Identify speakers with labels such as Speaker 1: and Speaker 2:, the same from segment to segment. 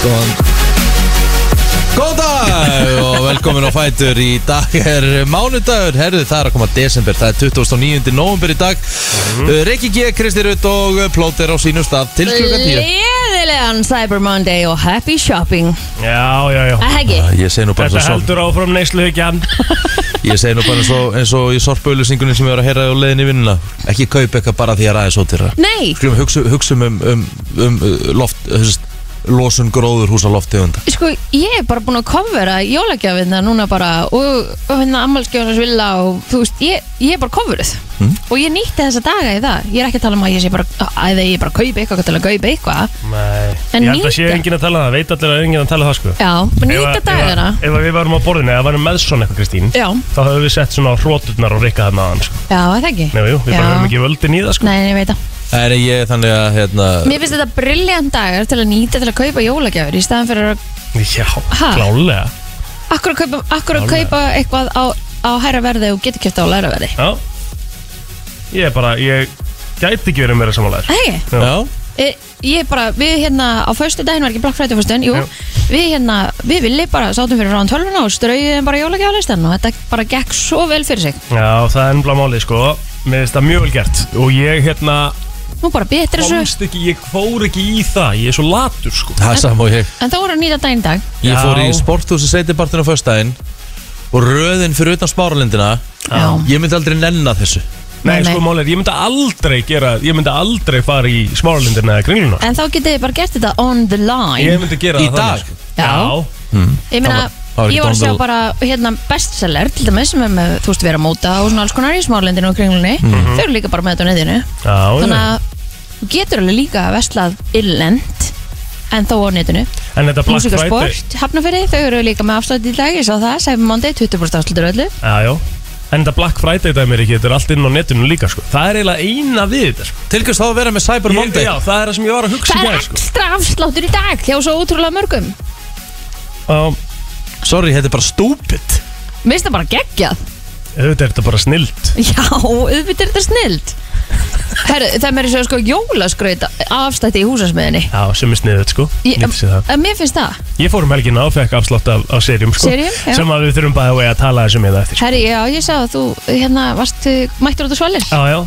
Speaker 1: Góðan Góðan dag og velkomin á Fætur Í dag er mánudagur Herðu það er að koma desember, það er 29. november í dag mm -hmm. Reykjik ég, Kristi Rutt og eh, Plóter á sínum stað til klukkan 10
Speaker 2: Gleðilegan Cyber Monday og happy shopping
Speaker 3: Já, já, já
Speaker 2: Það heggi
Speaker 1: Ah, Ég segi nú bara
Speaker 3: Þetta
Speaker 1: eins og,
Speaker 3: heldur áfram neysluhyggjan
Speaker 1: ég segi nú bara eins og, eins og í sorpauðlýsingunni sem ég var að heyra á leiðinni í vinnuna Ekki kaup eitthvað bara því að ræða svo til það
Speaker 2: Nei,
Speaker 1: Skulum hugsa, hugsa um, um, um, um uh, loft, hefst, losun gróður húsa loftegunda
Speaker 2: sko, ég er bara búin að kofvera jólagjafinna núna bara og, og hérna ammalskjöfunars villa og þú veist, ég, ég er bara kofverið
Speaker 3: Mm.
Speaker 2: og ég nýtti þessa daga í það ég er ekki að tala um að ég sé bara að að ég bara kaupi eitthvað til að kaupi eitthvað
Speaker 3: Nei,
Speaker 2: En
Speaker 3: ég held að sé
Speaker 2: nýta.
Speaker 3: enginn að tala um það, veit allir að enginn að tala það sko
Speaker 2: Já, og
Speaker 3: Ef
Speaker 2: nýtta
Speaker 3: að-
Speaker 2: dagana
Speaker 3: Ef, að- ef að við varum á borðinu, eða varum með svona eitthvað Kristín
Speaker 2: Já,
Speaker 3: Þá höfum við sett svona hróturnar og rikka þarna aðan sko
Speaker 2: já, er það ekki
Speaker 3: Nei, jú, við
Speaker 2: Já.
Speaker 3: bara höfum ekki völdin í það sko
Speaker 2: Nei, nei, ég veit það
Speaker 1: En ég þannig að hérna,
Speaker 2: Mér finnst þetta briljant dagar til að nýta til að kaupa jólagjafir í staðan fyrir að
Speaker 3: Já,
Speaker 2: Ha?
Speaker 3: klálega
Speaker 2: akkur að kaupa, akkur að kaupa eitthvað á, á hæra verði og getur kjöpt á læra verði
Speaker 3: Já Ég er bara, ég gæti ekki verið meira samanlegar
Speaker 2: Hei,
Speaker 1: já
Speaker 2: e, ég bara, við hérna á föstu daginn var ekki Black Friday föstu jú,
Speaker 3: Jú.
Speaker 2: við hérna, við villi bara sátum fyrir ráðan tölvuna og strauðum bara jólagjaflistan og þetta bara gekk svo vel fyrir sig
Speaker 3: Já, það er ennblá málið sko Mér finnst það mjög vel gert Og ég hérna,
Speaker 2: nú bara betur þessu,
Speaker 3: komst ekki, ég fór ekki í það Ég er svo latur sko
Speaker 1: Það er sama og ég
Speaker 2: en þá voru að nýta daginn í dag
Speaker 1: Ég
Speaker 3: Já.
Speaker 1: fór í sporthúsi setjabartinu á föstudaginn og röðin fyrir utan spáralindina
Speaker 2: Já.
Speaker 1: ég myndi aldrei nenna þessu
Speaker 3: Nei,
Speaker 2: Nei, nei.
Speaker 3: sko málið, er, ég myndi aldrei gera Ég myndi aldrei fara í smáralindina eða kringluna
Speaker 2: en þá getið þið bara gert þetta on the line
Speaker 3: Ég myndi gera
Speaker 1: Í
Speaker 3: það
Speaker 1: dag?
Speaker 3: þannig, sko.
Speaker 2: Já. ég meina,
Speaker 1: það var ekki
Speaker 2: ég var
Speaker 1: on
Speaker 2: að
Speaker 1: the-
Speaker 2: sjá bara hérna bestseller til dæmis sem er með, þú veist, vera móta og svona alls konar í smárlendinu og kringlunni
Speaker 1: Mhm.
Speaker 2: þau eru líka bara með þetta á neðinu
Speaker 3: Já, já,
Speaker 2: þannig
Speaker 3: já.
Speaker 2: að þú getur alveg líka að veslað illend en þó á netinu
Speaker 3: En þetta Black
Speaker 2: Músík og
Speaker 3: Friday
Speaker 2: sport, hafnafyrir, þau eru líka með afslátt í dag, ég sá það, Cyber Monday, 20% afsláttur á öllu.
Speaker 3: Já, já En þetta Black Friday dæmi er ekki, þetta er allt inn á netinu líka sko. Það er eiginlega eina við þetta sko.
Speaker 1: Til hvers þá að vera með Cyber Monday
Speaker 3: Já, það er það sem ég var að hugsa
Speaker 2: Það
Speaker 3: í
Speaker 2: er
Speaker 3: gær, sko.
Speaker 2: ekstra afsláttur í dag, hjá svo ótrúlega mörgum.
Speaker 3: Já,
Speaker 1: Sorry, þetta er bara stúpid
Speaker 2: Mér finnst það bara geggjað.
Speaker 3: Auðvitað er þetta bara snild
Speaker 2: Já, auðvitað er þetta snild. Herru, það meiri svo sko jólaskraut afslætti í húsasmiðinni.
Speaker 3: Já, sem er sniðið sko.
Speaker 2: Ég,
Speaker 3: Nýtti sér það.
Speaker 2: en mér finnst það.
Speaker 3: Ég fór um helgina og fekk afslátt af, af serjum sko.
Speaker 2: Serium, já.
Speaker 3: Sem að við þurfum bara að, að tala þessu með það eftir sko.
Speaker 2: Herru, já, ég sá að þú, hérna, varst, uh, mættur út á svalir.
Speaker 3: Já, já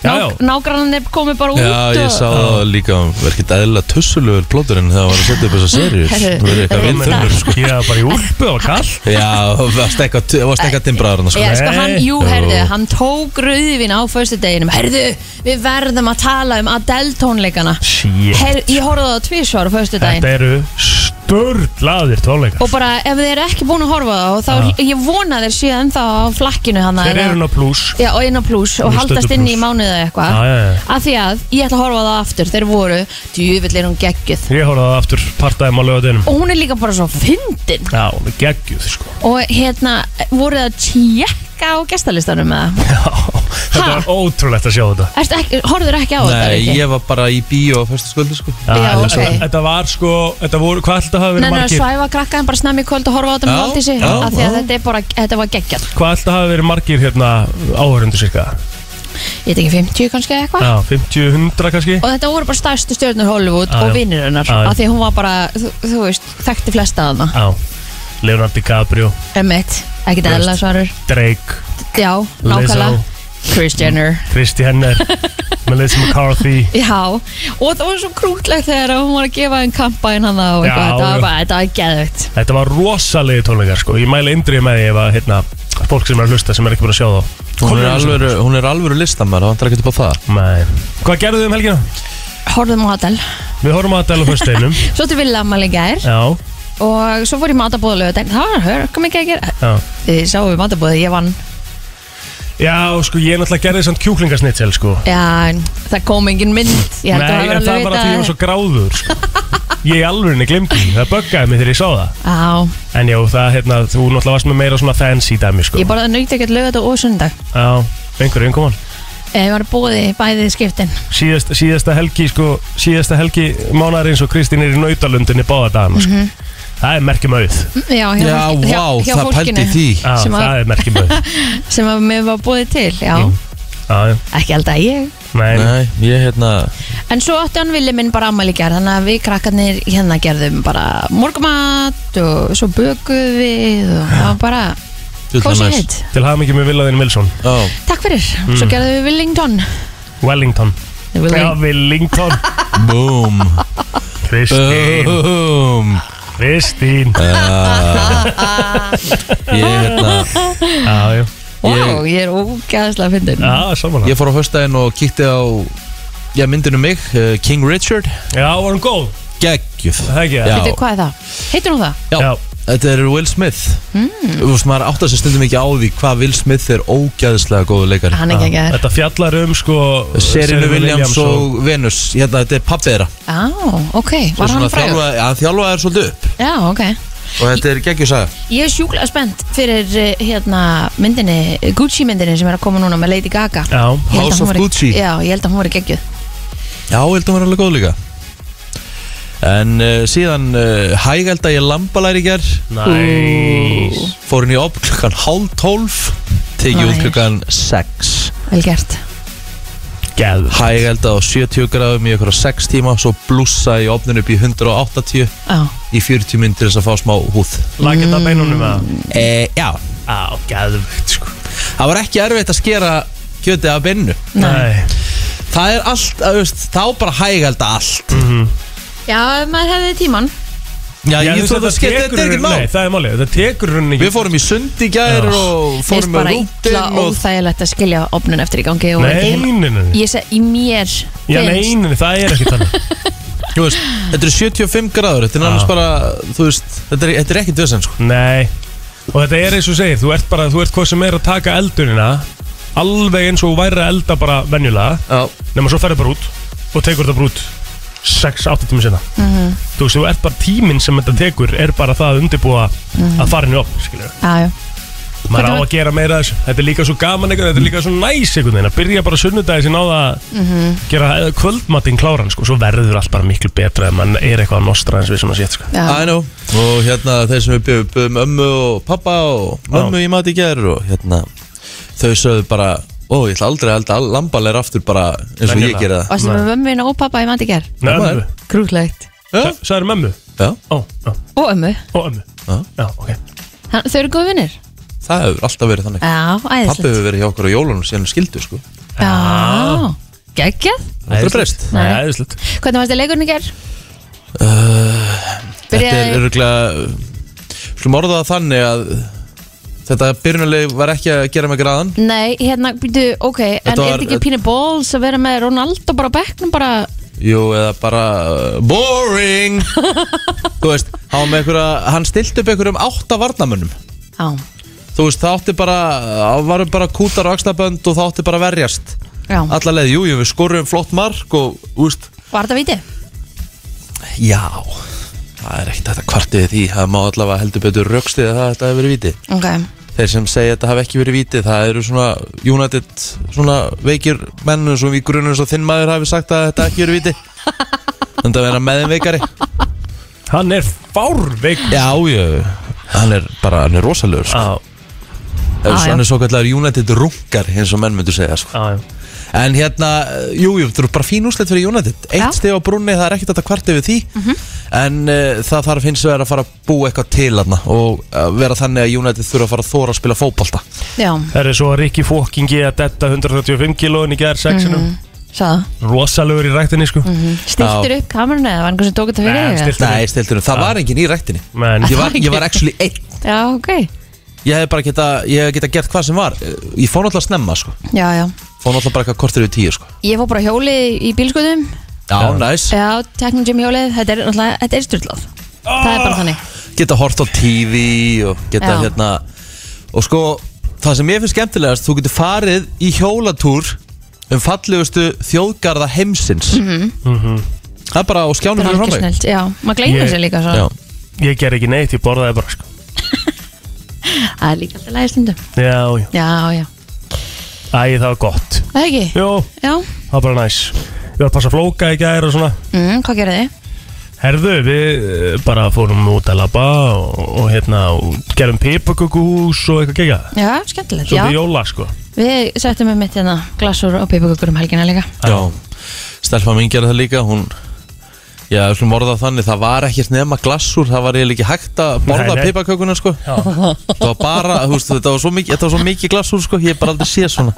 Speaker 3: Já, já
Speaker 2: Nágrannir komið bara út
Speaker 1: Já, ég sá það líka verkið eðla tussulegur plóturinn þegar það var að setja upp þessa serjur
Speaker 2: Herru,
Speaker 1: Það verið eitthvað
Speaker 2: þetta er
Speaker 1: vindur
Speaker 3: Vindur, sko. Ég var bara í úlpu og kall
Speaker 1: Já, það varst eitthvað það varst eitthvað timbraðurinn sko.
Speaker 2: Já, sko,
Speaker 3: Nei.
Speaker 2: hann, jú,
Speaker 1: Jú.
Speaker 2: herðu, hann tók rauðvin á föstudeginum Herðu, við verðum að tala um Adele tónleikana
Speaker 3: Shit
Speaker 2: Her, Ég horfði á það tvísvar á föstudaginn
Speaker 3: Þetta eru störðlaðir tónleikar
Speaker 2: Og bara ef þið eru ekki búin að horfa á það og þá, ég vona þeir séu ennþá á flakkinu hana
Speaker 3: Þeir eru
Speaker 2: eða-
Speaker 3: ná pluss
Speaker 2: Já, og inn á pluss og
Speaker 3: Nú
Speaker 2: haldast
Speaker 3: stendur
Speaker 2: inn í
Speaker 3: plús.
Speaker 2: mánuðu eða eitthvað
Speaker 3: Já, já, já.
Speaker 2: Af því að ég ætla að horfa á það aftur Þeir voru, djúvill er hún geggjuð
Speaker 3: Ég horfði á það aftur partæðum á lögadeinum
Speaker 2: Og hún er líka bara svo fyndin
Speaker 3: Já, hún er geggjuð sko
Speaker 2: Og hérna, voru það tjekka á gestalistanum með það?
Speaker 3: Já, þetta
Speaker 2: Ha?
Speaker 3: er ótrúlegt að sjá þetta
Speaker 2: Ertu ekki, horfður ekki á þetta?
Speaker 1: Nei,
Speaker 2: Riki?
Speaker 1: ég var bara í bíó á fyrsta sköldu sko.
Speaker 3: Já,
Speaker 2: Já,
Speaker 3: þetta-
Speaker 2: ok.
Speaker 3: Þetta var sko, þetta voru, hvað ætlaði að hafa verið
Speaker 2: Nei, nei,
Speaker 3: margir
Speaker 2: svæfa krakkaðin bara snemmi í kvöld og horfa á þetta
Speaker 1: Já,
Speaker 2: með Valdísi
Speaker 1: já,
Speaker 2: af því að
Speaker 1: já.
Speaker 2: þetta, er bara, þetta var geggjall
Speaker 3: Hvað ætlaði að hafa verið margir hérna áhörundu cirka
Speaker 2: Ég veit ekki 50 kannski eða eitthvað
Speaker 3: Já, 50, 100 kannski
Speaker 2: Og þetta voru bara stærstu stjórnur Hollywood
Speaker 3: Já,
Speaker 2: og
Speaker 3: já.
Speaker 2: vinnir hennar
Speaker 3: Já, já.
Speaker 2: af því að hún var bara, þú, þú veist, þekkti flesta að hana
Speaker 3: Já, Leonardo DiCaprio,
Speaker 2: M1, ekkert
Speaker 3: Þú
Speaker 2: eðla
Speaker 3: veist.
Speaker 2: svarur
Speaker 3: Drake,
Speaker 2: Já, nákvæmlega
Speaker 3: Lizzo.
Speaker 2: Kris Jenner
Speaker 3: Kristi Henner Melissa McCarthy
Speaker 2: Já, og það var svo krútlegt þegar hún var að gefa einn kampaðin hann og
Speaker 3: Já,
Speaker 2: eitthvað, þetta
Speaker 3: já.
Speaker 2: var bara, þetta var geðvögt
Speaker 3: Þetta var rosalegi tónleikar sko Ég mæli indrið með því ef að hérna, fólk sem er að hlusta sem er ekki búin að sjá þá
Speaker 1: Hún er alvöru, hún er alvöru listamæður, það vantar ekki upp á það
Speaker 3: Nei. Hvað gerðu þið um helgina?
Speaker 2: Horfðum á Adel
Speaker 3: Við horfum að dæla fyrst einum
Speaker 2: Svo til Villa Amalí gær
Speaker 3: Já,
Speaker 2: og svo fór ég matabóðalögu Það var hörgum ekki að gera
Speaker 3: já
Speaker 2: Þið sáum við matabóðið, ég vann
Speaker 3: Já, sko, ég náttúrulega gerði samt kjúklingasnitsel, sko
Speaker 2: Já, en það kom engin mynd Ég held að
Speaker 3: Nei,
Speaker 2: það
Speaker 3: en
Speaker 2: var alveg
Speaker 3: það var að því ég var
Speaker 2: vitað
Speaker 3: svo gráður, sko Ég í alvörinni glimti, því, það böggaði mig þegar ég sá það
Speaker 2: Já,
Speaker 3: En já, það, hérna, þú náttúrulega varst með meira svona fancy dæmi, sko
Speaker 2: ég bara nöyti ekkert lögat og sundag
Speaker 3: Já, einhverju, einhverjum
Speaker 2: Ég var búið bæðið skiptin
Speaker 3: síðast, Síðasta helgi, sko, síðasta helgi mánarins og Kristín er í nautalundinni báða dagana, sko
Speaker 2: Mhm.
Speaker 3: Það er merkjumauð
Speaker 2: Já, hjá,
Speaker 1: Já,
Speaker 2: fólki-
Speaker 1: vá,
Speaker 2: hjá, hjá
Speaker 1: það
Speaker 2: fólkinu
Speaker 1: pældi því
Speaker 3: Já,
Speaker 2: Sem að-
Speaker 3: það er merkjumauð
Speaker 2: sem að mér var búið til Já,
Speaker 3: Mm. já, já,
Speaker 2: ekki held að ég
Speaker 3: nei, nei.
Speaker 1: Nei, ég hérna
Speaker 2: en svo átti hann villi minn bara ammæli gerð þannig að við krakkarnir hérna gerðum bara morgumat og svo bökuð við og það var bara
Speaker 1: djúlega
Speaker 2: kósi
Speaker 1: næs.
Speaker 2: hitt
Speaker 3: Til hafa mikið með Villaðin Wilson
Speaker 1: Já,
Speaker 2: takk fyrir, svo gerðum við Willington
Speaker 3: Wellington
Speaker 2: Willing.
Speaker 3: Mm. Já, Wellington
Speaker 1: boom
Speaker 3: Kristín,
Speaker 1: Boom
Speaker 3: Kristín
Speaker 1: Uh. Ég hérna
Speaker 3: Já, já,
Speaker 2: wow, ég er ógæðslega fyndin
Speaker 3: já, samanlega
Speaker 1: Ég fór á höstdæðin og kíkti á Já, myndinu mig, eh, King Richard
Speaker 3: Já, var hún góð
Speaker 1: Gekkjuð
Speaker 3: Það ekki,
Speaker 1: Já.
Speaker 2: Veitu, hvað er það? heitir hún það?
Speaker 1: Já,
Speaker 3: Já.
Speaker 1: þetta er Will Smith
Speaker 2: Mm.
Speaker 1: Þú veist, maður áttar sér stundum ekki á því hvað Will Smith er ógæðslega góðu leikari
Speaker 3: Ah,
Speaker 2: hann er ekki ekki
Speaker 3: Þetta fjallar um sko
Speaker 1: Serinu Williams og Venus Hérna, þetta er pappi þeirra
Speaker 2: á, ok, var hann frægur?
Speaker 1: þjálfaði, hann þjálfaði þær svolítið upp
Speaker 2: já, ok
Speaker 1: Og þetta er geggjusaga
Speaker 2: Ég er sjúklega spennt fyrir eh, hérna, myndinni, Gucci myndinni sem er að koma núna með Lady Gaga
Speaker 3: Já,
Speaker 2: Ég held að
Speaker 1: House
Speaker 2: hún
Speaker 1: of
Speaker 2: væri-
Speaker 1: Gucci.
Speaker 2: Já, ég held að hún voru geggjuð
Speaker 1: Já, ég held að hún var alveg góð líka En uh, síðan uh, hægæld að ég lambalæri ger
Speaker 3: næs
Speaker 1: Fór henni upp klukkan hálf tólf Tekið út
Speaker 2: Nice.
Speaker 1: klukkan sex
Speaker 2: Vel gert
Speaker 3: Gæð
Speaker 1: Hægæld á 70 gráðum í einhverja 6 tíma Svo blússa í opninu upp í 180
Speaker 2: Já,
Speaker 1: Í 40 minn til þess að fá smá húð
Speaker 3: Lagið það beinunum að
Speaker 1: e, Já,
Speaker 3: Já, gæðvögt sko
Speaker 1: það var ekki erfitt að skera kjötið af bennu
Speaker 2: Nei.
Speaker 3: Nei
Speaker 1: Það er allt, að, veist, þá bara hægæld að allt
Speaker 2: Já ef maður hefði tíman
Speaker 1: Já,
Speaker 3: Já,
Speaker 1: ég
Speaker 3: þú
Speaker 1: þótt
Speaker 3: veist,
Speaker 1: að skera þetta er ekkert
Speaker 3: Nei,
Speaker 1: mál
Speaker 3: það er málið, þetta tekur runni
Speaker 1: Við fórum í sund í gær
Speaker 3: Já.
Speaker 1: og fórum með
Speaker 2: bara illa
Speaker 1: rútin og
Speaker 2: óþægilegt að skilja opnun eftir í gangi og vera ekki heima
Speaker 3: Nei, nei, nei
Speaker 2: Ég seg í mér
Speaker 3: Já,
Speaker 2: finnst-
Speaker 3: nei, nei, það er ekki þannig
Speaker 1: Þú veist, þetta eru 75 gráður Þetta er annars bara, þú veist Þetta er, þetta er ekki döðsend, sko
Speaker 3: Nei Og þetta er eins og segir, þú ert bara, þú ert hvað sem er að taka eldunina Alveg eins og þú væri að elda bara venjulega
Speaker 1: Já,
Speaker 3: Nefnum svo ferði bara út og tekur þetta bara út 6-8 tími sinna
Speaker 2: Mhm.
Speaker 3: Þú veist, þú ert bara tíminn sem þetta tekur er bara það að undirbúa að fara henni upp skilur.
Speaker 2: Já, já
Speaker 3: maður á
Speaker 2: Mhm. Þetta var-
Speaker 3: að gera meira af þessu þetta er líka svo gaman einhvern veginn, þetta er líka svo næs einhvern veginn að byrja bara sunnudagi sem á það að
Speaker 2: Mhm.
Speaker 3: gera eh, kvöldmatinn kláran sko, svo verður allt bara miklu betra ef mann er eitthvað að nostra eins við sem að sétt sko.
Speaker 2: Já,
Speaker 1: I know Og hérna þeir sem við byggum, byggum ömmu og pappa og mömmu í mat í gær og hérna Þau sögðu bara, ó, ég ætla aldrei að elda lambalegir aftur bara eins og ég
Speaker 3: Venjulega.
Speaker 1: gera það
Speaker 2: Varstu með mömmina og pappa í mandi ger
Speaker 3: Nei,
Speaker 1: Það
Speaker 3: ömmu,
Speaker 1: er-
Speaker 2: Krútlegt
Speaker 1: Já,
Speaker 3: það er mömmu
Speaker 1: já,
Speaker 3: Ó, ó,
Speaker 2: Og ömmu
Speaker 3: ó, ömmu
Speaker 1: Já.
Speaker 3: Já, ok
Speaker 2: Hann- Þau eru góð vinnir
Speaker 1: það hefur alltaf verið þannig
Speaker 2: Já,
Speaker 1: Pappi
Speaker 2: æðislegt
Speaker 1: hefur verið hjá okkur á jólunum síðan við skildu, sko
Speaker 2: Já, geggjað
Speaker 1: Það er breyst
Speaker 3: Nei, það er slutt
Speaker 2: Hvernig varst þið leikurinn í ger?
Speaker 1: Þetta
Speaker 2: Byrjaði-
Speaker 1: er örgulega Skulum orða það þannig að Þetta byrjunuleg var ekki að gera mig graðan
Speaker 2: Nei, hérna, býtu, ok, en
Speaker 1: Þetta
Speaker 2: er
Speaker 1: var-
Speaker 2: þetta ekki pínu balls að vera með Ronaldo bara á bekknum bara
Speaker 1: Jú, eða bara uh, Boring Þú veist, hann, var með einhverja, hann stilt upp einhverjum átta varnamönnum
Speaker 2: á,
Speaker 1: Þú veist, það átti bara Það var bara kútar og axlabönd og það átti bara að verjast
Speaker 2: já,
Speaker 1: Alla leið, jú, jú, við skorum flott mark og, úst,
Speaker 2: var þetta viti?
Speaker 1: já Það er ekkert þetta kvartið því Það má allavega heldur betur rökstið að það þetta hefur verið víti
Speaker 2: Ok,
Speaker 1: Þeir sem segja að þetta hafi ekki verið víti Það eru svona United Svona veikir menn Svo við grunum svo þinn maður hafi sagt að þetta ekki verið víti Þannig að vera meðin veikari
Speaker 3: Hann er fárveik
Speaker 1: Já, já, hann er bara, hann er rosalegur sko. ah,
Speaker 3: Já,
Speaker 2: já.
Speaker 1: Hann er svo kallar United rungar eins og menn myndu segja sko.
Speaker 3: já, já
Speaker 1: En hérna, eh, jú, jú, þú eru bara fín úslit fyrir United Eitt
Speaker 2: Já.
Speaker 1: stig á brunni, það er ekkert þetta kvart yfir því En uh, það þarf hins vegar að fara að búa eitthvað til hann Og uh, vera þannig að United þurfa að fara að þóra að spila fótbolta
Speaker 2: já,
Speaker 3: Það er svo að Rikki Fókingi að detta 135 kílóin í gerð sexinum
Speaker 2: Mhm. sagða
Speaker 3: Rosalegur í ræktinni sko
Speaker 2: Stiltur upp kamerunni eða var einhver sem tók þetta fyrir
Speaker 3: Nei,
Speaker 2: Mhm. þig? eða?
Speaker 3: stillt.
Speaker 1: Nei, stilturum, það var engin í ræktinni
Speaker 3: Men,
Speaker 1: Ég var, ég var actually einn
Speaker 2: Já, ok,
Speaker 1: Ég hef bara geta, ég hef geta gert hvað sem var Ég fór náttúrulega snemma, sko
Speaker 2: já, já
Speaker 1: Fór náttúrulega bara eitthvað kortir yfir tíu, sko
Speaker 2: Ég fór bara á hjólið í bílskutum
Speaker 1: Já, næs
Speaker 2: Já, teknum Jim hjólið, þetta er náttúrulega, þetta er styrlað Það er bara þannig
Speaker 1: geta hort á TV og geta
Speaker 2: Já.
Speaker 1: hérna og sko, það sem ég finnst skemmtilegast þú getur farið í hjólatúr um fallegustu þjóðgarða heimsins
Speaker 3: Mhm.
Speaker 1: það er bara á skjánum
Speaker 2: Það Mhm. er
Speaker 1: fyrir
Speaker 2: algjör
Speaker 1: framveg
Speaker 2: snilt, já, maður gleymur
Speaker 3: Ég-
Speaker 2: sér líka
Speaker 1: Já,
Speaker 2: svo
Speaker 3: Ég ger ekki neitt, ég borðaði bara sko
Speaker 2: Það er líka alltaf lægistundum
Speaker 3: Já, já
Speaker 2: Já, já,
Speaker 3: Æ, það var gott
Speaker 2: það er ekki?
Speaker 3: Jó,
Speaker 2: Já,
Speaker 3: það var bara næs Ég var að passa flóka í gær og svona
Speaker 2: mm, hvað gerði Mhm, þið?
Speaker 3: Herðu, við eh, bara fórum út að labba og, og hérna, og gerum pipakökuhús og eitthvað gegja.
Speaker 2: Já, skemmtilegt,
Speaker 3: Svo
Speaker 2: já
Speaker 3: til jóla, sko.
Speaker 2: Við settum um mitt hérna glasur og pipakökur um helgina líka
Speaker 1: Já, stelpa mín gera það líka Hún, já, við slum orða það þannig Það var ekkert nema glassúr Það var eiginlega ekki hægt að borða
Speaker 3: Nei, nei.
Speaker 1: pipakökuna sko. Það var bara, þú veist, þetta var svo mikið Þetta var svo mikið glassúr, sko, ég hef bara aldrei séð svona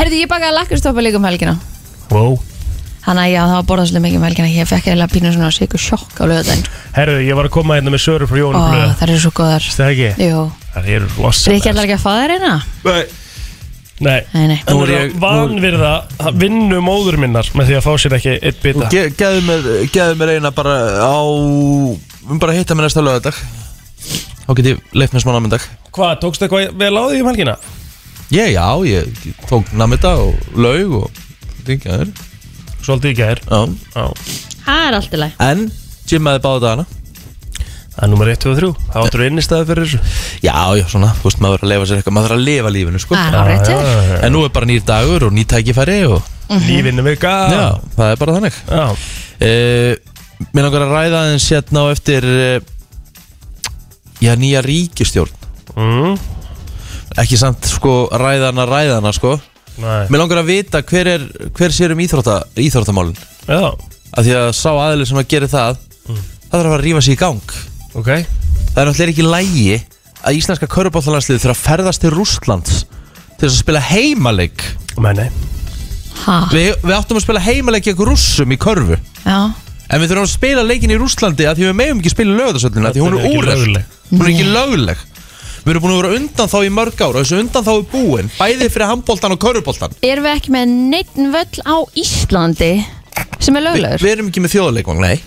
Speaker 2: Herðu, ég bakaði lakkurstoppa líka um helgina
Speaker 3: Wow.
Speaker 2: Þannig að já, það var borðaslega mikið um helgina Ég fekk eða pínu svona sigur sjokk á löðin
Speaker 3: Herðu, ég var að koma hérna með söru frá
Speaker 2: Og
Speaker 3: jólablöðu.
Speaker 2: það eru svo góðar
Speaker 3: Veistu það ekki?
Speaker 2: Jú,
Speaker 3: Það eru rosalega.
Speaker 2: Ríkja ætlar ekki að fá þær eina
Speaker 3: Nei.
Speaker 2: Nei, nei
Speaker 1: Nú er
Speaker 3: Nú er
Speaker 1: ég-
Speaker 3: ég... Vanvirða vinnu móður minnar með því að fá sér ekki eitt bita.
Speaker 1: Ge, Geðu mér, geðu mér eina bara á Við bara að hitta mér næsta lögadag Þá get ég leift mér smá námyndag
Speaker 3: Hvað, tókstu eitthvað vel á því um helgina?
Speaker 1: Ég, já, ég tók námyndag og laug og ringjaður
Speaker 3: Svolítið í gær.
Speaker 1: Já,
Speaker 3: Já.
Speaker 2: Það er allt í lagi
Speaker 1: en gymmaði báða dagana
Speaker 3: Það er nummer 1, 2 og 3. Það áttur innistæði fyrir þessu.
Speaker 1: Já, já, svona, þú veist, maður verður að lifa sér eitthvað, maður verður að lifa lífinu, sko
Speaker 2: Það er hárrétt hjá þér. Mhm.
Speaker 3: já.
Speaker 1: En nú er bara nýr dagur og nýr tækifæri og
Speaker 3: Lífinu vika.
Speaker 1: já, það er bara þannig
Speaker 3: Já.
Speaker 1: uh, Mér langar að ræða aðeins hérna á eftir uh, Já, nýja ríkistjórn
Speaker 3: Mm.
Speaker 1: Ekki samt, sko, ræðana, ræðana, sko
Speaker 3: Nei.
Speaker 1: Mér langar að vita hver er, hver sér um íþrótta, íþróttamálin
Speaker 3: Já.
Speaker 1: Af því að sá aðlið sem að gera það
Speaker 3: Mm.
Speaker 1: Það þarf að fara að rífa sig í gang
Speaker 3: Ok.
Speaker 1: Það er náttúrulega ekki lægi að íslenska körubáttalanslið þurfa að ferðast til Rússlands til þess að spila heimaleik
Speaker 3: Nei, nei.
Speaker 2: Ha,
Speaker 1: Við, við áttum að spila heimaleik gegn rússum í körfu
Speaker 2: já
Speaker 1: En við þurfum að spila leikin í Rússlandi að því við megum ekki spila lögðarsöllina því hún er
Speaker 3: Þetta er ekki
Speaker 1: úrreld
Speaker 3: lögleg.
Speaker 1: Hún er ekki lögleg Við erum búin að vera undan þá í mörg ár og þessu undan þá er búin Bæði fyrir handbóltan og köruboltan
Speaker 2: Erum við ekki með neittn völl á Íslandi sem er
Speaker 1: Vi,
Speaker 2: löglegur?
Speaker 1: Við erum ekki með þjóðarleikvang, nei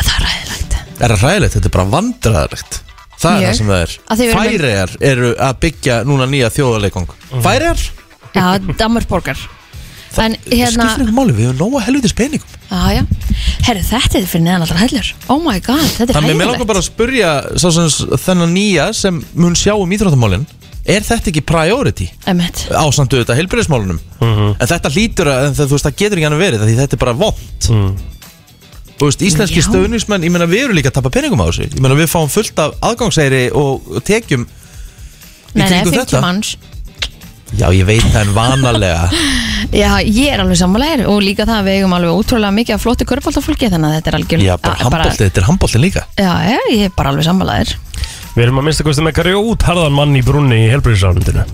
Speaker 2: Það er ræðilegt
Speaker 1: Er það ræðilegt, þetta er bara vandræðilegt Það er
Speaker 2: Mjög.
Speaker 1: það sem það
Speaker 2: Að því
Speaker 1: er
Speaker 2: við erum-
Speaker 1: Færiðar eru að byggja núna nýja þjóðarleikvang
Speaker 2: Mhm.
Speaker 1: Færiðar?
Speaker 2: Já, Dammerborgar En
Speaker 1: Hérna...
Speaker 2: hérna
Speaker 1: Skiptir ekki máli, við höfum nóga helvitis peningum
Speaker 2: Já, já. Herru, þetta er fyrir neðan allra hellur. Oh my god, þetta er
Speaker 1: Þannig að mér
Speaker 2: hægilegt.
Speaker 1: langar bara að spurja sá sem s- þennan nýja sem mun sjá um íþróttamálin Er þetta ekki priority?
Speaker 2: Emmett.
Speaker 1: ásamt auðvitað heilbyrðismálunum
Speaker 2: Mhm.
Speaker 1: en þetta hlýtur að, en það, þú veist, það getur ekki annað verið af því þetta er bara vond
Speaker 3: Mhm.
Speaker 1: þú veist, íslenski
Speaker 2: Já.
Speaker 1: stöðnismenn, ég meina við erum líka að tapa peningum á þessu, ég meina við fáum fullt af aðgangsæri og, og tekjum
Speaker 2: Nei, nei,
Speaker 1: kringum
Speaker 2: 50
Speaker 1: þetta?
Speaker 2: manns.
Speaker 1: já, ég veit það en vanalega
Speaker 2: Já, ég er alveg sammálaðir og líka það að við eigum alveg ótrúlega mikið af flóttu körfaldafólki þannig að þetta er algjörn...
Speaker 1: já, bara
Speaker 3: Ah,
Speaker 1: handbólti, þetta er handbólti líka
Speaker 2: Já, já, ég er bara alveg sammálaðir.
Speaker 3: Við erum að minnsta kosti með grjót harðan mann í brunni í helbriðisránundinu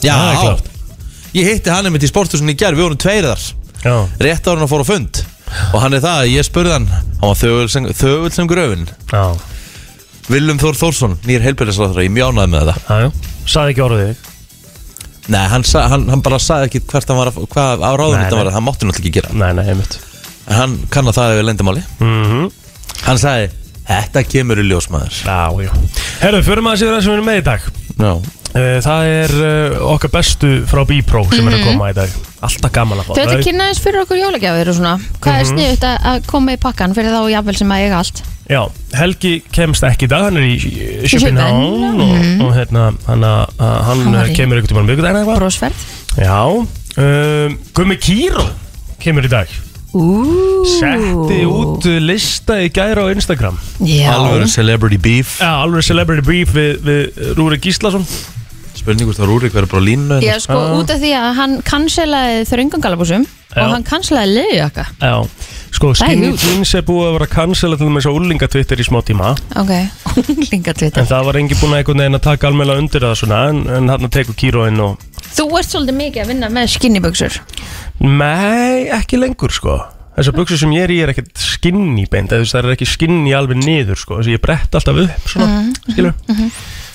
Speaker 1: já,
Speaker 3: það er klárt.
Speaker 1: ég hitti hann einmitt í sporthúsinni í gerð, við vorum tveirðar
Speaker 3: Já
Speaker 1: rétt ára hann að fóra á fund og hann er það, ég spurði hann hann var þögul sem, þögul sem gröfin
Speaker 3: Já,
Speaker 1: Willum Þór Þórsson, nýr heilbyrðisráðra, ég mjánaði með þetta
Speaker 3: já, já Saði ekki orðið þig
Speaker 1: Nei, hann, sa, hann, hann bara sagði ekki hvert hann var að, hvað á ráðum
Speaker 3: Nei,
Speaker 1: þetta
Speaker 3: nei.
Speaker 1: var að hann mátti náttúrulega ekki gera
Speaker 3: Nei, nei, einmitt
Speaker 1: en hann kann að það yfir lendamáli
Speaker 3: mm -hmm.
Speaker 1: hann sagði, þetta kemur í ljósmaður
Speaker 3: Já, já Herðu, förum aðeins yfir það sem við erum með í dag
Speaker 1: Já,
Speaker 3: Eh, Það er eh, okkar bestu frá B-Pro sem er að koma í dag Alltaf gaman að fá
Speaker 2: Mhm. Þau þetta
Speaker 3: þau.
Speaker 2: kynnaðist fyrir okkur jólagjafir og svona. Hvað er sniðut að að koma í pakkan fyrir þá jafnvel sem að eiga allt?
Speaker 3: Já, Helgi kemst ekki í dag Hann er í eh, Schopenhauer
Speaker 2: Schopenhauer,
Speaker 3: og, og hérna, hann, að- að- hann,
Speaker 2: Mhm. Hann var
Speaker 3: eh,
Speaker 2: í-
Speaker 3: kemur ykkur tíma um vikudaginn eða eitthvað
Speaker 2: Brósferð?
Speaker 3: Já um, Gummi Kíró kemur í dag
Speaker 2: Ú.
Speaker 3: Setti út eh, lista í gæra á Instagram
Speaker 2: Já.
Speaker 1: alveg celebrity beef
Speaker 3: Já, alveg celebrity beef við, við Rúri Gíslason
Speaker 1: Spurningur það rúri hver er bara á línu
Speaker 2: Já,
Speaker 1: hérna.
Speaker 2: sko, út af því að hann kanselaði þröngangalabúsum
Speaker 3: Já.
Speaker 2: og hann kanselaði leiðjaka.
Speaker 3: Já
Speaker 2: Það
Speaker 3: Sko,
Speaker 2: er
Speaker 3: Skinny
Speaker 2: huge.
Speaker 3: Jeans er búið að vera kansalað til með svo úlingatvitter í smá tíma
Speaker 2: Ok, úlingatvitar.
Speaker 3: En það var engi búin að einhvern veginn að taka almennilega undir það svona En, en hann tekur kíróinn og
Speaker 2: Þú ert svolítið mikið að vinna með skinniböksur.
Speaker 3: Nei, ekki lengur sko Þessar buksur sem ég er í er ekkert skinny beint eða þú veist, Það er ekki skinny alveg niður sko Þessi ég brett alltaf upp svona
Speaker 2: Mhm,
Speaker 3: mm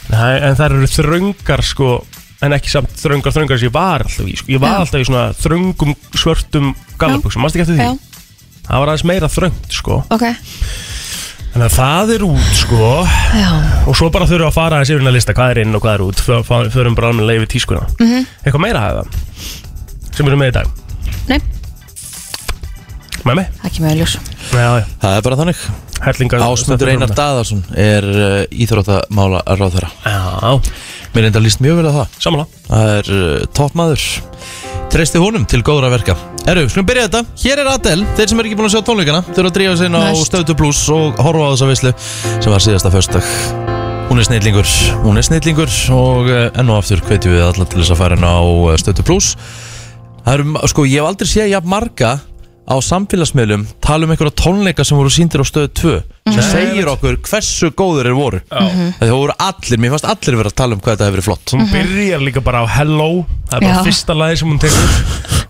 Speaker 3: Nei, En það eru þröngar sko En ekki samt þröngar þröngar sem ég var alltaf í sko. Ég var
Speaker 2: Já.
Speaker 3: alltaf í svona þröngum svörtum gallabuksum Mást ekki eftir því?
Speaker 2: Já,
Speaker 3: Það var aðeins meira þröngt sko
Speaker 2: ok.
Speaker 3: Þannig að það er út sko
Speaker 2: Já.
Speaker 3: Og svo bara þurfum við að fara aðeins yfir hérna lista Hvað er inn og hvað er út Fö- fá- Förum bara alveg leið við tískuna
Speaker 2: Mhm.
Speaker 3: -hmm. Eitthvað meira að það Sem við erum með í dag
Speaker 2: Nei,
Speaker 3: Með mig?
Speaker 2: það kemur að ljós.
Speaker 3: Já, já
Speaker 1: Það er bara þannig
Speaker 3: Herlingar
Speaker 1: Ásmundur Einar Daðarsson er uh, íþróttamála ráðherra
Speaker 3: Já,
Speaker 1: Mér er enda líst mjög vel að það
Speaker 3: samanlá
Speaker 1: Það er uh, toppmaður Treysti honum til góðra verka Herru, skulum byrja þetta Hér er Adele, þeir sem eru ekki búin að sjá tónleikana Þeir eru að drífa sig inn á
Speaker 2: Næst.
Speaker 1: Stöðtu Plus og horfa á þessa veislu sem var síðasta föstudag Hún er snillingur, hún er snillingur og eh, enn og aftur hvetjum við alla til þess að fara inn á eh, Stöðtu Plus Það eru, sko, ég hef aldrei séð jafn marga á samfélagsmiðlum tala um einhverja tónleika sem voru síndir á stöðu 2 sem segir okkur hversu góður er voru það voru allir, mér fannst allir vera að tala um hvað þetta hefur verið flott
Speaker 3: Hún byrjar líka bara á Hello Það er bara
Speaker 2: Mhm. Já.
Speaker 3: fyrsta lagi sem hún tekur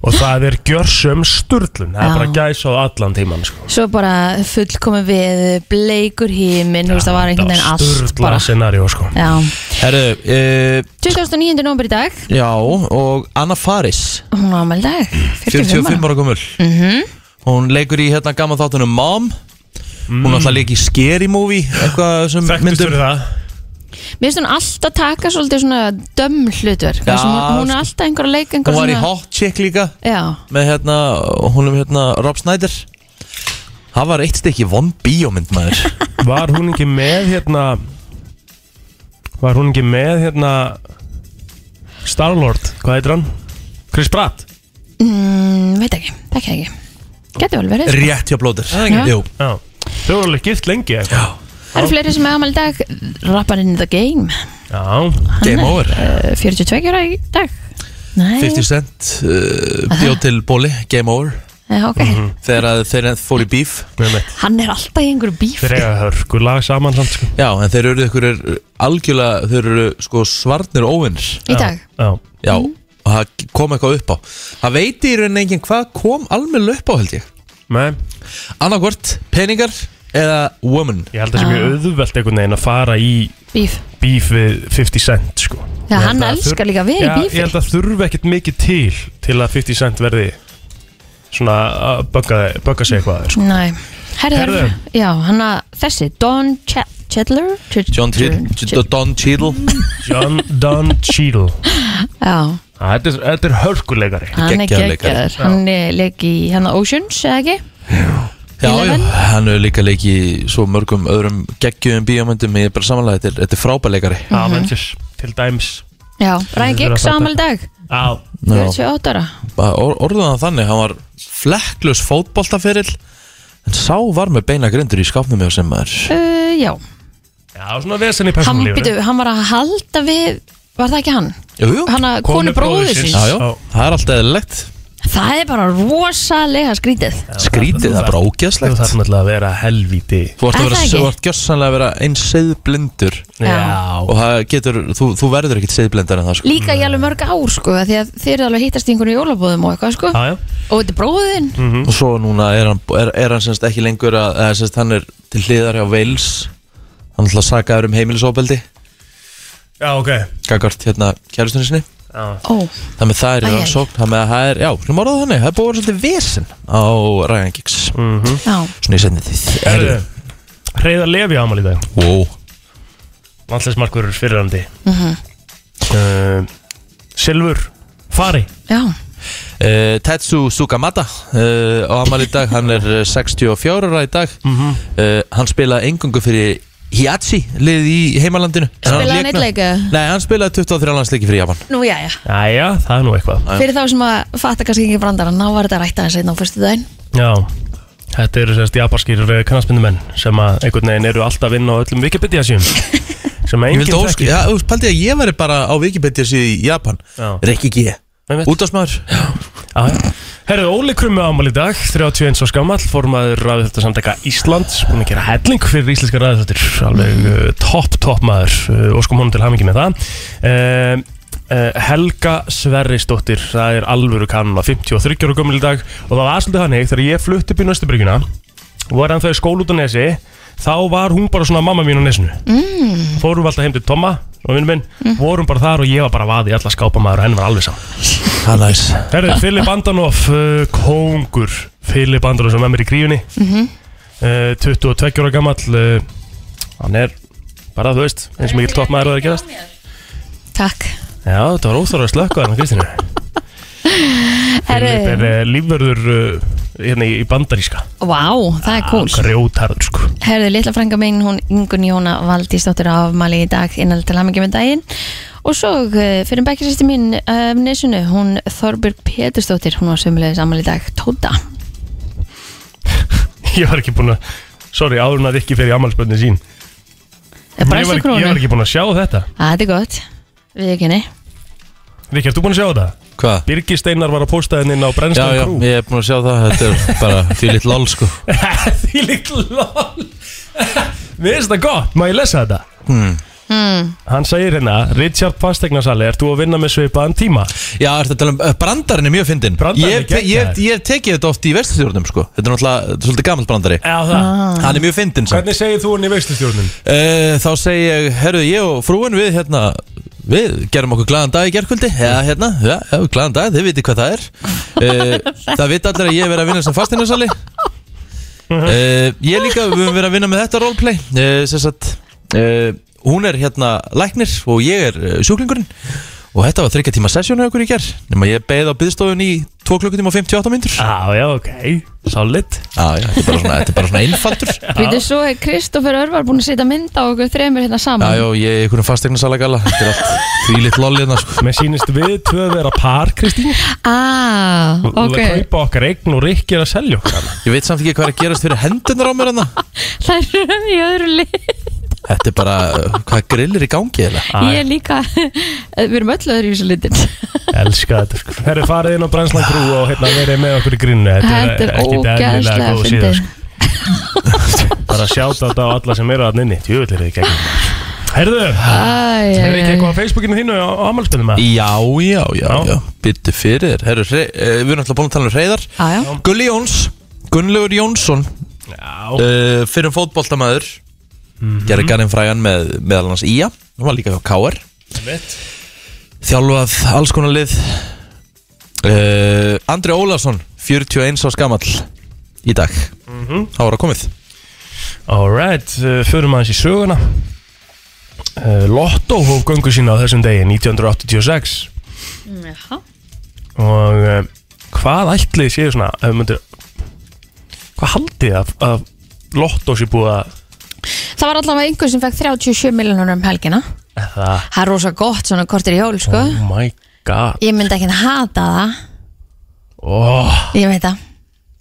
Speaker 3: Og það er gjörsum sturlun Það er
Speaker 2: Já.
Speaker 3: bara gæs á allan tíman sko.
Speaker 2: Svo bara fullkomi við bleikur híminn, þú veist, það var einhvern veginn allt
Speaker 3: Sturla
Speaker 2: bara.
Speaker 3: scenarió sko
Speaker 2: Já.
Speaker 1: Herru, e,
Speaker 2: 2009. november í dag,
Speaker 1: já, og Anna Faris
Speaker 2: hún á ámæli dag, 45
Speaker 1: 45
Speaker 2: ára.
Speaker 1: ára gömul Hún leikur í hérna gammal þáttunum Mom Hún ætla að leika í Scary Movie Eitthvað sem
Speaker 3: Þekktust fyrir það
Speaker 2: Mér finnst hún alltaf taka svolítið svona dömm hlutverk.
Speaker 1: Já,
Speaker 2: Já, hún, hún er
Speaker 1: sko.
Speaker 2: alltaf einhver að leika
Speaker 1: Hún
Speaker 2: einhver
Speaker 1: var í Hot Chick líka
Speaker 2: Já,
Speaker 1: Með hérna, hún er hérna Rob Snyder Það var eitt stykki von bíómynd maður
Speaker 3: Var hún ekki með hérna Var hún ekki með hérna Starlord, hvað heitir hann? Chris Pratt
Speaker 2: mm, veit ekki, þekki það ekki. Geti vel verið. sko.
Speaker 1: Rétt hjá blóður
Speaker 2: ekki?
Speaker 1: Jú
Speaker 3: Já. Þau voru alveg gift lengi eitthvað.
Speaker 2: Það eru fleiri sem er ámæli dag, rapparinn in the game,
Speaker 3: Já,
Speaker 1: Game over
Speaker 2: uh, 42 ára í dag. Nei,
Speaker 1: 50 cent uh, Bjóð til bóli Game over
Speaker 2: Já, Eh, ok.
Speaker 1: Þegar að þeir fór í bíf
Speaker 3: með mitt
Speaker 2: Hann er alltaf í einhverju bífi.
Speaker 3: Þeir eiga hörku lag saman samt sko
Speaker 1: Já, en þeir eru ykkur algjörlega Þeir eru sko svarnir óvinnir
Speaker 2: Í dag.
Speaker 3: Já,
Speaker 1: Já,
Speaker 2: Mhm.
Speaker 1: og það kom eitthvað upp á Það veit í rauninni enginn hvað kom almennilega upp á held ég
Speaker 3: með
Speaker 1: Annarkvort, peningar eða woman
Speaker 3: Ég held að það sé
Speaker 2: Ah.
Speaker 3: mjög auðvelt einhvern veginn að fara í
Speaker 2: Bíf.
Speaker 3: bíf við 50 cent sko.
Speaker 2: Já,
Speaker 3: Ég held
Speaker 2: hann
Speaker 3: að
Speaker 2: elskar
Speaker 3: þurf-
Speaker 2: líka að vera í
Speaker 3: Já,
Speaker 2: bífi.
Speaker 3: Ég held að þurfi ekkert mikið til til að 50 cent verði svona að bögga, bögga sig eitthvað sko.
Speaker 2: Nei, herðu
Speaker 3: Herðu.
Speaker 2: þar Já, hann að þessi, Don Ch- Chandler Ch-
Speaker 1: John Cheadle,
Speaker 2: Ch-
Speaker 1: Ch- Don Cheadle
Speaker 3: John Don Cheadle
Speaker 2: Já,
Speaker 3: Æ, Þetta er, þetta er hörkuleikari
Speaker 2: hann er
Speaker 1: Geggjaður leikari.
Speaker 2: geggjaður Hann er leik í hann að Oceans, eða ekki?
Speaker 1: Já, já,
Speaker 2: Eleven.
Speaker 1: hann er líka leik í svo mörgum öðrum geggjum bíómyndum Ég er bara samanlega, þetta er, þetta er frábæleikari
Speaker 2: Mhm.
Speaker 3: Avengers til dæms
Speaker 2: Já, Ryan
Speaker 3: þurfa að
Speaker 2: Giggs
Speaker 3: fatta.
Speaker 2: ámæli dag
Speaker 3: Já,
Speaker 2: 48 ára
Speaker 1: or, Orðuðan það þannig, hann var flekklus fótboltaferill En sá var með beina grindur í skápnum hjá sem maður
Speaker 2: uh, Já,
Speaker 3: já svona vesen í
Speaker 2: hann,
Speaker 3: persónulífinu
Speaker 2: byrju, hann var að halda við Var það ekki hann?
Speaker 1: Jú, jú,
Speaker 2: Hann að konu
Speaker 3: Konu
Speaker 2: bróður
Speaker 3: bróður síns.
Speaker 1: já,
Speaker 2: síns
Speaker 1: já, það er alltaf eðlilegt
Speaker 2: Það er bara rosalega skrítið
Speaker 1: Skrítið, það er bara
Speaker 3: Þú
Speaker 1: ógeðslegt
Speaker 3: þarf náttúrulega að vera helvíti
Speaker 1: Þú ert
Speaker 2: Er
Speaker 1: að vera,
Speaker 2: það ekki?
Speaker 1: þú ert gjössanlega að vera einn seiðblindur
Speaker 2: Já.
Speaker 1: og það getur, þú, þú verður ekkit seiðblendar en það sko
Speaker 2: Líka í alveg mörg ár sko af Því að þeir eru alveg að hittast í einhverju jólabóðum og eitthvað sko
Speaker 3: Já, já
Speaker 2: Og þetta er bróðin
Speaker 1: og svo núna er hann, er, er hann semst ekki lengur að, eða semst hann er til hliðar hjá Wales hann ætla að saka þér um heimilisofbeldi
Speaker 3: Já, ok
Speaker 1: gagart hérna kjælustunni sinni
Speaker 3: Já,
Speaker 2: Ó,
Speaker 1: það með það er í
Speaker 2: Æ, æ.
Speaker 1: rannsókn, það með að það er, já, hlum orðað þannig það er búið að vera svolítið vesen á Ryan Giggs
Speaker 2: Mm. já,
Speaker 1: svona í sendið þið
Speaker 3: Herðu Hreiðar Levi ámali í dag
Speaker 1: wow.
Speaker 3: landslæsmarkur fyrirandi
Speaker 2: Mhm.
Speaker 3: uh, Silfur Fari
Speaker 2: já
Speaker 1: uh, Tetsu Sukamata uh, á amal í dag, hann er eh, 64 ára í dag
Speaker 3: Mhm.
Speaker 1: uh, hann spilaði engungu fyrir Hiachi liðið í heimalandinu En
Speaker 2: Spilaði hann
Speaker 1: lék
Speaker 2: einn
Speaker 1: með-
Speaker 2: leik, eða?
Speaker 1: Nei, hann spilaði 23 landsleiki fyrir Japan
Speaker 2: Nú, já, já
Speaker 3: Jæja, það er nú eitthvað
Speaker 1: Já.
Speaker 2: Fyrir þá sem að fatta kannski ekki brandarann þá var þetta rætt aðeins einn á fyrstu daginn
Speaker 3: Já Þetta eru sérst japanskir knastmyndumenn sem að einhvern veginn eru alltaf inn á öllum Wikipedia síðum sem
Speaker 1: Ég
Speaker 3: að enginn
Speaker 1: vildi ósk,
Speaker 3: þekki
Speaker 1: já, þú veist, pældi að ég væri bara á Wikipedia síðu í Japan
Speaker 3: Já.
Speaker 1: Rikki G
Speaker 3: Einmitt.
Speaker 1: Útásmaður
Speaker 3: Já, já. Herðu Óli Krummi ámali í dag 31 og skamall, formaður ræðhjölda samtaka Íslands, búin að gera helling fyrir íslenska ræðhjöldur, alveg uh, topp topp maður, uh, óskum honum til hamingi með það uh, uh, Helga Sverrisdóttir, það er alvöru kanna, 53 ára gömul í dag og það var svolítið hannig þegar ég flutti upp í Nösturbyrgjuna og var ennþá í skóla út á nesi þá var hún bara svona mamma mín á nesinu mm. fórum við alltaf heim til Tomma og vinnum minn, vorum bara þar og ég var bara vaði alla skápamaður og henni var alveg saman
Speaker 1: Það er næs
Speaker 3: Herri, Filip Andanoff, uh, kóngur Filip Andanoff sem er með mér í grífunni uh, 22 ára gammal uh, Hann er bara, þú veist, eins og mikil toppmaður og það er að gerast
Speaker 2: Takk
Speaker 3: Já, þetta var óþára að slökka þarna, Kristínu Filip er
Speaker 2: Herru,
Speaker 3: uh, lífverður uh, hérna í, í bandaríska
Speaker 2: vá, það er cool
Speaker 3: Grjótarður, sko
Speaker 2: Herru, litla frænga mín, hún Ingun Jóna Valdísdóttir á afmæli í dag innal til hamingi með daginn og svo uh, fyrir bekkisýsti mín uh, nesunu, hún Þorbjörg Pétursdóttir hún var sömulegis amal í dag, Tóta
Speaker 3: Ég var ekki búin að Sorry, áðurinn að ekki fyrir ammálspöndin sín
Speaker 2: Eh,
Speaker 3: ég var,
Speaker 2: Bræstu
Speaker 3: ekki, ég var
Speaker 2: krónu,
Speaker 3: ekki búin að sjá þetta
Speaker 2: það er gott við ekki henni,
Speaker 3: Rikki, ertu búin að sjá þetta?
Speaker 1: Hvað?
Speaker 3: Birgir Steinar var að posta henni inn
Speaker 1: Já,
Speaker 3: á
Speaker 1: já,
Speaker 3: Brennstam Crew
Speaker 1: ég er búin að sjá það Þetta er bara því litt lol sko
Speaker 3: Því líkt lol Mér finnst þetta gott, má ég lesa þetta? Hmm. Hann segir hérna Richard Fastegnasali, ert þú að vinna með svipaðan tíma?
Speaker 1: Já, ertu að tala um, uh, brandarinn er mjög fyndinn
Speaker 3: Brandarinn er
Speaker 1: Ég te- ég-
Speaker 3: geggjaður.
Speaker 1: ég hef tekið þetta oft í vestastjórnum sko Þetta er náttúrulega þetta er svolítið gamalt brandari
Speaker 3: Já, það
Speaker 2: Ah.
Speaker 1: Hann er mjög fyndinn samt
Speaker 3: Hvernig segir þú henni í veistustjórnum?
Speaker 1: uh, Þá segi ég, herruðu ég og frúin við hérna Við gerum okkur glaðan dag í gerkvöldi Já, hérna, já, já, glaðan dag, þið viti hvað það er uh, Það viti allir að ég hef verið að vinna sem fastinasali uh, Ég líka, við höfum verið að vinna með þetta roleplay uh, Sess að uh, Hún er hérna læknir og ég er uh, sjúklingurinn Og þetta var þryggja tíma sessjónu okkur í gerð Nefna ég beið á byðstofun í 2 klukkutíma og 58 myndur Já,
Speaker 3: Já, já, ok, solid
Speaker 1: já, þetta er bara svona, þetta er bara svona einfaldur
Speaker 2: veitu svo er Kristoffer Örvar búin að setja mynd á okkur þremur hérna
Speaker 1: Já,
Speaker 2: saman
Speaker 1: já, ég er einhvern fastegnasala gala Þetta er allt því litt lollina sko
Speaker 3: Mér sýnist við tvö vera par, Kristín
Speaker 2: ah,
Speaker 3: Þú ert að
Speaker 2: ok,
Speaker 3: kaupa okkar eign og Rikki er að selja okkar hana.
Speaker 1: Ég veit samt ekki hvað er að gerast fyrir hendunar á mér hann
Speaker 2: það er í öðru lið
Speaker 1: Þetta er bara, uh, hvað grillir í gangi eða?
Speaker 3: Æ.
Speaker 2: ég líka, við erum öll öðru í þessu litin
Speaker 3: Elska þetta sko Herri farið inn á Brænslan Crew og hérna verið með okkur í grinnu
Speaker 2: þetta er ógæðslega fyndið
Speaker 3: sko. Bara sjáta þetta á alla sem eru að nynni Tjöfull er þið gegnum maður. Herðu,
Speaker 2: Æ, æ,
Speaker 3: er ekki
Speaker 2: æ.
Speaker 3: eitthvað á Facebookinu þínu á ámálspilum að?
Speaker 1: Já, já, já,
Speaker 3: Já.
Speaker 1: já, byttu fyrir þér Herru, hre, uh, Við erum alltaf búin að tala um reyðar
Speaker 2: Já, já.
Speaker 1: Gulli Jóns, Gunnlaugur Jónsson
Speaker 3: Já,
Speaker 1: uh, Fyrir fótboltamæður
Speaker 3: Mhm.
Speaker 1: Gerði Garinn frægan með meðal hans Ía Hún var líka hjá KR
Speaker 2: Eh.
Speaker 3: mitt
Speaker 1: Þjálfað alls konar lið uh, Andri Ólason 41 á skamall Í dag,
Speaker 3: Mhm.
Speaker 1: þá er að komið
Speaker 3: Alright, uh, förum aðeins í söguna uh, Lotto hóf göngu sína á þessum degi 1986
Speaker 2: Jaha.
Speaker 3: og uh, hvað ætlið séu svona ef við myndir hvað haldið þið að, að Lotto sé búið að
Speaker 2: Það var allavega einhver sem fekk 37 miljonur um helgina
Speaker 3: það,
Speaker 2: Það er rosa gott svona kortir í jól sko
Speaker 3: oh my god
Speaker 2: Ég myndi ekki hata það
Speaker 3: oh,
Speaker 2: Ég veit það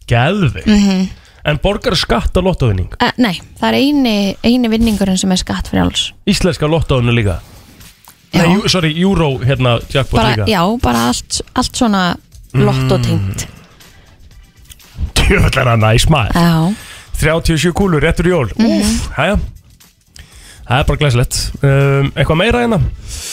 Speaker 3: geðvig
Speaker 2: Mhm.
Speaker 3: en borgar skatt á Lottovinning
Speaker 2: uh, Nei, það er eini, eini vinningurinn sem er skatt fyrir alls
Speaker 3: íslenska Lottovinu líka
Speaker 2: Já.
Speaker 3: Nei, jú- sorry, Euro hérna jackpot
Speaker 2: bara,
Speaker 3: líka Mm.
Speaker 2: Já, bara allt, allt svona lottotengt
Speaker 3: djöfull er það næs maður
Speaker 2: Já,
Speaker 3: 37 kúlur, réttur í jól
Speaker 2: Mhm.
Speaker 3: Úf, hæja Það er bara glæslegt um, Eitthvað meira hérna?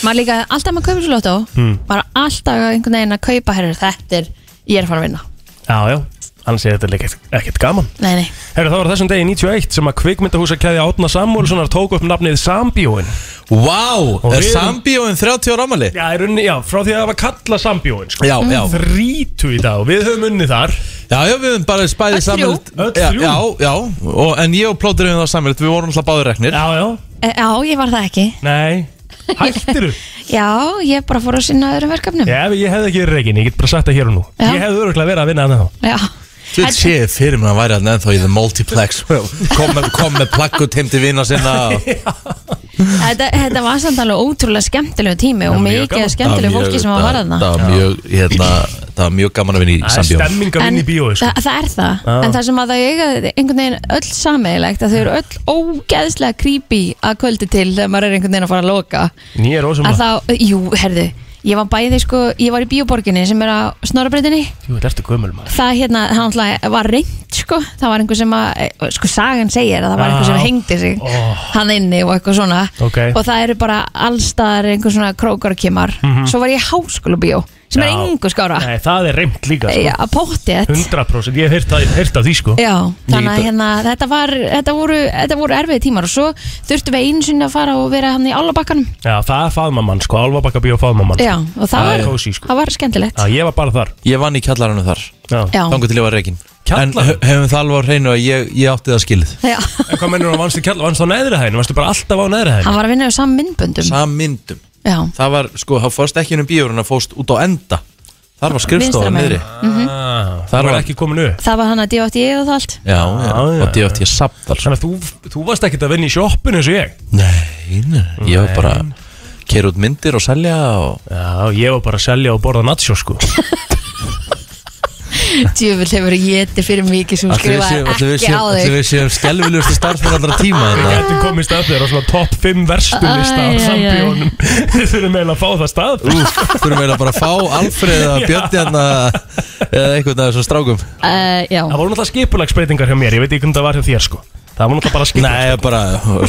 Speaker 2: maður líka alltaf maður kaupir svo lottó
Speaker 3: Hmm.
Speaker 2: bara alltaf einhvern veginn að kaupa herrur þetta er, ég er að fara að vinna
Speaker 3: Já, já, annars er þetta líka ekkert- ekkert gaman
Speaker 2: Nei, nei,
Speaker 3: Herru, það var þessum degi 91 sem að kvikmyndahúsa kæði Átna Samúlssonar tók upp nafnið Sambjóin.
Speaker 1: Vá,
Speaker 3: Og
Speaker 1: er
Speaker 3: við erum-
Speaker 1: Sambíóin 30 ára ámali?
Speaker 3: Já, í rauninni, já, frá því að það var kalla Sambjóin, sko.
Speaker 1: Já, já,
Speaker 3: Þrítu í dag og við höfum unnið þar.
Speaker 1: já, já, við höfum bara spæðið
Speaker 2: Öll
Speaker 1: saman
Speaker 2: þrjú.
Speaker 3: Öll
Speaker 1: já,
Speaker 3: þrjú.
Speaker 1: já, já, og, en ég og plótur við það saman Við vorum alltaf báður reknir
Speaker 3: Já, já.
Speaker 2: Eh, já, ég var það ekki
Speaker 3: Nei. Hættiru?
Speaker 2: Já, ég bara fór að sinna öðrum verkefnum
Speaker 3: Já, ef ég hefði ekki verið reygin, ég get bara sagt það hér og nú.
Speaker 2: Já.
Speaker 3: Ég hefði öruglega verið að vinna þannig þá.
Speaker 2: Já.
Speaker 1: Þú veit sé fyrir mér að hann væri hann ennþá í The Multiplex Kom með, kom með plakkut heim til vina sinna
Speaker 2: Þetta, þetta var samt alveg ótrúlega skemmtilegu tími og
Speaker 3: var mjög
Speaker 2: mikið
Speaker 3: gaman.
Speaker 2: skemmtilegu fólki sem var að vara
Speaker 1: Það
Speaker 2: þarna
Speaker 1: var mjög, hérna, það var mjög gaman að vinna í
Speaker 3: Það er
Speaker 1: Sambíóin
Speaker 3: stemming að
Speaker 2: En
Speaker 3: vinna í bíói, sko.
Speaker 2: það, það er það, en það sem að það eiga einhvern veginn öll sameigilegt að þau eru öll ógeðslega creepy að kvöldi til þegar maður er einhvern veginn að fara að loka
Speaker 3: Ég er ósum
Speaker 2: að
Speaker 3: að...
Speaker 2: þá, jú, herðu ég var bæði sko, ég var í bíóborginni sem er á snorrabreytinni
Speaker 3: Jú, þetta ertu gömul maður.
Speaker 2: það hérna, það náttúrulega var reynd sko, það var einhver sem að, eh, sko sagan segir að það var
Speaker 3: Já.
Speaker 2: einhver sem hengdi sig
Speaker 3: Ó.
Speaker 2: hann inni og eitthvað svona
Speaker 3: Ok.
Speaker 2: og það eru bara allstaðar einhver svona krókarkimar mm svo var ég í háskólabíó sem er
Speaker 3: Mhm. Já.
Speaker 2: engu skára
Speaker 3: Nei, það er reymt líka, sko.
Speaker 2: Já, að póttið
Speaker 3: 100% ég hef heyrt það- heyrt af því, sko.
Speaker 2: Já, þannig að
Speaker 1: get-
Speaker 2: hérna, þetta, var, þetta, voru, þetta voru erfiði tímar og svo þurftum við einu sinni að fara og vera hann í álabakkanum
Speaker 3: Já, það er faðmamann, sko, álfabakkabíó faðmamann.
Speaker 2: Já, og það
Speaker 3: Það er
Speaker 2: var,
Speaker 3: kósí, sko.
Speaker 2: það var skemmtilegt
Speaker 3: Já, ég var bara þar.
Speaker 1: Ég vann í kjallarannu þar
Speaker 3: Já.
Speaker 2: Já,
Speaker 1: Þangu til ég var rekin En
Speaker 3: Kjallaranum?
Speaker 1: hö- höfum það alveg á hreinu að ég, ég átti það skilið
Speaker 2: já.
Speaker 3: En hvað mennur hann vannstu kjall, vannstu á neðri hæðinu, vannstu bara alltaf á neðri hæðinu?
Speaker 2: hann var að vinna á saman myndböndum
Speaker 1: Sammyndum
Speaker 2: Já,
Speaker 1: Það var, sko, það fórst ekki inn um bíórun að fórst út á enda Þar var skrifstofan
Speaker 2: Vinstra megin.
Speaker 1: niðri
Speaker 2: mhm.
Speaker 3: Ah, það var
Speaker 1: var-
Speaker 3: ekki komin upp
Speaker 2: það var hann að D.O.T. E og það allt
Speaker 1: Já, já,
Speaker 3: Já, já,
Speaker 1: og því átti ég samt þar
Speaker 3: Þannig að þú, þú varst ekkert að vinna í sjoppinu eins og ég
Speaker 1: Nei, nei, ég var bara keira út myndir og selja og...
Speaker 3: Já, ég var bara að selja og borða natsjó sko
Speaker 2: Djöfull hefur getið fyrir mikið sem skrifaði ekki á
Speaker 1: Allir
Speaker 2: þig
Speaker 1: við séum skelvilegustu starfsmenn allra tíma
Speaker 3: Við
Speaker 1: þarna.
Speaker 3: getum komist að þér á svona topp 5 verstu lista
Speaker 2: Æ, æ,
Speaker 3: af
Speaker 2: æ.
Speaker 3: sambjónum Við þurfum eiginlega að fá það stað
Speaker 1: Úf, þurfum eiginlega bara að fá Alfreð að Björnjarna eða einhvern af þessum strákum
Speaker 2: Uh, já,
Speaker 3: Það voru náttúrulega skipulagsbreytingar hjá mér, ég veit ekki hvernig það var hjá þér sko Það var náttúrulega bara skipulags
Speaker 1: Nei, bara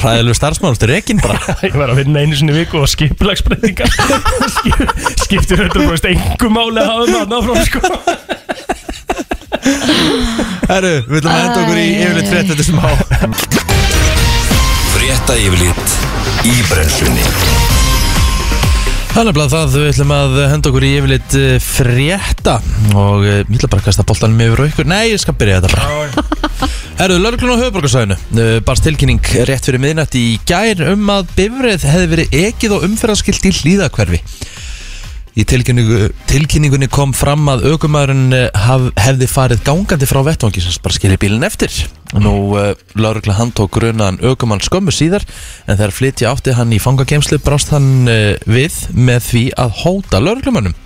Speaker 1: ræðilegu starfsmann, þú rekin bara
Speaker 3: Ég var að vinna einu sinni í viku og skipulagsbreytingar Skip- Skiptir hundra brúst engum máli að hafa maður náfram sko
Speaker 1: Herru, við viljum að enda okkur í yfirleitt frétt þetta smá
Speaker 4: Frétta yfirlit í brennslunni
Speaker 1: Það er nefnilega það, við ætlum að henda okkur í yfirleitt eh, frétta og eh, ég ætla bara að kasta boltanum yfir á ykkur Nei, ég skal byrja þetta bara Herru, lörglun á höfuborgarsæðinu barst tilkynning rétt fyrir miðnætt í gær um að bifrið hefði verið ekið og umferðarskilt í hlýðakverfi Í tilkynningu, tilkynningunni kom fram að aukumæðurinn haf, hefði farið gangandi frá vettvangi sem sagt bara skilja bílinn eftir. Nú, uh, laurugla handtók grunaðan aukumann skömmu síðar en þegar flytja átti hann í fangageimslu brást hann uh, við með því að hóta lauruglumannum.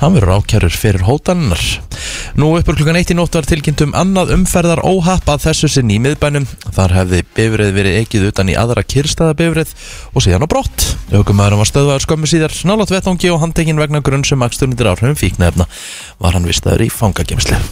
Speaker 1: Hann verður ákjærur fyrir hótannar. Nú uppur klukkan 1 í nótt var tilkynnt um annað umferðar óhapp að þessu sinni í miðbænum. Þar hefði bifrið verið ekið utan í aðra kyrstaðabifrið og síðan á brott. Ökumæðurinn var stöðvaður skömmu síðar nálat vettvangi og handtekinn vegna um grunn sem akstundir áhrifum fíknefna var hann vistaður í fangagemslu.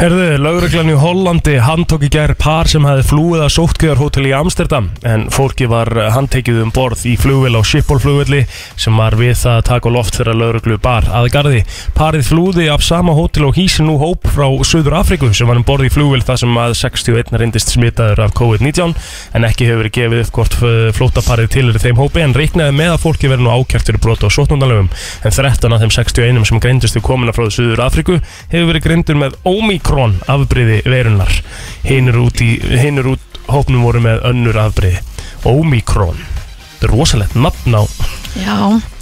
Speaker 3: Herðu, lauruglan í Hollandi handtók í gær par sem hefði flúið að sóttkjöðarhótel í Amsterdam en fólki var handtekið um borð í flugvél á Schiphol-flugvelli sem var við það að taka á loft þegar lauruglu bar að gardi. Parið flúði af sama hótel og hísi nú hóp frá Suður Afriku sem var um borð í flugvél þar sem að 61 reyndist smitaður af COVID-19 en ekki hefur verið gefið upp hvort eh, flóttaparið til er þeim hópi en reiknaði með að fólki verið nú ákjært fyrir brot á sótnundalöfum en 13 af þeim 61 sem greindust við komuna frá Suður Afriku hefur verið greindur með Omikron afbriði verunar hinn er út í, hinn er út hópnum voru með önnur afbriði Omikron þetta er rosalegt nafn á
Speaker 2: já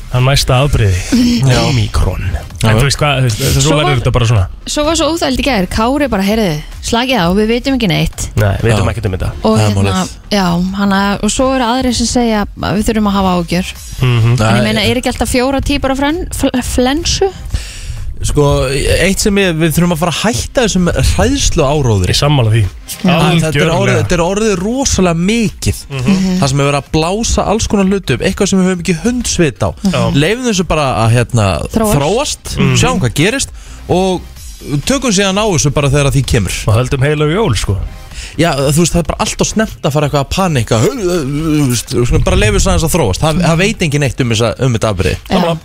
Speaker 3: að næsta afbriði Omikron
Speaker 1: Já.
Speaker 3: en þú veist hvað, þú veist, þess
Speaker 2: Svo
Speaker 3: að
Speaker 2: var-
Speaker 3: verður þetta bara svona
Speaker 2: Svo var svo úþæld í gær, Kári bara, heyrðu, slagið á, við veitum ekki neitt
Speaker 3: nei,
Speaker 1: Já.
Speaker 3: við veitum ekkert um þetta
Speaker 2: Og
Speaker 1: Það er
Speaker 2: hérna,
Speaker 1: málið.
Speaker 2: já, hana, og svo eru aðrir sem segja að við þurfum að hafa ágjör
Speaker 3: mm
Speaker 2: En Hm? ég meina, er ekki alltaf fjóra típar af fren, fl flensu?
Speaker 1: Sko, eitt sem ég, við þurfum að fara að hætta þessum hræðslu áróðri.
Speaker 3: ég sammála því
Speaker 1: Að Þetta er, orðið,
Speaker 3: Algjörlega. Mhm.
Speaker 1: þetta er orðið rosalega mikið Það sem hefur verið að blása alls konar hlutu upp Eitthvað sem við höfum ekki hundsvit á mm
Speaker 3: Já. Mhm.
Speaker 1: Leifum þessu bara að hérna,
Speaker 2: Þróast.
Speaker 1: þróast Sjáum hvað gerist Og tökum síðan á þessu bara þegar því kemur
Speaker 3: og höldum heila jól sko
Speaker 1: Já, þú veist, það er bara alltaf snemmt að fara eitthvað að panika Þú veist, þú veist, Bara leifum þess að þróast Það, það veit engin eitt um, þessa, um þetta afrið
Speaker 2: Já.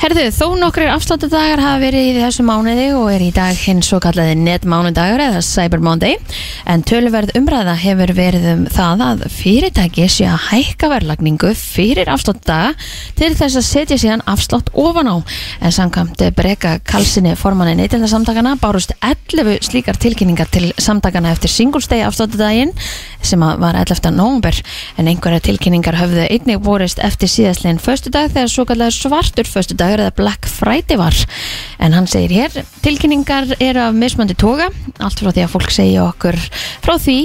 Speaker 2: Herðu, þó nokkrir afsláttadagar hafa verið í þessu mánuði og er í dag hinn svo kallaði netmánudagur eða Cyber Monday en töluverð umræða hefur verið um það að fyrirtæki sé að hækka verðlagningu fyrir afsláttadaga til þess að setja síðan afslátt ofan á en samkvæmt breyka kalsinni formanni neytildarsamtakana bárust 11 slíkar tilkynningar til samtakana eftir singulstegi afsláttadaginn sem að var 11. nómber en einhverja tilkynningar höfðu einnig borist eftir síðastlegin föstudag þegar svo kallar svartur föstudagur eða Black Friday var en hann segir hér tilkynningar eru af mismöndi toga allt frá því að fólk segja okkur frá því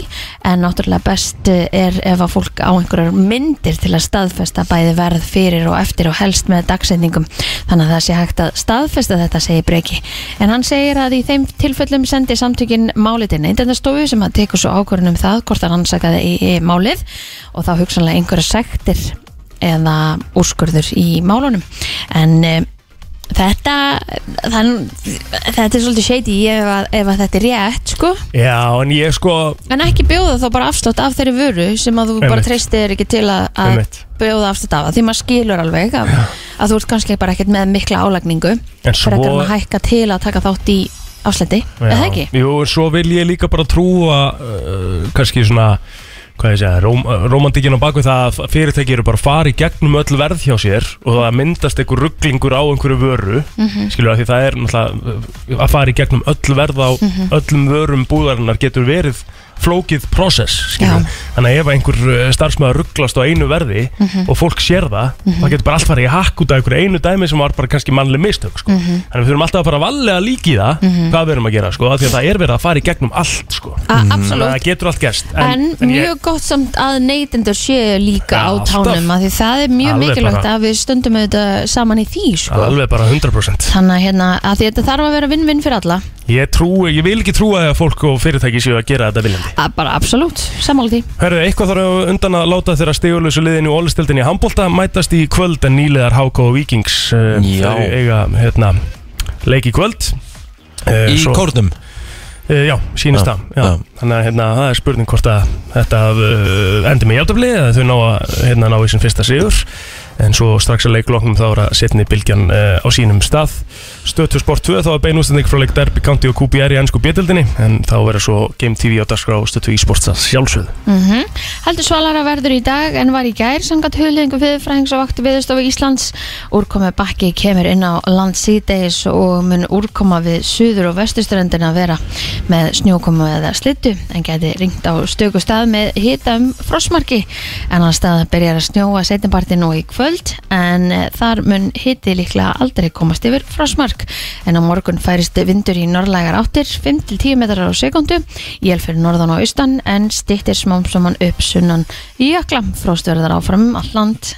Speaker 2: en náttúrulega best er ef að fólk á einhverjar myndir til að staðfesta bæði verð fyrir og eftir og helst með dagsendingum þannig að það sé hægt að staðfesta þetta segir Breki en hann segir að í þeim tilfellum sendi samtökin málið til neytendastofu sem að tekur svo ákvörðun um það hvort hann ansakaði í, í málið og þá hugsanlega einhverja sektir eða úrskurður í málunum en e, þetta þann, þetta er svolítið shady ef að, ef að þetta er rétt sko
Speaker 3: já, en ég sko
Speaker 2: en ekki bjóða þá bara afslátt af þeirri vöru sem að þú bara
Speaker 3: Einmitt.
Speaker 2: treystir þér ekki til að, að
Speaker 3: Einmitt.
Speaker 2: bjóða afslátt af það því maður skilur alveg að, að þú ert kannski bara ekkert með mikla álagningu
Speaker 3: En svo-
Speaker 2: frekar en að hækka til að taka þátt í afslætti, eða
Speaker 3: Já.
Speaker 2: ekki?
Speaker 3: Jú, en svo vil ég líka bara trúa uh, kannski svona hvað ég segja, róm, romantikinn á baku það að fyrirtæki eru bara að fara í gegnum öll verð hjá sér og það myndast einhver rugglingur á einhverju vöru mm
Speaker 2: Mhm.
Speaker 3: skilur að því það er eh,
Speaker 2: Mhm.
Speaker 3: náttúrulega uh, að fara í gegnum öll verð á öllum vörum búðarinnar getur verið flókið process
Speaker 2: Já.
Speaker 3: skilur við. þannig að ef einhver eh, starfsmaður rugglast á einu verði
Speaker 2: Mhm.
Speaker 3: og fólk sér það þá getur bara allt farið í hakk út af einhverju einu dæmi sem var bara kannski mannleg mistök sko.
Speaker 2: Mhm.
Speaker 3: þannig að við þurfum alltaf að fara að vallega líki í það hvað við erum að gera sko, af því að það er verið að fara í gegnum allt sko.
Speaker 2: A-
Speaker 3: þannig að
Speaker 2: Absolutt
Speaker 3: það getur allt gerst
Speaker 2: En,
Speaker 3: ég-
Speaker 2: mjög gott samt að neytendur séu líka
Speaker 3: Já,
Speaker 2: á
Speaker 3: alltaf.
Speaker 2: tánum af því það er mjög
Speaker 3: Alveg
Speaker 2: mikilvægt
Speaker 3: bara.
Speaker 2: að við stundum auðvitað saman í því sko.
Speaker 3: alveg bara 100%
Speaker 2: Þannig að, hérna, að því þetta þarf að vera vinn-vinn fyrir alla
Speaker 3: ég, trú, ég vil ekki trúa að fólk og fyrirtæki séu að gera þetta viljandi
Speaker 2: að bara absolutt, sammála því
Speaker 3: Herðu, eitthvað þarf að undan að láta þeirra stigurlösu liðin í ólistildinni í handbólta mætast í kvöld en nýlegar HK og Víkings uh,
Speaker 1: Já.
Speaker 3: þau eiga hérna, leik í kvöld uh,
Speaker 1: Í kórnum
Speaker 3: uh, Já, sínist
Speaker 1: Já,
Speaker 3: það já.
Speaker 1: já.
Speaker 3: Þannig að hérna, það er spurning hvort að þetta uh, endur með játafli eða þau ná að hérna, ná í sinn fyrsta sigur en svo strax að leikloknum þá er að setni bylgjan uh, á sínum stað Stötu Sport 2 þá er beinústending frá leik Derby County og QPR í ennsku bjöldinni en þá verður svo Game TV á dagskrá og Stötu í sportstað sjálfsögðu
Speaker 2: Mm Heldur svalara verður í dag en var í gær sangat hulhingu viðfræðings og vakti viðstofu Íslands. Úrkomi bakki kemur inn á land síðdeis og mun úrkoma við suður og vesturströndina vera með snjókomu eða slittu en geti ringt á stöku stað með hita um frosmarki en að stað byrjar að snjóa setjumpartin og í kvöld en eh, þar mun hiti líklega aldrei komast yfir frosmark en á morgun færist vindur í norrlægar áttir 5-10 metrar á sekundu él fyrir norðan og austan en stittir smám saman upp sunnan í jökla fróstverðar áfram um allt land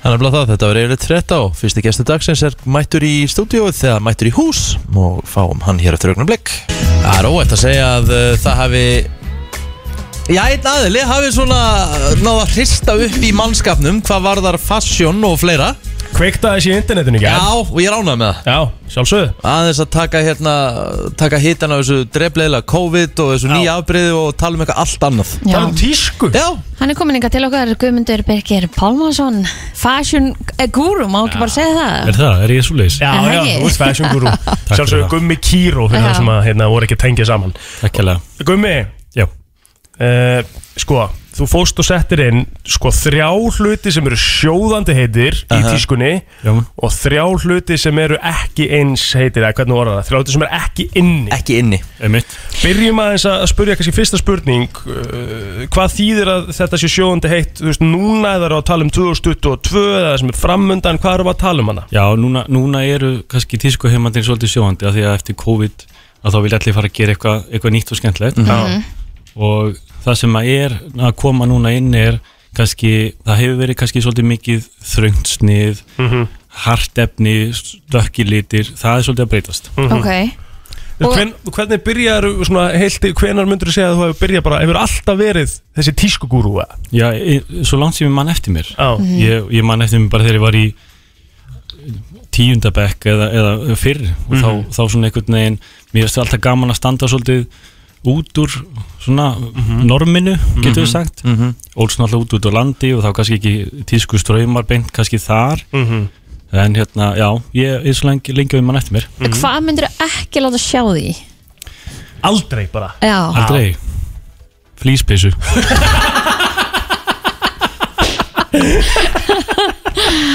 Speaker 1: Þannig að það, þetta var eiginlega 13 og fyrsti gestur dagsins er mættur í stúdíóið þegar mættur í hús og fáum hann hér eftir augnum blikk. Það er óætt að segja að uh, það hafi Já, einn aðili hafi svona náða að hrista upp í mannskapnum hvað varðar fashion og fleira
Speaker 3: Kveikta þessi í internetinu, ekki?
Speaker 1: Já, og ég ránaði með það
Speaker 3: Já, sjálfsögðu
Speaker 1: aðeins að taka hérna taka hitan á þessu drefleila COVID og þessu
Speaker 3: Já.
Speaker 1: nýja afbreyði og tala um eitthvað allt annað
Speaker 3: Það er um tísku
Speaker 1: Já,
Speaker 2: Hann er komin ykkar til okkar Guðmundur Birgir Pálmarsson Fashion guru, má ekki bara segja það
Speaker 5: Er það, er ég svo leiðis?
Speaker 3: Já,
Speaker 2: Er það
Speaker 3: já,
Speaker 2: ekki?
Speaker 3: þú ert fashion guru
Speaker 5: fyrir
Speaker 3: Sjálfsögðu
Speaker 5: það.
Speaker 3: Gummi Kíró fyrir
Speaker 2: Já.
Speaker 3: það sem að hérna, voru ekki að tengja saman
Speaker 5: Takk hérlega
Speaker 3: Gummi,
Speaker 5: Já,
Speaker 3: uh, sko, þú fóst og settir inn sko þrjá hluti sem eru sjóðandi heitir í tískunni
Speaker 5: já,
Speaker 3: og þrjá hluti sem eru ekki eins heitir, eða hvernig voru það, þrjá hluti sem eru ekki inni
Speaker 1: ekki inni
Speaker 5: einmitt
Speaker 3: Byrjum aðeins að spurja kannski fyrsta spurning uh, Hvað þýðir að þetta sé sjóðandi heitt, þú veist, núna eða að tala um 2022 eða það sem er framundan, hvað erum við að tala um hana?
Speaker 5: Já, núna, núna eru kannski tísku heimandinn svolítið sjóandi af því að eftir COVID að þá vil allir fara að gera eitthvað eitthva nýtt og skemmtilegt
Speaker 3: Já,
Speaker 5: og það sem að er að koma núna inn er kannski, það hefur verið kannski svolítið mikið þröngt snið,
Speaker 3: mhm
Speaker 5: hart efni dökkilitir, það er svolítið að breytast
Speaker 3: Mhm.
Speaker 2: Ok, Og-
Speaker 3: Hvern, hvernig byrjar svona heilt, hvenar myndur þú segja að þú hefur byrjað bara, hefur alltaf verið þessi tískugúrú eða?
Speaker 5: Já, e, svo langt sem ég man eftir mér
Speaker 3: Já,
Speaker 5: ég, ég man eftir mér bara þegar ég var í tíundabekk eða, eða fyrr og þá, þá svona einhvern veginn mér finnst alltaf gaman að standa svolítið út úr svona norminu getur við sagt mm -hmm. ólst náttúrulega út út á landi og þá kannski ekki tísku ströymar beint kannski þar
Speaker 3: mhm.
Speaker 5: en hérna, já, ég er svo lengi, lengi og ég man eftir mér
Speaker 2: hvað myndir ekki láta sjá því?
Speaker 3: aldrei bara
Speaker 2: Já,
Speaker 5: aldrei flýspeysu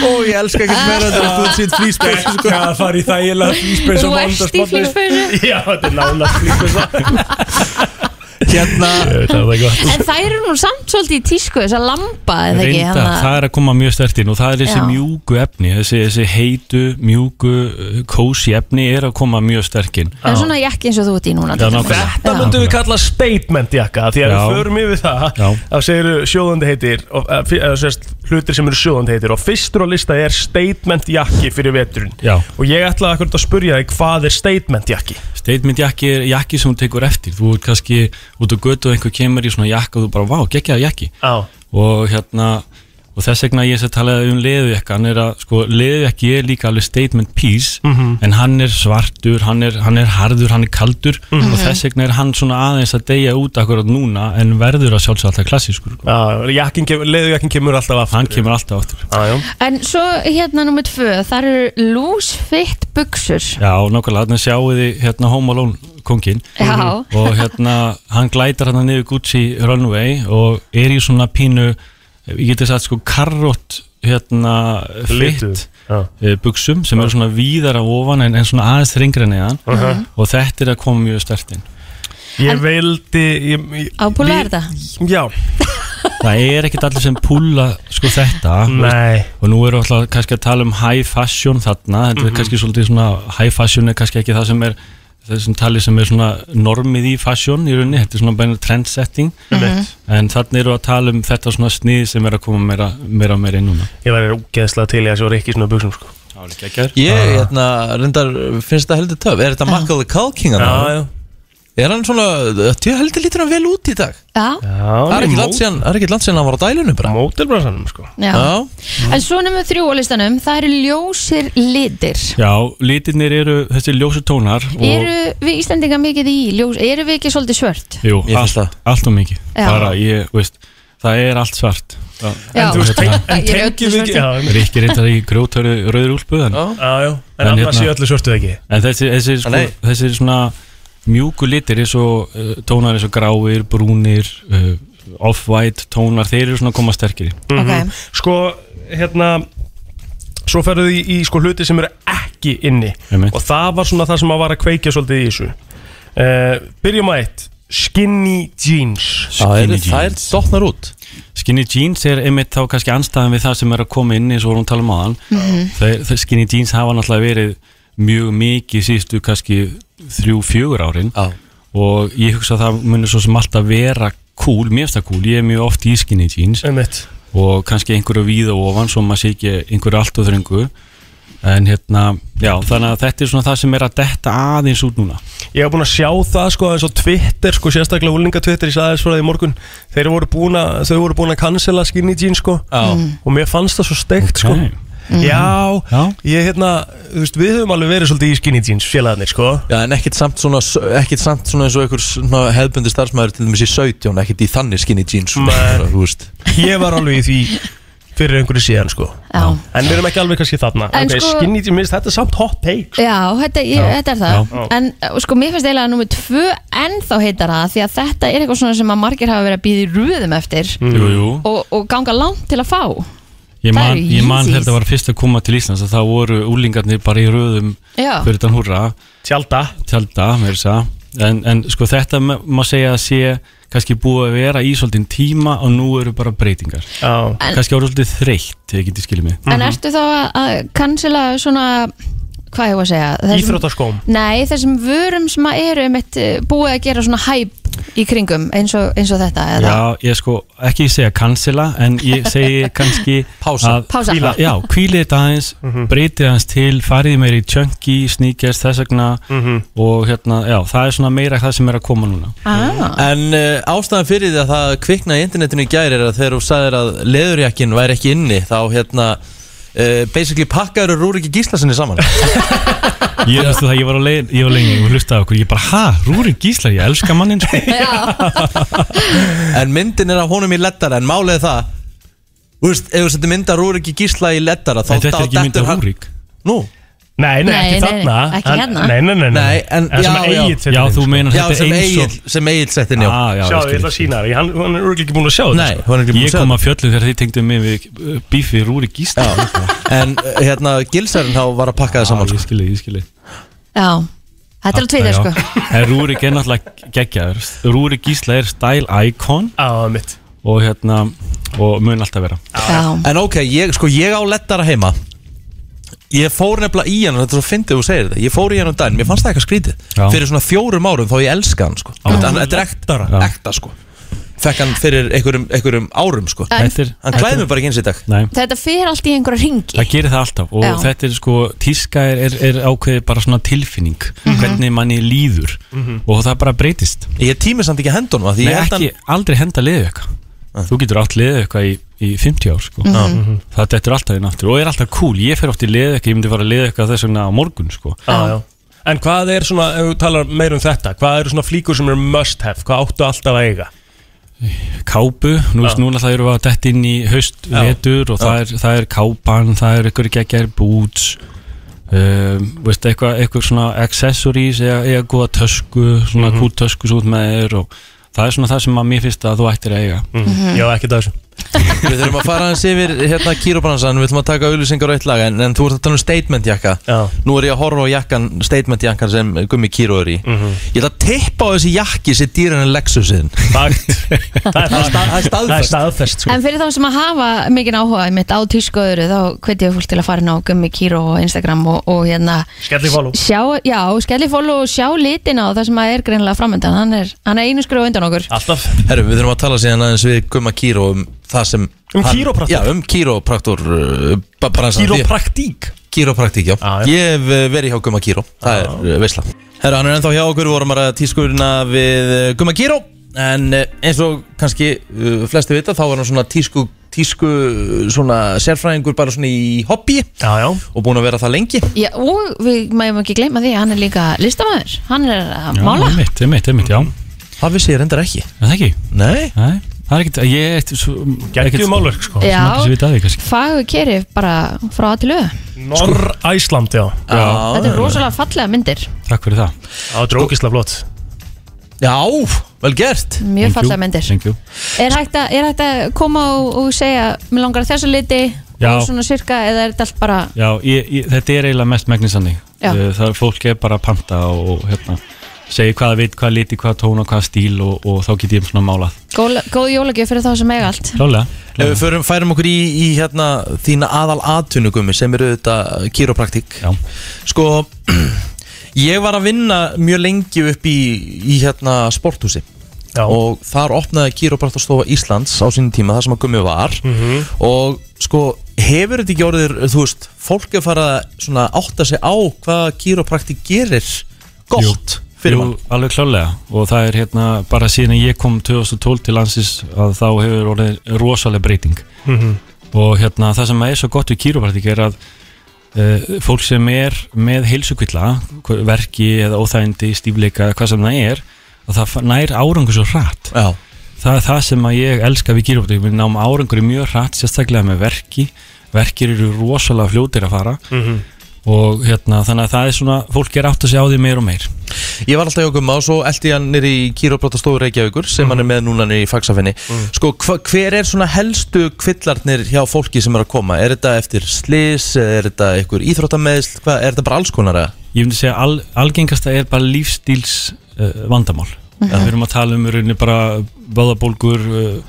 Speaker 1: Ó, ég elska ekkert meira þetta að þú sýtt flýspeysu sko.
Speaker 3: Já, það fari í þægilega flýspeys
Speaker 2: þú ert í flýspeysu
Speaker 3: Já, þetta er nánast flýspeys
Speaker 1: Hérna
Speaker 3: Það er gott
Speaker 2: En það eru nú samt svolítið í tísku þess að lamba eða ekki
Speaker 5: Reyndar, það er að koma mjög sterkt inn og það er þessi
Speaker 2: Já.
Speaker 5: mjúku efni, þessi, þessi heitu, mjúku, uh, kósi efni er að koma mjög sterkt inn.
Speaker 2: En svona jakki eins og þú ert í núna
Speaker 5: Já,
Speaker 2: til dæmis.
Speaker 5: nákvæmlega.
Speaker 2: Já.
Speaker 3: Þetta myndum við kalla statement jakka Því að
Speaker 5: Já.
Speaker 3: við förum yfir það
Speaker 5: Já.
Speaker 3: þá segir sjóðandi heitir og, eh, fi- eða, sérst, Hlutir sem eru sjóðandi heitir Og fyrstur á lista er statement jakki fyrir veturinn
Speaker 5: Já.
Speaker 3: Og ég ætlaði akkur að spurja þig Hvað er statement jakki?
Speaker 5: Statement jakki er jakki sem þú tekur eftir. Þú ert kannski út á götu og einhver kemur í svona jakka og þú bara, vá, geggjaða jakki.
Speaker 3: Já
Speaker 5: Og hérna, og þess vegna ég sem talaði um leðujakkan er að, sko, leðujakki er líka alveg statement piece, en hann er svartur, hann er, hann er harður, hann er kaldur og þess vegna er hann svona aðeins að deyja út akkurat núna en verður að sjálfsög alltaf klassískur.
Speaker 3: Jakkin kemur, leðujakkin kemur alltaf aftur
Speaker 5: Hann kemur alltaf áttur.
Speaker 3: Já, já.
Speaker 2: En svo hérna nummið tvö, það eru loose fit buksur
Speaker 5: Já, nákvæmlega, þannig sjáu þið hérna Home Alone kongin
Speaker 2: Já.
Speaker 5: og hérna hann glætar hann niður Gucci Runway og er í svona pínu ég geti sagt sko karrott hérna
Speaker 3: Litu.
Speaker 5: fitt
Speaker 3: Já.
Speaker 5: eh, buxum sem eru svona víðar af ofan en, en svona aðeins þringri neðan
Speaker 3: Mhm.
Speaker 5: og þetta er að koma mjög stertinn
Speaker 3: Ég
Speaker 2: En-
Speaker 3: veldi ég, ég,
Speaker 2: Ábúla er
Speaker 3: við-
Speaker 2: þetta?
Speaker 3: Já,
Speaker 5: það er ekkert allir sem púla sko þetta þú veist.
Speaker 3: nei
Speaker 5: og nú erum við alltaf kannski að tala um high fashion þarna, þetta er kannski svolítið svona high fashion er kannski ekki það sem er þessum tali sem er svona normið í fashion í rauninni, þetta er svona bara trendsetting
Speaker 2: Mhm.
Speaker 3: einmitt.
Speaker 5: en þarna erum við að tala um þetta svona snið sem er að koma meira meira og meira inn núna
Speaker 3: Ég væri ógeðslega til í að sjá Rikki í svona buksum sko
Speaker 5: Það var ekki að gera
Speaker 1: Ég, hérna, reyndar, finnst þetta heldur töf Er þetta Michael the Culking að það?
Speaker 3: já
Speaker 1: Er hann svona, tjö heldur lítur hann vel út í dag
Speaker 2: Já,
Speaker 1: Það er ekki langt
Speaker 3: Já,
Speaker 1: síðan, það er ekki langt síðan hann var á dælunum bara
Speaker 3: mótelbransanum sko
Speaker 2: já.
Speaker 1: Já,
Speaker 2: En svo nefnum þrjú á listanum, það eru ljósir litir
Speaker 5: Já, litirnir eru þessi ljósu tónar og,
Speaker 2: Eru við Íslendinga mikið í ljós, eru við ekki svolítið svört?
Speaker 5: Jú,
Speaker 1: Ég finnst
Speaker 5: allt, allt og mikið
Speaker 2: Já.
Speaker 5: bara, ég, veist, það er allt svart hérna,
Speaker 2: Já,
Speaker 3: þú veist,
Speaker 2: en
Speaker 3: En tengjum við ekki Já, einmitt.
Speaker 5: Rikki reyndar í grjótari rauður úlpu en,
Speaker 1: Já.
Speaker 3: Já, já, en
Speaker 5: En
Speaker 3: annars
Speaker 5: hérna-
Speaker 3: séu öllu svörtu ekki
Speaker 5: en þessi, þessi, sko,
Speaker 1: Nei.
Speaker 5: þessi svona mjúku litir eins og uh, tónar eins og gráir, brúnir uh, off-white tónar þeir eru svona að koma sterkir
Speaker 2: Ok.
Speaker 3: Sko, hérna Svo ferðu í, í sko hluti sem eru ekki inni
Speaker 5: Einmitt.
Speaker 3: Og það var svona það sem að var að kveikja svolítið í þessu uh, Byrjum að eitt Skinny jeans
Speaker 1: það eru þær dotnar út
Speaker 5: Skinny jeans er einmitt þá kannski anstæðan við það sem er að koma inn eins og vorum að tala um aðan þeir, þeir, Skinny jeans hafa náttúrulega verið mjög mikið sístu kannski þrjú, fjögur árin
Speaker 1: Já,
Speaker 5: og ég hugsa að það munir svo sem alltaf vera cool, mér finnst það cool, ég er mjög oft í skinny jeans
Speaker 3: Einmitt
Speaker 5: og kannski einhverju víða ofan svo maður sé ekki einhverju allt og þröngu en hérna, já, þannig að þetta er svona það sem er að detta aðeins út núna
Speaker 3: Ég hef búin að sjá það sko eins og Twitter sko sérstaklega úlinga Twitter ég sagði þess frá því í morgun þeir voru búin að þau voru búin að cancela skinny jeans sko
Speaker 1: já,
Speaker 3: og mér fannst það svo steikt sko
Speaker 5: Ok.
Speaker 3: Já,
Speaker 5: Mhm. Já.
Speaker 3: ég hérna þú veist við höfum alveg verið svolítið í skinny jeans félagarnir sko
Speaker 1: já en ekkert samt svona ekkert samt svona eins og einhver svona hefðbundi starfsmæður til dæmis í 17, ekkert í þannig skinny jeans svona,
Speaker 3: Nei.
Speaker 1: bara, þú veist.
Speaker 3: ég var alveg í því fyrir einhverju síðan sko
Speaker 2: Já.
Speaker 3: en við erum ekki alveg kannski þarna
Speaker 2: En
Speaker 3: Ok,
Speaker 2: sko-
Speaker 3: skinny jeans, þetta er samt hot take sko.
Speaker 2: Já, þetta, ég, þetta er það En uh, sko, mér finnst eiginlega nummer tvö ennþá heitar það Því að þetta er eitthvað svona sem að margir hafa verið að býða í röðum eftir
Speaker 5: Jú, jú,
Speaker 2: og, og ganga langt til að fá
Speaker 5: ég
Speaker 2: Það
Speaker 5: man,
Speaker 2: eru
Speaker 5: ég man
Speaker 2: Yeezys.
Speaker 5: þegar þetta var fyrst að koma til Íslands að það voru úlingarnir bara í röðum
Speaker 2: Já,
Speaker 5: fyrir þann húrra
Speaker 3: tjálta
Speaker 5: tjálta, mér þess að en, en sko þetta ma- má segja að sé kannski búið að vera í svolítinn tíma og nú eru bara breytingar
Speaker 3: Já,
Speaker 2: En-
Speaker 5: kannski ára svolítið þreytt, ég geti skilið mig
Speaker 2: en ertu þá að- að cancela svona Hvað ég var að segja? Þessum,
Speaker 3: íþróttaskóm
Speaker 2: nei, þessum vörum sem að eru einmitt uh, búið að gera svona hæp í kringum eins og, eins og þetta eða?
Speaker 5: Já, ég sko, ekki segja cancela en ég segi kannski
Speaker 1: Pása.
Speaker 5: að-
Speaker 2: Pása.
Speaker 5: Hvíla. Já, kvílið þetta aðeins, breytið aðeins til farið meira í chunky, sneakers, þess vegna og hérna, já, það er svona meira það sem er að koma núna
Speaker 2: Ah,
Speaker 1: En uh, ástæðan fyrir því að það kviknaði í internetinu í gæri er að þegar þú sagðir að leðurjakkin væri ekki inni þá hérna uh, basically pakkaður Rúrik í gíslasinni saman
Speaker 5: Ég veistu það, ég var á leið, ég var lengi og hlustaði á okkur, ég bara, ha, Rúrik Gíslar, ég elska mannin sko.
Speaker 1: En myndin er að honum í lettara en málið er það Þú veist, ef þú setur mynda Rúrik í gísla í lettara þá
Speaker 5: En þetta er
Speaker 1: þá
Speaker 5: ekki mynd af
Speaker 1: dettur hann-
Speaker 5: Rúrik
Speaker 1: Nú,
Speaker 3: Nei, nei,
Speaker 2: Nei, nei,
Speaker 3: ekki þarna
Speaker 2: nei, ekki
Speaker 3: En-
Speaker 2: hérna.
Speaker 3: Nei, nei, nei,
Speaker 1: Nei, en-
Speaker 3: Það sem
Speaker 1: já,
Speaker 3: að
Speaker 1: já.
Speaker 3: Egill setur
Speaker 5: Já,
Speaker 3: inn,
Speaker 5: þú
Speaker 3: sko.
Speaker 5: meinar
Speaker 1: já
Speaker 5: þetta
Speaker 1: sem
Speaker 5: er eins
Speaker 1: Egil,
Speaker 5: og
Speaker 1: sem Egil setti inn já
Speaker 5: Ah, já, ég
Speaker 3: Sjáðu,
Speaker 5: skil.
Speaker 3: ég ætla að sína það Hann hann er örgulega ekki búin að sjá
Speaker 1: Nei,
Speaker 3: þetta sko.
Speaker 1: hún er ekki búin
Speaker 5: Ég
Speaker 1: að segja
Speaker 5: kom að fjöllu þegar þið tengdu mig við uh, bífið Rúrik Gíslar
Speaker 1: það. En uh, hérna, gilsarinn þá var að pakka það saman
Speaker 5: Ah, Ég
Speaker 1: sko.
Speaker 5: skilji, ég skilji Ah,
Speaker 2: já, þetta er alveg tveitið sko
Speaker 5: En Rúrik er náttúrulega geggjaður Rúrik Gísla er style icon
Speaker 3: Á, mitt
Speaker 5: og hérna og mun alltaf vera
Speaker 2: Já,
Speaker 1: En ok, ég, sko, ég á lettara heima Ég fór nefnilega í hann og Þetta er svo fyndið þú segir þetta Ég fór í hann um daginn, mér fannst það eitthvað skrítið
Speaker 5: Já.
Speaker 1: Fyrir svona fjórum árum þá ég elska hann sko. Þetta hann- þetta er ekta,
Speaker 5: Já.
Speaker 1: ekta sko. Fekk hann fyrir einhverjum, einhverjum árum sko.
Speaker 2: En-
Speaker 5: Þetta er,
Speaker 1: Hann klæði mig bara ekki eins í dag
Speaker 5: nei,
Speaker 2: þetta fer allt í einhverja ringi
Speaker 5: það gerir það alltaf og
Speaker 2: Já.
Speaker 5: þetta er sko, tíska er, er, er ákveðið bara svona tilfinning
Speaker 2: Mhm.
Speaker 5: hvernig manni líður og það bara breytist
Speaker 1: Ég tími samt ekki að hendunum að Því
Speaker 5: Nei,
Speaker 1: Mhm. ég held
Speaker 5: ekki, aldrei henda liðu eitthvað Þú getur átt liðu eitthvað í, í 50 ár sko.
Speaker 2: Mhm.
Speaker 1: Mhm.
Speaker 5: Það dettur alltaf inn aftur og er alltaf cool, ég fer oft í liðu eitthvað ég myndi fara að liðu eitthvað þess vegna á morgun sko.
Speaker 3: Já, já En hvað er svona, ef þú talar meir um þetta Hvað eru svona flíkur sem eru must have Hvað áttu alltaf að eiga
Speaker 5: kápu, nú veist núna það eru að detta inn í haust, vetur og það er, það er kápan, það er ykkur geggjær boots um, veist eitthvað, eitthvað svona accessories eða, eða góða tösku, svona mm -hmm. kúttösku svo út með þér og það er svona það sem að mér finnst að þú ættir að eiga
Speaker 2: Mhm.
Speaker 3: mm. Já, Mhm. ekkert af þessu
Speaker 1: Við þurfum að fara aðeins yfir hérna kýróbransan Við ætlum að taka auðlýsingar á eitt lag En, en þú ert að tala um statement jakka
Speaker 3: Já.
Speaker 1: Nú er ég að horfa á jakkan, statement jakkan sem Gummi Kíró er í Ég ætla að tippa á þessi jakki sem dýran en Lexusin
Speaker 3: Fakt Það er
Speaker 1: Það er
Speaker 3: fakt. Það er
Speaker 1: staðfæst
Speaker 3: staðfest sko
Speaker 2: En fyrir þá sem að hafa mikinn áhuga mitt á tísku og öðru þá hveti ég fólk til að fara inn á Gummi Kíró og Instagram og, og hérna
Speaker 3: Skelli follow.
Speaker 2: sjá, Já, skelli follow og sjá litin á það sem að er greinilega framöndan hann er, hann er einu skru undan okkur
Speaker 3: Alltaf
Speaker 1: Herru, við þurfum að tala síðan aðeins við Gumma Kíró um það sem
Speaker 3: Um
Speaker 1: hann-
Speaker 3: kýrópraktor?
Speaker 1: Já, um kýrópraktor uh, ba- bransan. Ég-
Speaker 3: Kýropraktík
Speaker 1: Kýrópraktík, já.
Speaker 3: Já, já.
Speaker 1: Ég hef eh, verið hjá Gumma Kíró, það er eh, veisla Herra, hann er ennþá hjá okkur, við vorum að ræða tískurina við eh, Gumma Kíró En eh, eins og kannski eh, flesti vita, þá var hann svona tísku, tísku eh, svona sérfræðingur bara svona í hobby
Speaker 3: Já, já
Speaker 1: Og búinn að vera það lengi
Speaker 2: já, Og við mægum ekki gleyma því að hann er líka listamæður hann er að mála
Speaker 5: Mála? Mitt, mitt, mitt, já
Speaker 1: Það vissi ég reyndar ekki
Speaker 5: Er Það ekki,
Speaker 1: Nei
Speaker 5: nei Það er ekkert, ég er ekkert svo
Speaker 3: Gættu málverk sko
Speaker 2: Já.
Speaker 5: Svo við daði kannski
Speaker 2: Fagur keri bara frá að til auð
Speaker 3: Norr-Æsland, já
Speaker 1: Já,
Speaker 2: Þetta er rosalega fallega myndir
Speaker 5: Takk fyrir það
Speaker 3: Það er drókislega flott
Speaker 1: já vel gert
Speaker 2: Mjög
Speaker 5: Thank you,
Speaker 2: fallega myndir
Speaker 5: Thank you
Speaker 2: Er hægt að, er hægt að koma og, og segja Mér langar að þessu liti
Speaker 5: Já.
Speaker 2: og svona sirka eða er þetta allt bara
Speaker 5: Já, ég, ég, þetta er eiginlega mest megnisannig
Speaker 2: Já.
Speaker 5: Það er fólk er bara að panta og, og hérna segir hvað það veit, hvað liti, hvað tóna, hvað stíl og, og þá get ég svona málað
Speaker 2: góð, góð jólagjöf fyrir þá sem eiga allt
Speaker 5: Klálega
Speaker 1: Ef við förum, færum okkur í, í hérna þína aðal aðtunugumi sem eru þetta kýropraktík
Speaker 5: Já.
Speaker 1: Sko, ég var að vinna mjög lengi upp í, í hérna sporthúsi
Speaker 3: Já.
Speaker 1: og þar opnaði kýropraktastofa Íslands á sínum tíma þar sem að gummi var -hmm. og sko, hefur þetta ekki orðið, þú veist, fólk er farið að svona átta sig á hvað kýropraktík gerir gott fyrir mann
Speaker 5: alveg klálega og það er hérna bara síðan ég kom 2012 til landsins að þá hefur orðið rosaleg breyting og hérna það sem er svo gott við kýrópartík er að uh, fólk sem er með heilsukvilla verki eða óþægindi, stífleika hvað sem það er að það fa- nær árangur svo hratt
Speaker 1: Já,
Speaker 5: það er það sem að ég elska við kýrópati við náum árangur mjög hratt, sérstaklega með verki verkir eru rosalega fljótir að fara og hérna þannig að það er svona fólk er átt að segja á því meir og meir
Speaker 1: Ég var alltaf hjá Gumma og svo eldi ég hann nýri í kýróbrotastofu Reykjavíkur
Speaker 3: Mhm.
Speaker 1: sem hann er með núna nýri í fagsafinni Sko, hva, hver er svona helstu kvillarnir hjá fólki sem er að koma? Er þetta eftir slis? Er þetta einhver íþróttameðsl? Hva, er þetta bara alls konar? eða?
Speaker 5: Ég myndi segja al, algengasta er bara lífstíls uh, vandamál. Við erum að tala um í rauninni bara vöðabólgur, uh,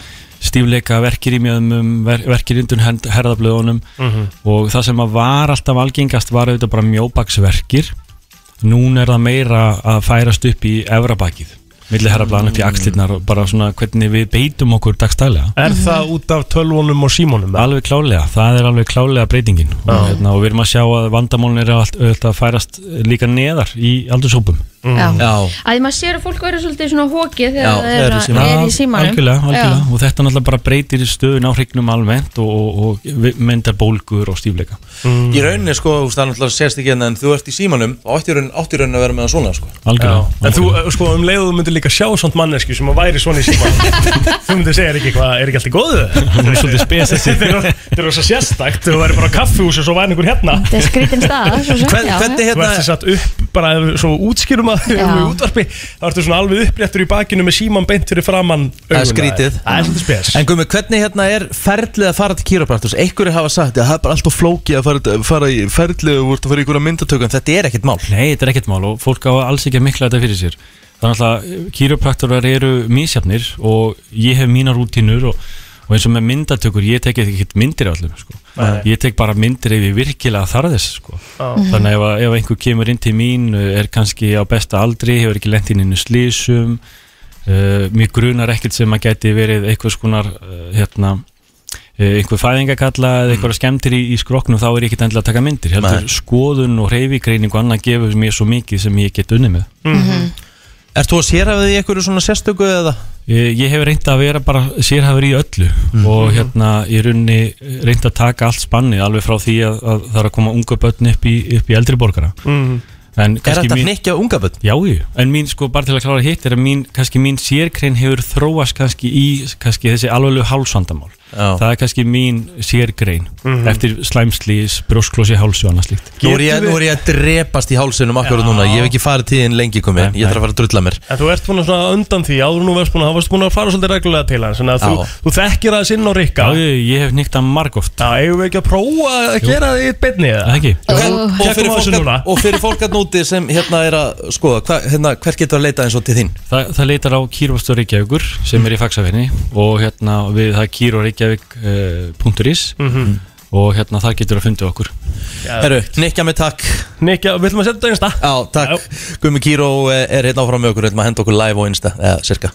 Speaker 5: stífleika, verkir í mjöðumum, ver, verkir undir hend- herðablöðunum og það sem að var alltaf algengast var auðvitað bara mjóbaksverkir. Nún er það meira að færast upp í efrabakið, milli herðablaðan upp í axlirnar og bara svona hvernig við beitum okkur dagstælega.
Speaker 3: Er það út af tölvunum og símónum? eða?
Speaker 5: Alveg klálega, það er alveg klálega breytingin og, hérna, og við erum að sjá að vandamálin er allt auðvitað að færast eh, líka neðar í aldurshópum
Speaker 2: Já.
Speaker 1: Mm. Já,
Speaker 2: Að maður sér að fólk verður svolítið svona hókið
Speaker 1: Já,
Speaker 2: þegar
Speaker 1: þegar það er í
Speaker 2: það er, að, er í símanum
Speaker 5: algjörlega, algjörlega.
Speaker 2: Já.
Speaker 5: og þetta náttúrulega bara breytir stöðun á hrygnum almennt og, og, og vi- myndar bólgur og stífleika
Speaker 1: í rauninni sko, þú veist, það er náttúrulega sérst ekki hérna, en þú ert í símanum og átti í rauninni, átti í rauninni að vera með hann svona sko.
Speaker 5: algjörlega,
Speaker 3: Já, en þú, uh, sko, um leiðu þú myndir líka sjá svont manneski sem að væri svona í síma Þú myndir segja, er ekki hvað, er ekki allt í góðu?
Speaker 5: Hún er svolítið spes þessi.
Speaker 3: Þetta er rosa sérstakt, þú væri bara á kaffihús og svo væri einhver hérna
Speaker 2: Þetta er skrítin stað svo sem,
Speaker 1: Hvern,
Speaker 2: já.
Speaker 1: Hvernig
Speaker 3: Þú
Speaker 1: hérna
Speaker 3: ert þess að upp, bara ef við svo útskýrum að við erum í
Speaker 2: Já.
Speaker 3: útvarpi þá ertu svona alveg uppréttur í bakinu með síman beint fyrir framann
Speaker 1: Það er
Speaker 3: augun á þér.
Speaker 1: skrítið.
Speaker 3: Það er svolítið spes
Speaker 1: En gummi, hvernig hérna er ferlið að fara til kýróbraktus? Einhverju hafa sagt að það er bara alltaf flókið að fara, fara í ferlið og þú ert að fara í einhverja myndatökum Þetta er ekkert mál
Speaker 5: Nei, þetta er ekkert mál og fólk á alls ekki að mikla þetta fyrir sér Þannig að kýropraktorar eru misjafnir og ég hef mína rútínur og, og eins og með myndatökur, ég tek ekkert myndir af öllum sko. Ég tek bara myndir ef ég virkilega þarf þess sko. Þannig að ef, að- ef einhver kemur inn til mín er kannski á besta aldri, hefur ekki lent inn innu slísum uh, Mér grunar ekkert sem að geti verið einhvers konar uh, hérna, eh, einhver fæðingakalla eða einhverja skemmtir í, í skroknum þá er ég ekkert endilega að taka myndir heldur
Speaker 1: Nei.
Speaker 5: skoðun og reyfigreining og annað gefur mér svo mikið sem ég get unni með
Speaker 1: Ert þú að sérhafið í einhverju svona sérstöku eða?
Speaker 5: Eh, Ég hef reynd að vera bara sérhafur í öllu og hérna ég runni reynd að taka allt spannið alveg frá því að, að það er að koma unga börn upp í, upp í eldri borgara
Speaker 3: Mhm.
Speaker 5: en
Speaker 1: Mm. Er
Speaker 5: kannski
Speaker 1: þetta
Speaker 5: mín,
Speaker 1: hnekkja unga bönn?
Speaker 5: já, jú. en mín sko bara til að klára hitt er að mín, kannski mín sérkrein hefur þróast kannski í kannski þessi alveglu hálsvandamál
Speaker 1: Já.
Speaker 5: það er kannski mín sérgrein eftir slæmslís, brjósklósi, háls og annað slíkt
Speaker 1: Nú er, ég, nú er ég að drepast í hálsunum akkur núna Ég hef ekki farið tíðin lengi komið Ég þarf að fara að drulla mér
Speaker 3: En þú ert búin að svona undan því, áður nú varst búin að, þá varst búin að fara svolítið reglulega til hans Þannig að þú,
Speaker 1: Já.
Speaker 3: þú þekkir aðeins inn á Rikka
Speaker 5: Já, ég, ég hef nýtt að margóft
Speaker 3: Já, eigum við ekki að prófa að gera því eitt beinni eða?
Speaker 5: Það ekki?
Speaker 2: Ó.
Speaker 1: og, fyrir
Speaker 3: Kekkum á þessu
Speaker 1: fólk,
Speaker 3: núna.
Speaker 1: að- og fyrir fólk að núti sem hérna er að skoða hva, hérna, Hver getur að leita eins og til þín?
Speaker 5: Þa, það leitar á Kýrvastur Reykjavíkur sem er í faxafinni og hérna við það kýroreykjavík.is uh, og hérna þar getur að fundi okkur
Speaker 1: Herru, nikja mig takk
Speaker 3: Nikki, viljum að setja þetta einsta?
Speaker 1: Já, takk Gumi Kíró eh, er hérna áfram með okkur Hérna að henda okkur live og insta Eða, cirka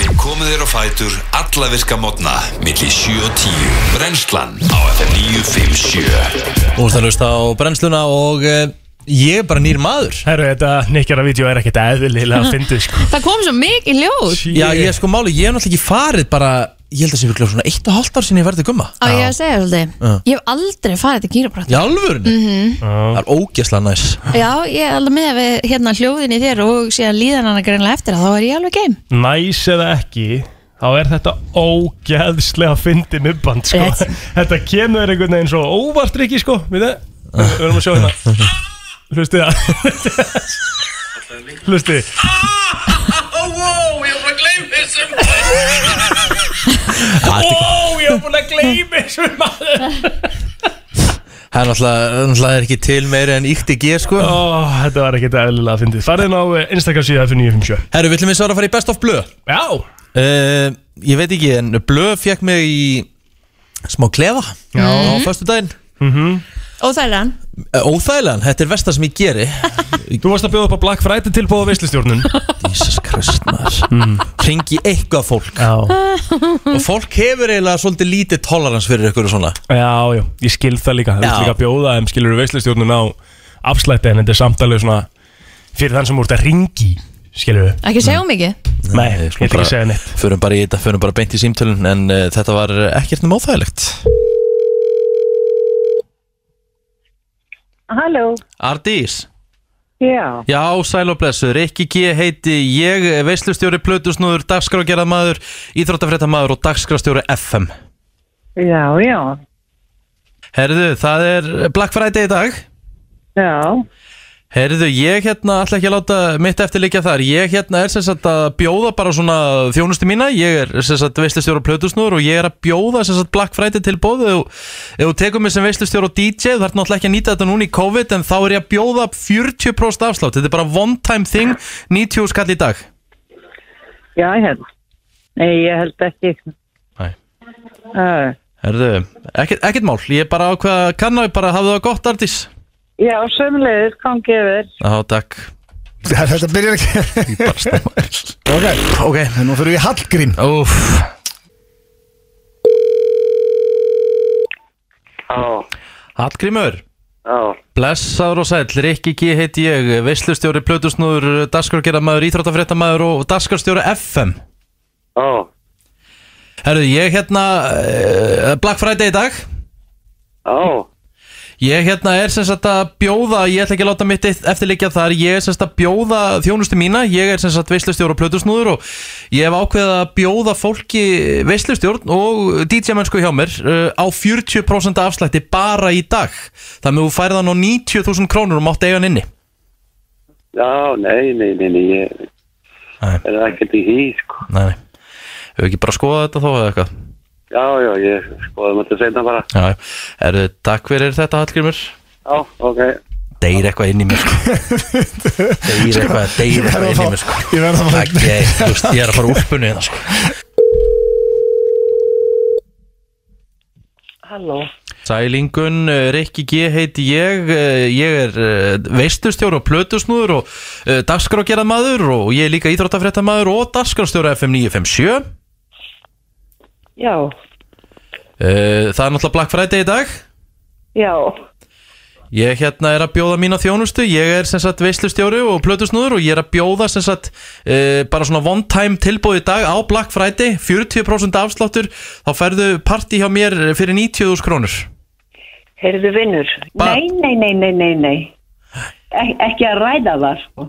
Speaker 4: Við komum þér á fætur alla virka mótna milli 7 og 10 Brennslan á FM 957
Speaker 1: Þú veist að hlusta á brennsluna og eh, Ég er bara nýr maður
Speaker 3: Herru, þetta Nikkjara vídeo er ekkert eðlilega að fyndið sko
Speaker 2: Það kom svo mikið ljóð
Speaker 1: Já, ég er sko máli Ég hef náttúrulega ekki farið bara Ég held að sé virkulega svona eitt og hálft ár sinni ég verði gumma
Speaker 2: Á ég að segja svolítið
Speaker 1: Já.
Speaker 2: Ég hef aldrei farið til kýraprætt
Speaker 1: Í alvörunni? Það er ógæslega næs
Speaker 2: Já, ég er alveg með við hérna hljóðin í þér og síðan líðan hana greinlega eftir að þá er ég alveg geim
Speaker 3: Næs eða ekki þá er þetta ógeðslega fyndið mibband sko
Speaker 2: Rétt.
Speaker 3: Þetta kemur þér einhvern veginn svo óvart Rikki sko Við það, við við erum að sjá hérna Hlustið það Hlustið Ó, ég hef búin að gleyma þessum maður
Speaker 1: Það er náttúrulega, náttúrulega er ekki til meira en íkti G sko
Speaker 3: Ó, þetta var ekkert eðlilega að fyndið Farðin á eh, Instagram síða F957
Speaker 1: Herru, við ætlum eins og að fara í Best of Blö
Speaker 3: Já,
Speaker 1: uh, Ég veit ekki, en Blö fekk mig í smá klefa Já. á föstu daginn
Speaker 2: Og það er hann
Speaker 1: Óþægilegan, þetta er versta sem ég geri
Speaker 3: þú varst að bjóða upp á Black Friday tilbúið á veislustjórnun
Speaker 1: Jesus Christ maður mm. Ringi eitthvað fólk
Speaker 3: Já,
Speaker 1: Og fólk hefur eiginlega svolítið lítið tolerans fyrir ykkur og svona
Speaker 3: já, já, ég skil það líka Þú veist
Speaker 1: Já.
Speaker 3: líka að bjóða þeim skilur veislustjórnun á afslætti en þetta er samtalið svona fyrir þann sem úr þetta ringi skilur við
Speaker 2: Ekki segja um mikið
Speaker 3: Nei, ég ætla ekki að segja neitt
Speaker 1: Eh, sko, Förum bara í þetta, förum bara beint í símtölun En uh, þetta var ekkert nema óþægilegt
Speaker 6: Halló,
Speaker 1: Ardís
Speaker 6: já,
Speaker 1: Já, sæl og blessuð, Rikki G heiti ég, veislustjóri Plötusnúður, dagskrágerðamaður, íþróttafréttamaður og dagskrástjóri FM.
Speaker 6: já, já,
Speaker 1: Herðu, það er Black Friday í dag.
Speaker 6: já,
Speaker 1: Herðu, ég hérna, ætla ekki að láta mitt eftir líka þar, ég hérna er sem sagt að bjóða bara svona þjónustu mína, ég er sem sagt veislustjóri Plötusnúður og ég er að bjóða sem sagt Black Friday til bóðu ef ef þú tekur mig sem veislustjóri og DJ, þú ert náttúrulega ekki að nýta þetta núna í COVID en þá er ég að bjóða 40% afslátt, þetta er bara one time thing, 90 skall í dag.
Speaker 6: já, hérna. Nei, ég held ekki.
Speaker 1: Nei.
Speaker 6: Uh,
Speaker 1: Herðu, ekkert, ekkert mál, ég er bara ákveða að kanna, ég bara hafði það gott artís
Speaker 6: já, sömulegður, gangi yfir.
Speaker 1: Já, takk
Speaker 7: Þetta byrjar ekki Ok,
Speaker 1: Ok,
Speaker 7: nú fyrir við Hallgrím
Speaker 1: úf
Speaker 8: Já,
Speaker 1: Hallgrímur,
Speaker 8: já,
Speaker 1: blessaður og sæll, Rikki G heiti ég, veislustjóri, plötusnúður, dagskargerðamaður, íþróttafréttamaður og dagskarstjóri FM
Speaker 8: já,
Speaker 1: Herðu, ég hérna, uh, Black Friday í dag
Speaker 8: já,
Speaker 1: Ég hérna er sem sagt að bjóða, ég ætla ekki að láta mitt eftirleikja þar, ég er sem sagt að bjóða þjónustu mína, ég er sem sagt veislustjórn og plötusnúður og ég hef ákveðið að bjóða fólki veislustjórn og DJ mennsku hjá mér uh, á 40% afslætti bara í dag. Þannig að þú færið hann á 90.000 krónur og mátt eiga hann inni.
Speaker 8: já, nei, nei, nei, nei, ég
Speaker 1: Nei.
Speaker 8: er ekkert í því, sko.
Speaker 1: Nei, nei. Hefur ekki bara skoðað þetta þá eða eitthvað?
Speaker 8: Já, já, ég skoðum þetta seinna bara.
Speaker 1: Já, já. Erðu, takk fyrir þetta Hallgrimur.
Speaker 8: Já, ok.
Speaker 1: Deyr eitthvað inn í mér sko. Deyr eitthvað, deyr eitthvað inn í mér sko.
Speaker 7: Ég verð að fá
Speaker 1: Ekki, ég, þú veist, ég er að fara úlpunni hérna sko.
Speaker 6: Halló.
Speaker 1: Sælingun, eh, Rikki G heiti ég, eh, ég er eh, veistustjóri og plötusnúður og dagskrágerðamaður og ég er líka íþróttafréttamaður og dagskrástjóri FM 957
Speaker 6: Já,
Speaker 1: Eh, Það er náttúrulega Black Friday í dag
Speaker 6: já,
Speaker 1: Ég hérna er að bjóða mína þjónustu, ég er sem sagt veislustjóri og plötusnúður og ég er að bjóða sem sagt e, bara svona one time tilbúið í dag á Black Friday, 40% afsláttur, þá færðu partí hjá mér fyrir 90.000 krónur.
Speaker 6: heyrðu vinnur.
Speaker 1: Ba-
Speaker 6: nei, nei, nei, nei, nei, nei. Ek, ekki að ræða það, sko.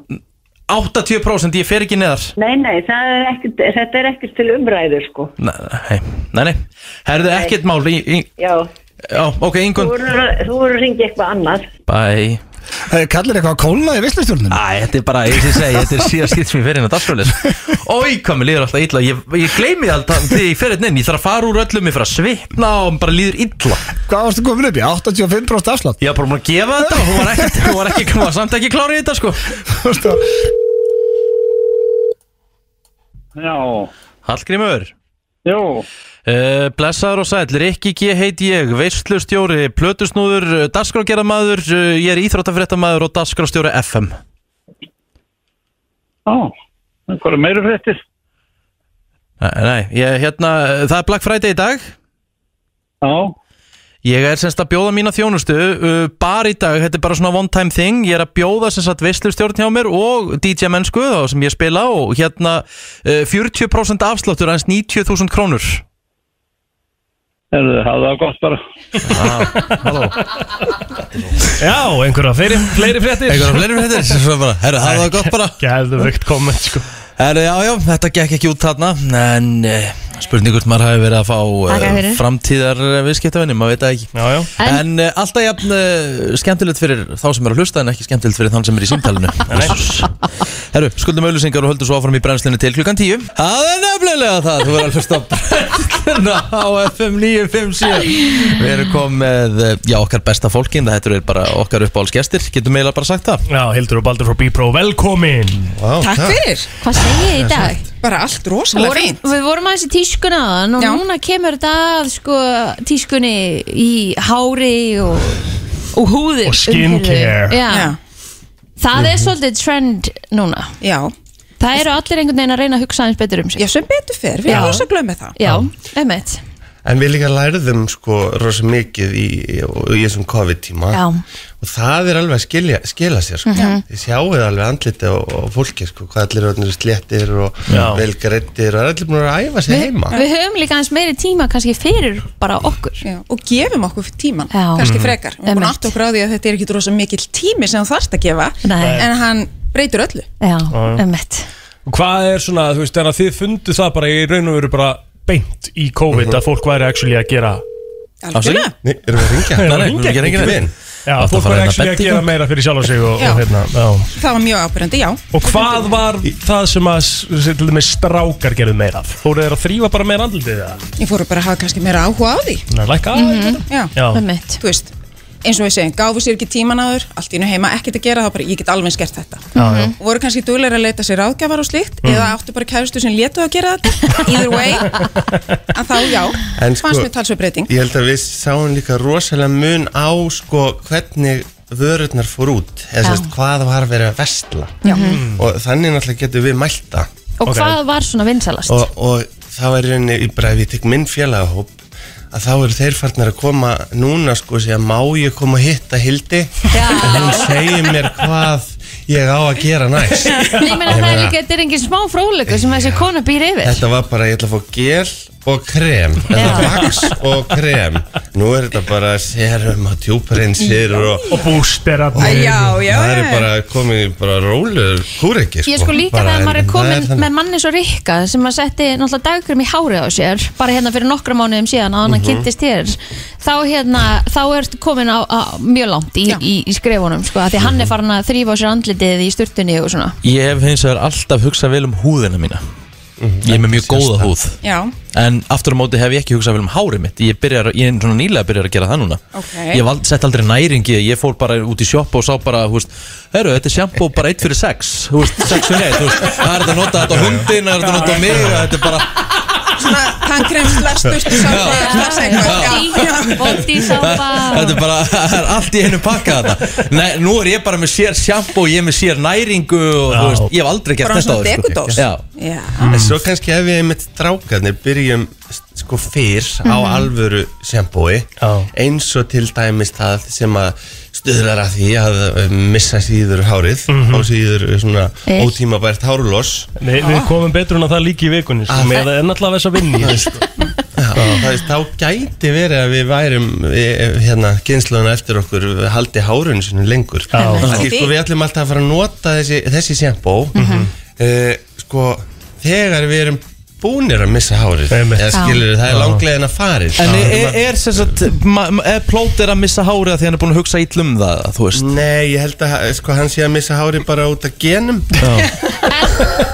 Speaker 1: 80% ég fer ekki neðar
Speaker 6: Nei, nei, það er ekkert, þetta er ekkert til umræðu, sko.
Speaker 1: Nei, nei, nei. herðu ekkert mál í, í,
Speaker 6: Já,
Speaker 1: Já, ok,
Speaker 6: þú
Speaker 1: Ingun
Speaker 6: voru þú voru að ringja eitthvað annað.
Speaker 1: Bæ
Speaker 7: Eh, Kallir eitthvað að kólna í visslustjórnum?
Speaker 1: Æ, þetta er bara, ég sé segi, þetta er síðan skipt sem ég fer inn á dagskólis Ói, hvað mér líður alltaf illa Ég, ég gleymi alltaf þegar ég fer inn inn Ég þarf að fara úr öllum, ég fer að svipna og bara líður illa
Speaker 7: Hvað varstu komin upp í? 85% afslátt
Speaker 1: Ég var bara búin að gefa þetta og hún var ekkert, hún var ekki, hún var samt ekki klárið þetta sko
Speaker 7: Varstu að-
Speaker 8: Já,
Speaker 1: Hallgrímur
Speaker 8: jú,
Speaker 1: Uh, blessaður og sæll, Rikki G heiti ég, veistlustjóri, plötusnúður, uh, dagskrágerðamaður, uh, ég er íþróttafréttamaður og dagskrástjóri FM.
Speaker 8: já, hvað er meira fréttir?
Speaker 1: Nei, nei, ég, hérna, uh, það er Black Friday í dag,
Speaker 8: Já,
Speaker 1: Ég er semst að bjóða mína þjónustu uh, Bar í dag, þetta er bara svona one time thing Ég er að bjóða semst að veistlustjórn hjá mér Og DJ mennsku þá sem ég spila Og hérna uh, 40% afsláttur Aðeins 90.000 krónur
Speaker 8: er það var gott bara.
Speaker 3: Já, einhverja fleiri, fleiri fréttir
Speaker 1: Eitthvað fleiri fyrir þetta Svo bara, herru, það var gott bara
Speaker 3: Gæðvögt komment sko
Speaker 1: Herru, já, já, þetta gekk ekki út þarna En uh, spurning hvort maður hafi verið að fá
Speaker 2: Þakka
Speaker 1: uh,
Speaker 2: fyrir.
Speaker 1: Framtíðar viðskiptavinni, maður veit það ekki
Speaker 3: Já, já
Speaker 2: En-
Speaker 1: En, uh, alltaf jafn uh, skemmtilegt fyrir þá sem er að hlusta en ekki skemmtilegt fyrir þann sem er í símtalinu Jesus. Herru, skuldum auðlýsingar og höldum svo áfram í brennslinu til klukkan 10 Það er nefnilega það, þú verður að hlusta á brennsluna á FM 957 Við erum komið með, uh, já, okkar besta fólkin, þetta eru bara okkar uppáhaldsgestir, getum eiginlega bara sagt það
Speaker 3: Já, Hildur og Baldur frá B-Pro, velkomin
Speaker 9: Takk fyrir,
Speaker 2: Hvað segi ég í dag?
Speaker 9: bara allt rosalega
Speaker 2: Vorum,
Speaker 9: fínt
Speaker 2: við vorum aðeins í tískuna áðan og
Speaker 9: Já.
Speaker 2: núna kemur þetta að sko, tískunni í hári og, og húði
Speaker 3: Og skincare.
Speaker 2: Já.
Speaker 9: Já, Mhm.
Speaker 2: Það er svolítið trend núna
Speaker 9: já,
Speaker 2: Það eru allir einhvern veginn að reyna að hugsa aðeins betur um sig
Speaker 9: já sem betur fer, við
Speaker 2: Já.
Speaker 9: erum rosa glöð með það
Speaker 2: Já, einmitt
Speaker 10: En við líka lærðum sko rosa mikið í, í, í þessum COVID-tíma
Speaker 2: Já.
Speaker 10: og það er alveg að skilja, skila sér sko. Þið sjáuð alveg andliti á, á fólki sko, hvað allir eru orðnir sléttir og
Speaker 3: Já.
Speaker 10: velgarettir og það er allir búin að æfa sér heima.
Speaker 2: Við höfum líka aðeins meiri tíma kannski fyrir bara okkur
Speaker 9: já, og gefum okkur tíman,
Speaker 2: Já.
Speaker 9: kannski
Speaker 10: Mm.
Speaker 9: frekar og búin
Speaker 2: Einmitt.
Speaker 9: aftur okkur á því að þetta er ekki rosa mikill tími sem þú þarft að gefa
Speaker 2: Nei.
Speaker 9: en hann breytir öllu
Speaker 2: Já, einmitt
Speaker 3: Hvað er svona, þú veist, þannig að þið fundu það bara í raun og veru bara beint í COVID
Speaker 7: Mhm.
Speaker 3: að fólk væri actually að gera
Speaker 9: algjörlega,
Speaker 10: Nei, erum við að ringja?
Speaker 3: Nei, nei,
Speaker 10: við erum
Speaker 3: ekki
Speaker 10: ekki
Speaker 3: vinn.
Speaker 10: vinn.
Speaker 3: Já,
Speaker 1: Átti að
Speaker 3: fólk
Speaker 1: fara
Speaker 7: hérna
Speaker 1: inn
Speaker 3: væri
Speaker 1: að
Speaker 3: actually að
Speaker 1: bettingu.
Speaker 3: gera meira fyrir sjálf og sig og,
Speaker 9: Já.
Speaker 3: og hérna, já
Speaker 9: það var mjög ábyrjandi, já
Speaker 3: Og hvað var það sem að sem til dæmis strákar gerðu meira af? Fóruð þeir að þrýfa bara meira andlitið það?
Speaker 9: ég fóru bara að hafa kannski meira áhuga á því
Speaker 3: Nei, lækka mm
Speaker 11: Mhm.
Speaker 3: -hmm.
Speaker 9: já,
Speaker 3: Já,
Speaker 2: Einmitt
Speaker 9: þú veist eins og við segjum, gáfu sér ekki tíman áður allt í nú heima, ekkert að gera, þá bara, ég get alveg eins gert þetta
Speaker 3: já, já
Speaker 9: og voru kannski dugleira að leita sér ráðgjafar og slíkt
Speaker 10: Mm.
Speaker 9: eða áttu bara kærustu sem letu að gera þetta either way en þá já,
Speaker 10: En sko-
Speaker 9: fannst mér talsveitbreyting
Speaker 10: Ég held að við sáum líka rosalega mun á sko hvernig vörurnar fór út eða sérst hvað var verið að vestla
Speaker 9: Já.
Speaker 10: og þannig náttúrulega getum við mælt það
Speaker 2: Og
Speaker 3: Ok.
Speaker 2: hvað var svona vinsalast?
Speaker 10: og, og þá er reyni í bræði, ég tek minn félagahóp að þá eru þeir farnir að koma núna sko og segja má ég koma að hitta Hildi
Speaker 2: Já.
Speaker 10: og hún segir mér hvað ég á að gera næst
Speaker 2: Nei, ég meina
Speaker 10: Ég
Speaker 2: það er
Speaker 10: meina-
Speaker 2: líka, þetta er engin smá fróðleikur sem þessi kona býr yfir
Speaker 10: þetta var bara ég ætla að fá gel og krem eða
Speaker 2: Já.
Speaker 10: vaks og krem nú er þetta bara serum og
Speaker 2: Mm.
Speaker 10: tjúprinsir og
Speaker 3: Og bústerarnir
Speaker 9: Já, já,
Speaker 10: það er
Speaker 9: já.
Speaker 10: bara komið í bara róluður kúriki
Speaker 2: Ég sko líka þegar maður er komin
Speaker 10: með
Speaker 2: með manni svo rikka sem að setti náttúrulega dagkrum í hárið á sér bara hérna fyrir nokkra mánuðum síðan að hann kynntist hér þá hérna, þá ertu komin á, á mjög langt í,
Speaker 9: Já.
Speaker 2: í, í skrefunum sko, af því hann er farin að þrýfa á sér andlitið í sturtunni og svona
Speaker 1: Ég hef hins vegar alltaf hugsað vel um húðina mína
Speaker 10: Mhm.
Speaker 1: Ég er með mjög góða húð
Speaker 9: já,
Speaker 1: En aftur á móti hef ég ekki hugsað vel um hárið mitt Ég, byrjar, ég er svona nýlega að byrja að gera það núna
Speaker 9: Ok.
Speaker 1: Ég vald, sett aldrei næringi Ég fór bara út í sjoppa og sá bara þú veist, Heru, þetta er sjampó bara 1 fyrir 6 6 fyrir 1 Það er þetta að nota þetta á hundin Það er þetta að nota á mig Þetta er bara
Speaker 9: svona tannkrem slasturstu
Speaker 2: Body- body sápa
Speaker 1: Þetta er bara, það er allt í einu pakka þetta Nei, nú er ég bara með sér sjampó Ég er með sér næringu og, þú
Speaker 3: Já.
Speaker 1: veist, Ég hef aldrei gert
Speaker 9: bara
Speaker 1: þetta
Speaker 9: svona
Speaker 1: áður, sko.
Speaker 9: dekudós
Speaker 1: Já.
Speaker 9: já,
Speaker 10: En svo kannski ef við einmitt strákarnir byrjum sko fyrr á alvöru sjampói
Speaker 3: Já.
Speaker 10: eins og til dæmis það sem að stuðlar að því að eh, missa síður hárið á síður eh, svona
Speaker 2: Eh.
Speaker 10: ótímabært hárloss
Speaker 11: Ah.
Speaker 3: Nei, við komum betur en að það líka í vikunni sko,
Speaker 10: Ah.
Speaker 3: með að ennáttúrulega þess að vinni sko.
Speaker 1: Það veist, þá gæti verið að við værum eh, hérna, gynsluna eftir okkur haldi hárun sinni lengur
Speaker 3: Já.
Speaker 1: Því, sko, Við ætlum alltaf að fara að nota þessi, þessi sjampó mm
Speaker 11: Mhm.
Speaker 1: sko, þegar við erum búnir að missa hárið eða skilur það er
Speaker 11: Já.
Speaker 1: langlegin að farið
Speaker 11: En er, er, er sem sagt ma- ma- Er plótir að missa hárið að því hann er búin að hugsa íll um það Þú veist
Speaker 1: Nei, ég held að sko, hann sé að missa hárið bara út af genum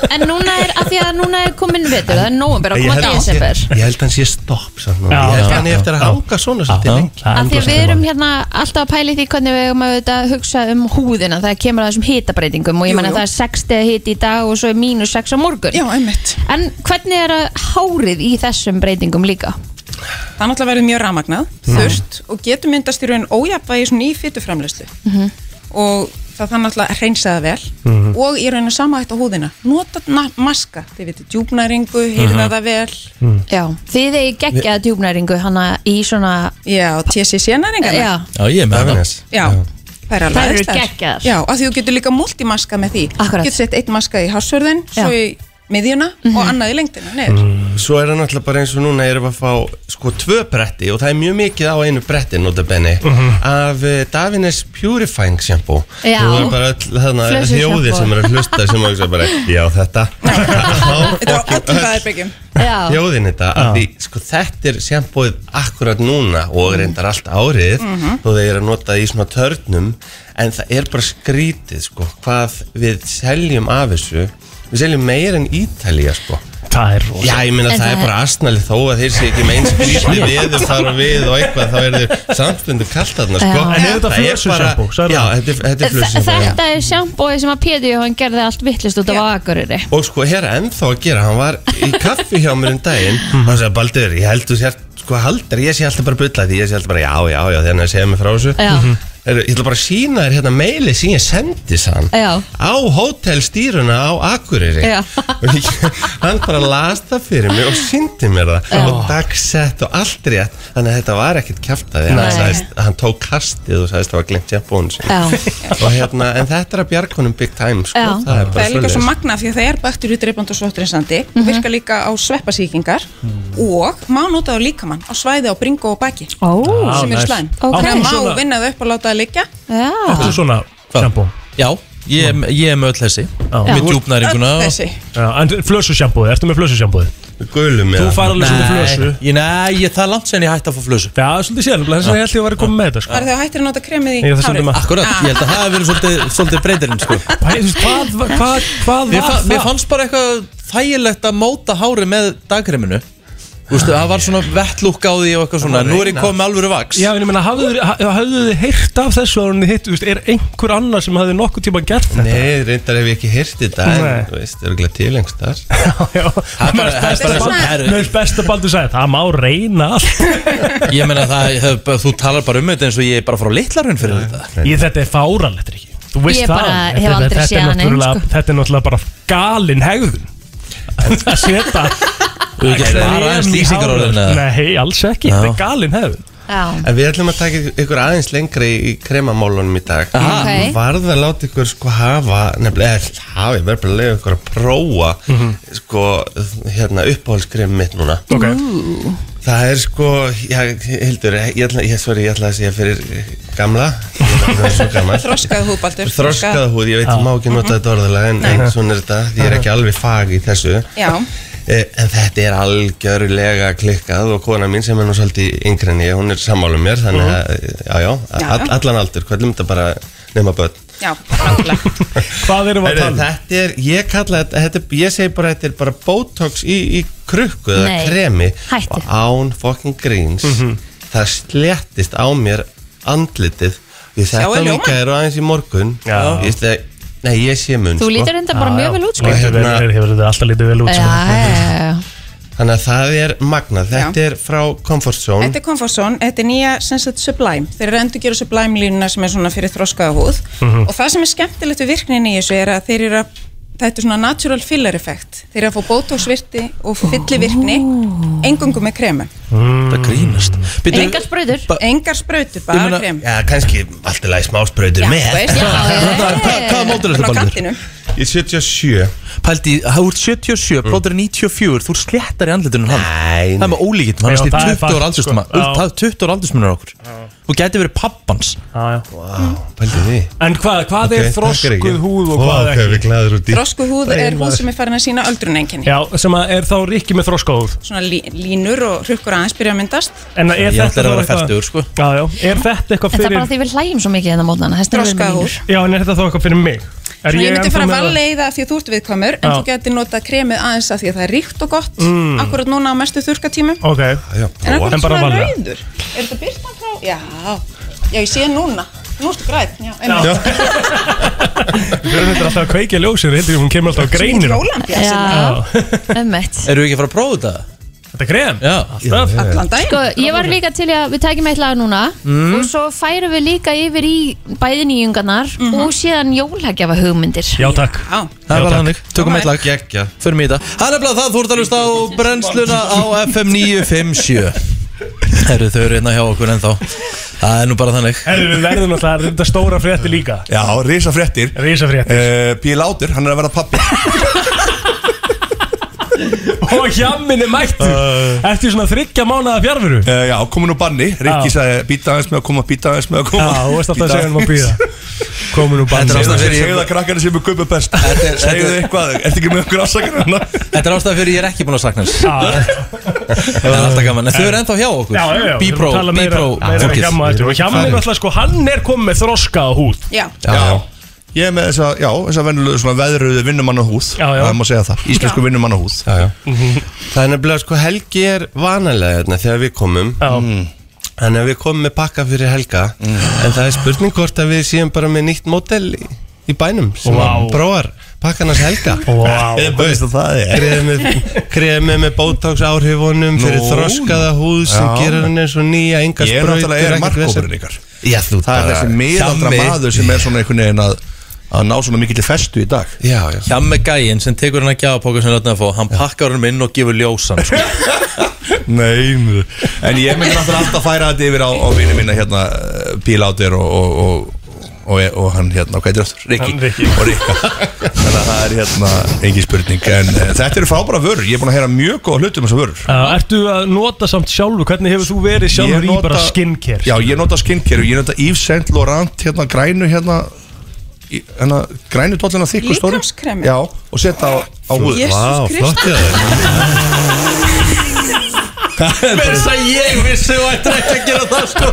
Speaker 2: En núna er, að því að núna er komin vetur, það er nóvember og
Speaker 1: Ég
Speaker 2: koma
Speaker 1: held-
Speaker 2: desember
Speaker 1: Ég held hann sé stopp samt núna.
Speaker 3: Já,
Speaker 1: Ég held
Speaker 3: já,
Speaker 1: hann er
Speaker 3: já,
Speaker 1: eftir að
Speaker 3: já.
Speaker 1: hanga svona svolítið lengi
Speaker 2: Af því að við erum hérna alltaf að pæli því hvernig við erum að auðvitað hugsa um húðina það kemur að þessum hitabreitingum og ég
Speaker 9: Jú,
Speaker 2: menna
Speaker 9: jú.
Speaker 2: það er 6 stegi hiti í dag og svo er mínus 6 á morgun
Speaker 9: Já, einmitt.
Speaker 2: En hvernig er að hárið í þessum breytingum líka?
Speaker 9: Það er náttúrulega verið mjög ramagnað, þurft og getur myndast í raun ójafnvægi svona í fytuframleyslu og það þannig alltaf að reynsa það vel og í raun að sama hægt á húðina nota na- maska, þið veitir djúpnæringu heyrða það vel,
Speaker 2: Já, þið eigi geggjaða djúpnæringu hana í svona
Speaker 9: já, TCC-næringar
Speaker 2: Já,
Speaker 11: Já, ég er með það
Speaker 9: Já, það er alveg
Speaker 2: Þær eru
Speaker 9: æðislegar.
Speaker 2: geggjaðar.
Speaker 9: Já, af því þú getur líka multimaska með því
Speaker 2: Akkurat.
Speaker 9: Þú getur sett eitt maska í hásvörðin, svo
Speaker 2: Já.
Speaker 9: í miðjuna og annað í lengdina, neður
Speaker 1: Svo er það náttúrulega bara eins og núna erum við að fá sko tvö bretti og það er mjög mikið á einu bretti nota benni af uh, Davines Purifying Shampoo
Speaker 2: Já.
Speaker 1: Nú er bara öll þarna
Speaker 2: Flössu
Speaker 1: þjóðir
Speaker 2: shampoo.
Speaker 1: sem er að hlusta sem að hugsa bara já þetta
Speaker 9: Þetta er á öllum baðherbyggjum
Speaker 2: já,
Speaker 1: þjóðin þetta af því sko þetta er sjampóið akkurat núna og
Speaker 2: Mhm.
Speaker 1: reyndar allt árið þó þeir eru að nota það í svona törnum en það er bara skrítið sko hvað við seljum af þessu við seljum meir en Ítalía sko
Speaker 3: Það er rosa
Speaker 1: Já, ég meina
Speaker 2: En
Speaker 1: það er
Speaker 2: það-
Speaker 1: bara asnalið þó að þeir sé ekki með eins grýtni veður þar og við og eitthvað þá er þeir samstundu kallt þarna sko.
Speaker 2: Já.
Speaker 3: En er þetta
Speaker 1: Það bara-
Speaker 3: flössushampoo? Sagði
Speaker 1: Já,
Speaker 3: það?
Speaker 1: þetta er- þetta er
Speaker 2: Þ-
Speaker 1: flössushampoo
Speaker 2: Þetta er sjampóið sem að Pétur Jóhann gerði allt vittlist út af
Speaker 9: Já.
Speaker 2: akureyri
Speaker 1: Og sko, hér er ennþá að gera, hann var í kaffi hjá mér um daginn
Speaker 2: Mm.
Speaker 1: og hann sagði, Baldur, ég held þú sér, sko, haldar, ég sé alltaf bara bulla því, ég sé alltaf bara, já, já, já, þegar hann segja mig frá þessu
Speaker 2: Já. Mhm.
Speaker 1: Heyrðu, Ég ætla bara að sína þér hérna meili sem ég sendi sann
Speaker 2: Já.
Speaker 1: á hótelstýruna á Akureyri
Speaker 2: Já.
Speaker 1: og ég, hann bara las það fyrir mig og syndi mér það og dagsett og allt rétt þannig að þetta var ekkert kjaftaði hann,
Speaker 2: Nei.
Speaker 1: sagðist, hann tók kastið og sagðist það var glimt jafnbónu
Speaker 2: Já.
Speaker 1: og hérna, en þetta er að bjarkunum big time sko,
Speaker 2: Já.
Speaker 1: það er
Speaker 9: Það
Speaker 1: bara
Speaker 9: er líka
Speaker 1: svoleiðis.
Speaker 9: svo magna því að það er baktur í dreifband og svottrinsandi
Speaker 2: Mhm.
Speaker 9: mm virka líka á sveppasíkingar og má nota það á líkamann á svæði á bringu og baki
Speaker 2: Ó,
Speaker 3: Já,
Speaker 9: sem eru
Speaker 3: nice.
Speaker 9: slæm
Speaker 2: Ok.
Speaker 9: og það
Speaker 3: Áttu
Speaker 9: má
Speaker 3: svona-
Speaker 9: vinna það upp og láta það liggja
Speaker 2: já,
Speaker 3: Þetta er svona
Speaker 11: Ah. Hvað?
Speaker 3: sjampó
Speaker 11: Já, ég, er- ég er með öll þessi Með djúpnæringuna
Speaker 9: öll
Speaker 11: og-
Speaker 9: þessi
Speaker 3: Já, En flössusjampóið, ertu með flössusjampóið?
Speaker 1: gulum
Speaker 3: Þú
Speaker 1: eða-
Speaker 3: fær alveg svolítið flössu
Speaker 11: Nei, ég- nei, ég- það er langt sen ég hætti að fá flössu
Speaker 3: Já, svolítið sér, nefnilega, þess að ég held ég að vera komið með þetta sko.
Speaker 9: Var þegar hættir að nota kremið í
Speaker 3: Ég er það svolítið
Speaker 9: hárið
Speaker 3: maður
Speaker 11: Akkurat, ég held að það hafi verið svolítið, svolítið breytirinn sko.
Speaker 3: Bæ, þú veist, Hvað, hvað, hvað, hvað
Speaker 11: mér,
Speaker 3: var
Speaker 11: fa
Speaker 3: það?
Speaker 11: mér fannst bara eitthvað þægilegt að móta hári með dagkreminu Þú veistu, það var svona vettlúk á því og eitthvað svona Nú er ég komið með alvöru vaks
Speaker 3: Já, en ég meina, hafðu þið- ha- hafðu þið heyrt af þessu áður en þið hitt, þú veist, er einhver annar sem hafði nokkuð tíma gert þetta?
Speaker 1: Nei, reyndar hef ég ekki heyrt þetta
Speaker 3: Nei.
Speaker 1: en þú veist, það er ekki tilengst þar
Speaker 3: Já,
Speaker 11: Það er bara- það er bara svona
Speaker 3: Mér
Speaker 11: herru
Speaker 3: finnst best að Baldur sagði, það má reyna allt
Speaker 11: Ég meina það, það, þú talar bara um þetta eins og ég er bara frá litlarun fyrir þetta
Speaker 3: Ég, þetta er fáralegt, Riki Þú veist
Speaker 2: Ég
Speaker 3: það
Speaker 2: bara
Speaker 3: alveg.
Speaker 2: hef
Speaker 3: Þetta-
Speaker 2: aldrei
Speaker 3: þetta er
Speaker 2: séð hann eins,
Speaker 3: náttúrulega-
Speaker 2: sko.
Speaker 3: Þetta er náttúrulega bara galin hegðun Að setja
Speaker 11: Þú ekki
Speaker 3: krem
Speaker 11: svara aðeins
Speaker 3: í
Speaker 11: lýsingarorðin,
Speaker 3: hárið.
Speaker 11: eða?
Speaker 3: Nei, alls ekki, þetta er galin hegðun
Speaker 2: já
Speaker 1: En við ætlum að taka ykkur aðeins lengri í kremamálunum í dag
Speaker 2: Aha. Ok.
Speaker 1: Varð að láta ykkur sko hafa nefnilega, eða hafa, ég verður bara að lega ykkur að prófa
Speaker 11: Mhm.
Speaker 1: sko, hérna, uppáhaldskrem mitt núna
Speaker 3: okay.
Speaker 1: Það er sko, já, Hildur, ég ætla, ég, sorry, ég ætla að segja fyrir gamla Ég er svo gammal
Speaker 9: Þroskað húð, Baldur
Speaker 1: Þroskaða húð, ég veit, ég má ekki nota þetta orðalega en, en svona er þetta, því ég er ekki alveg fag í þessu
Speaker 9: Já.
Speaker 1: Eh, En þetta er algjörlega klikkað og kona mín sem er nú svolítið yngri en ég, hún er sammálu mér, þannig að, já, já,
Speaker 9: Já,
Speaker 1: all,
Speaker 9: já.
Speaker 1: allan aldur, hvernig um þetta bara nema börn.
Speaker 9: Já, rákulega
Speaker 3: Hvað erum við að
Speaker 1: Heyrðu,
Speaker 3: tala? um?
Speaker 1: Þetta er, ég kalla þetta, þetta er, ég segi bara, þetta er bara botox í, í krukku eða
Speaker 2: Nei.
Speaker 1: kremi
Speaker 2: Hættu.
Speaker 1: og án fucking gríns,
Speaker 11: Mhm.
Speaker 1: það sléttist á mér andlitið, við þetta
Speaker 9: Sjáið ljómann?
Speaker 1: líka er aðeins í morgun,
Speaker 3: Já.
Speaker 1: ég veist að, nei, ég sé mun, sko.
Speaker 2: Þú lítur enda bara
Speaker 3: Já, já.
Speaker 2: mjög vel út sko
Speaker 3: Lítur
Speaker 1: Og hérna-
Speaker 3: vel- Hefur þetta alltaf lítið vel út
Speaker 2: Já,
Speaker 3: sko.
Speaker 2: já, já, já.
Speaker 1: þannig að það er magnað, þetta er frá Comfort Zone.
Speaker 9: Þetta er Comfortzone, þetta er nýja sem sagt Sublime. Þeir eru að endur gera Sublime línuna sem er svona fyrir þroskaða húð og það sem er skemmtilegt við virkninni í þessu er að þeir eru að þetta er svona natural filler effekt. Þeir eru að fá botoxvirti og fyllivirkni engungum með kremum.
Speaker 11: Það grínast Bíddu,
Speaker 2: Engar sprautur
Speaker 11: Ba-
Speaker 9: Engar sprautur,
Speaker 11: Ég
Speaker 9: bara
Speaker 11: meina-
Speaker 9: krem.
Speaker 1: Já, kannski alltaf læg smáspröytur með
Speaker 9: veist, já,
Speaker 11: Hvað-
Speaker 9: já,
Speaker 11: hvað-
Speaker 9: já.
Speaker 11: hvaða módel ertu,
Speaker 9: Svona á
Speaker 11: Baldur?
Speaker 9: kantinum.
Speaker 10: Ég er 77
Speaker 1: Pældi, þú ert 77, mm. bróður er 94 Þú sléttar í andlitunum hann nei, nei. Það er með ólíkitt, hann
Speaker 3: Já,
Speaker 1: er stíð
Speaker 3: það er
Speaker 1: 20 ára
Speaker 3: fakt, sko.
Speaker 1: aldursmunum
Speaker 3: Já.
Speaker 1: Það er 20 ára aldursmunum okkur Þú gæti verið pappans
Speaker 3: Já, já
Speaker 10: Pældi því
Speaker 3: En hvað, hvað
Speaker 1: Ok,
Speaker 3: er
Speaker 1: takk,
Speaker 3: þroskuð
Speaker 1: Ríkir.
Speaker 3: húð og
Speaker 10: Vá,
Speaker 3: hvað
Speaker 10: hvað
Speaker 3: ekki?
Speaker 10: við glæðir út í
Speaker 9: Þroskuð húð er húð sem er farin að sína öldrunenginni.
Speaker 3: Já, sem að er þá ríkki með þroskahúð
Speaker 9: Svona lí, línur og hrukkur aðeins byrja að myndast.
Speaker 3: En er
Speaker 1: Ég ætla að
Speaker 3: þetta þá
Speaker 1: vera
Speaker 3: eitthvað
Speaker 1: færtur, sko
Speaker 3: Já, já, er þetta eitthvað
Speaker 2: En það er
Speaker 3: fyrir
Speaker 2: bara því við hlægjum svo mikið hérna en það mótnana
Speaker 9: Þroskahúð.
Speaker 3: Já, en er þetta þá eitthvað fyrir mig? Er
Speaker 9: Svona ég myndi
Speaker 3: ennþá
Speaker 9: fara að
Speaker 3: með það?
Speaker 9: valleiða því að þú ert viðkomur en
Speaker 3: Já.
Speaker 9: þú geti notað kremið aðeins að því að það er ríkt og gott
Speaker 3: Mm.
Speaker 9: akkurat núna á mestu þurkatímum
Speaker 3: Ok
Speaker 10: Já,
Speaker 9: En akkurat
Speaker 3: En bara
Speaker 9: svona
Speaker 3: valleiða.
Speaker 9: rauður Er þetta byrtan frá? Já, já ég sé núna Nú ertu græn Já, en
Speaker 3: Já. Við erum þetta alltaf að kveikja ljósir Hildur, hún kemur alltaf á greinir
Speaker 9: Jólampi
Speaker 2: Já, emmett
Speaker 1: Eru ekki að fara að prófa þetta?
Speaker 3: Þetta er grein?
Speaker 1: Já
Speaker 3: Alltaf
Speaker 9: Allan daginn
Speaker 2: Sko, ég var líka til í að við tækjum eitt lag núna og svo færum við líka yfir í bæði nýjungarnar
Speaker 9: Mhm.
Speaker 2: og síðan jólagjafa hugmyndir
Speaker 3: Já, takk
Speaker 9: Já,
Speaker 1: Það er
Speaker 3: Já,
Speaker 1: bara
Speaker 3: takk.
Speaker 1: þannig, tökum eitt lag
Speaker 10: Gekja
Speaker 1: Förum í þetta Það er bara það, þú ert að hlusta á brennsluna á FM 957 Herru, þau eru einna hjá okkur ennþá Það er nú bara þannig
Speaker 3: Herri, við verðum alltaf Þetta er stóra frétti líka
Speaker 12: Já, risa fréttir
Speaker 3: Rísa frétti
Speaker 12: uh, P. Látur, hann er að vera pappi
Speaker 3: Og hjammin er mættur
Speaker 1: Uh.
Speaker 3: Eftir svona þryggja mánaða fjárfuru
Speaker 12: uh, Já, komin úr banni Rikki sagði, býta aðeins með að koma, býta aðeins með að
Speaker 3: Já,
Speaker 12: koma
Speaker 3: þú veist alltaf
Speaker 12: Bíddu
Speaker 3: að segja hann að býða Komin úr bann
Speaker 1: Þetta er ástæðan fyrir-
Speaker 12: Segðu það krakkana sem er gubbi best Segðu þið eitthvað, ertu ekki með okkur afsakar hann
Speaker 1: Þetta er ástæða fyrir ég er ekki búin að sakna hans Það er alltaf gaman En þau eru ennþá hjá okkur
Speaker 3: Já, já, já
Speaker 1: B-Pro, B-Pro, fólkið
Speaker 3: B-Pro Hjammin er alltaf sko, hann er komið með þroska á húð
Speaker 9: já
Speaker 12: Já Ég er með þess að, já, þess að venjulegu svona veðruðu vinnumanna húð
Speaker 3: Já, já.
Speaker 12: Það má segja það, íslensku vinnumanna húð
Speaker 10: Já, já Það er nefnilega sko Helgi er vanalega hérna þegar við komum
Speaker 3: Já.
Speaker 1: Mm.
Speaker 10: Þannig að við komum með pakka fyrir Helga En það er spurning hvort að við séum bara með nýtt mótel í, í bænum sem
Speaker 3: Vá.
Speaker 10: wow. bróar pakkanars Helga
Speaker 3: Vá
Speaker 12: Ég veist að það er
Speaker 10: Kremið, kremið með botox áhrifunum fyrir
Speaker 12: Nú.
Speaker 10: þroskaða húð sem
Speaker 12: Já.
Speaker 10: gerir henni svo nýja enga
Speaker 12: Ég er
Speaker 10: sprautur,
Speaker 12: náttúrulega er
Speaker 10: ekkert vesen.
Speaker 12: markkópurinn ykkar
Speaker 10: Já, þú
Speaker 12: Það er þessi miðaldra
Speaker 10: Hjammi.
Speaker 12: maður sem er svona einhvern veginn að, að ná svona mikill festu í dag
Speaker 10: Já, já
Speaker 1: Hjá með gæinn sem tekur hann að gjafapóka sem látna að fá Hann pakkar hann inn og gefur ljósan sko.
Speaker 12: Nei, maður. en ég myndi náttúrulega alltaf færa þetta yfir á, á vini minna hérna Pílátir og, og, og, og, og hann hérna, hvað heitir aftur? Rikki
Speaker 3: Hann Rikki.
Speaker 12: og Rikka Þannig að það er hérna engin spurning En uh, þetta eru frábæra vörur, ég er búin að heyra mjög góða hluti um þessa vörur
Speaker 3: Já, Ertu að nota samt sjálfu, hvernig hefur þú verið
Speaker 12: Ég
Speaker 3: sjálfur í bara skincare?
Speaker 12: Já, ég nota skincare, ég nota Yves Saint Laurent hérna grænu hérna í- hérna, grænu dollina þykku stóru
Speaker 9: Líkamskremi?
Speaker 12: Já, og setja á, á húð
Speaker 9: Jesús wow, Kristi
Speaker 1: Mér þess að ég vissi og ætti ekki að gera það sko.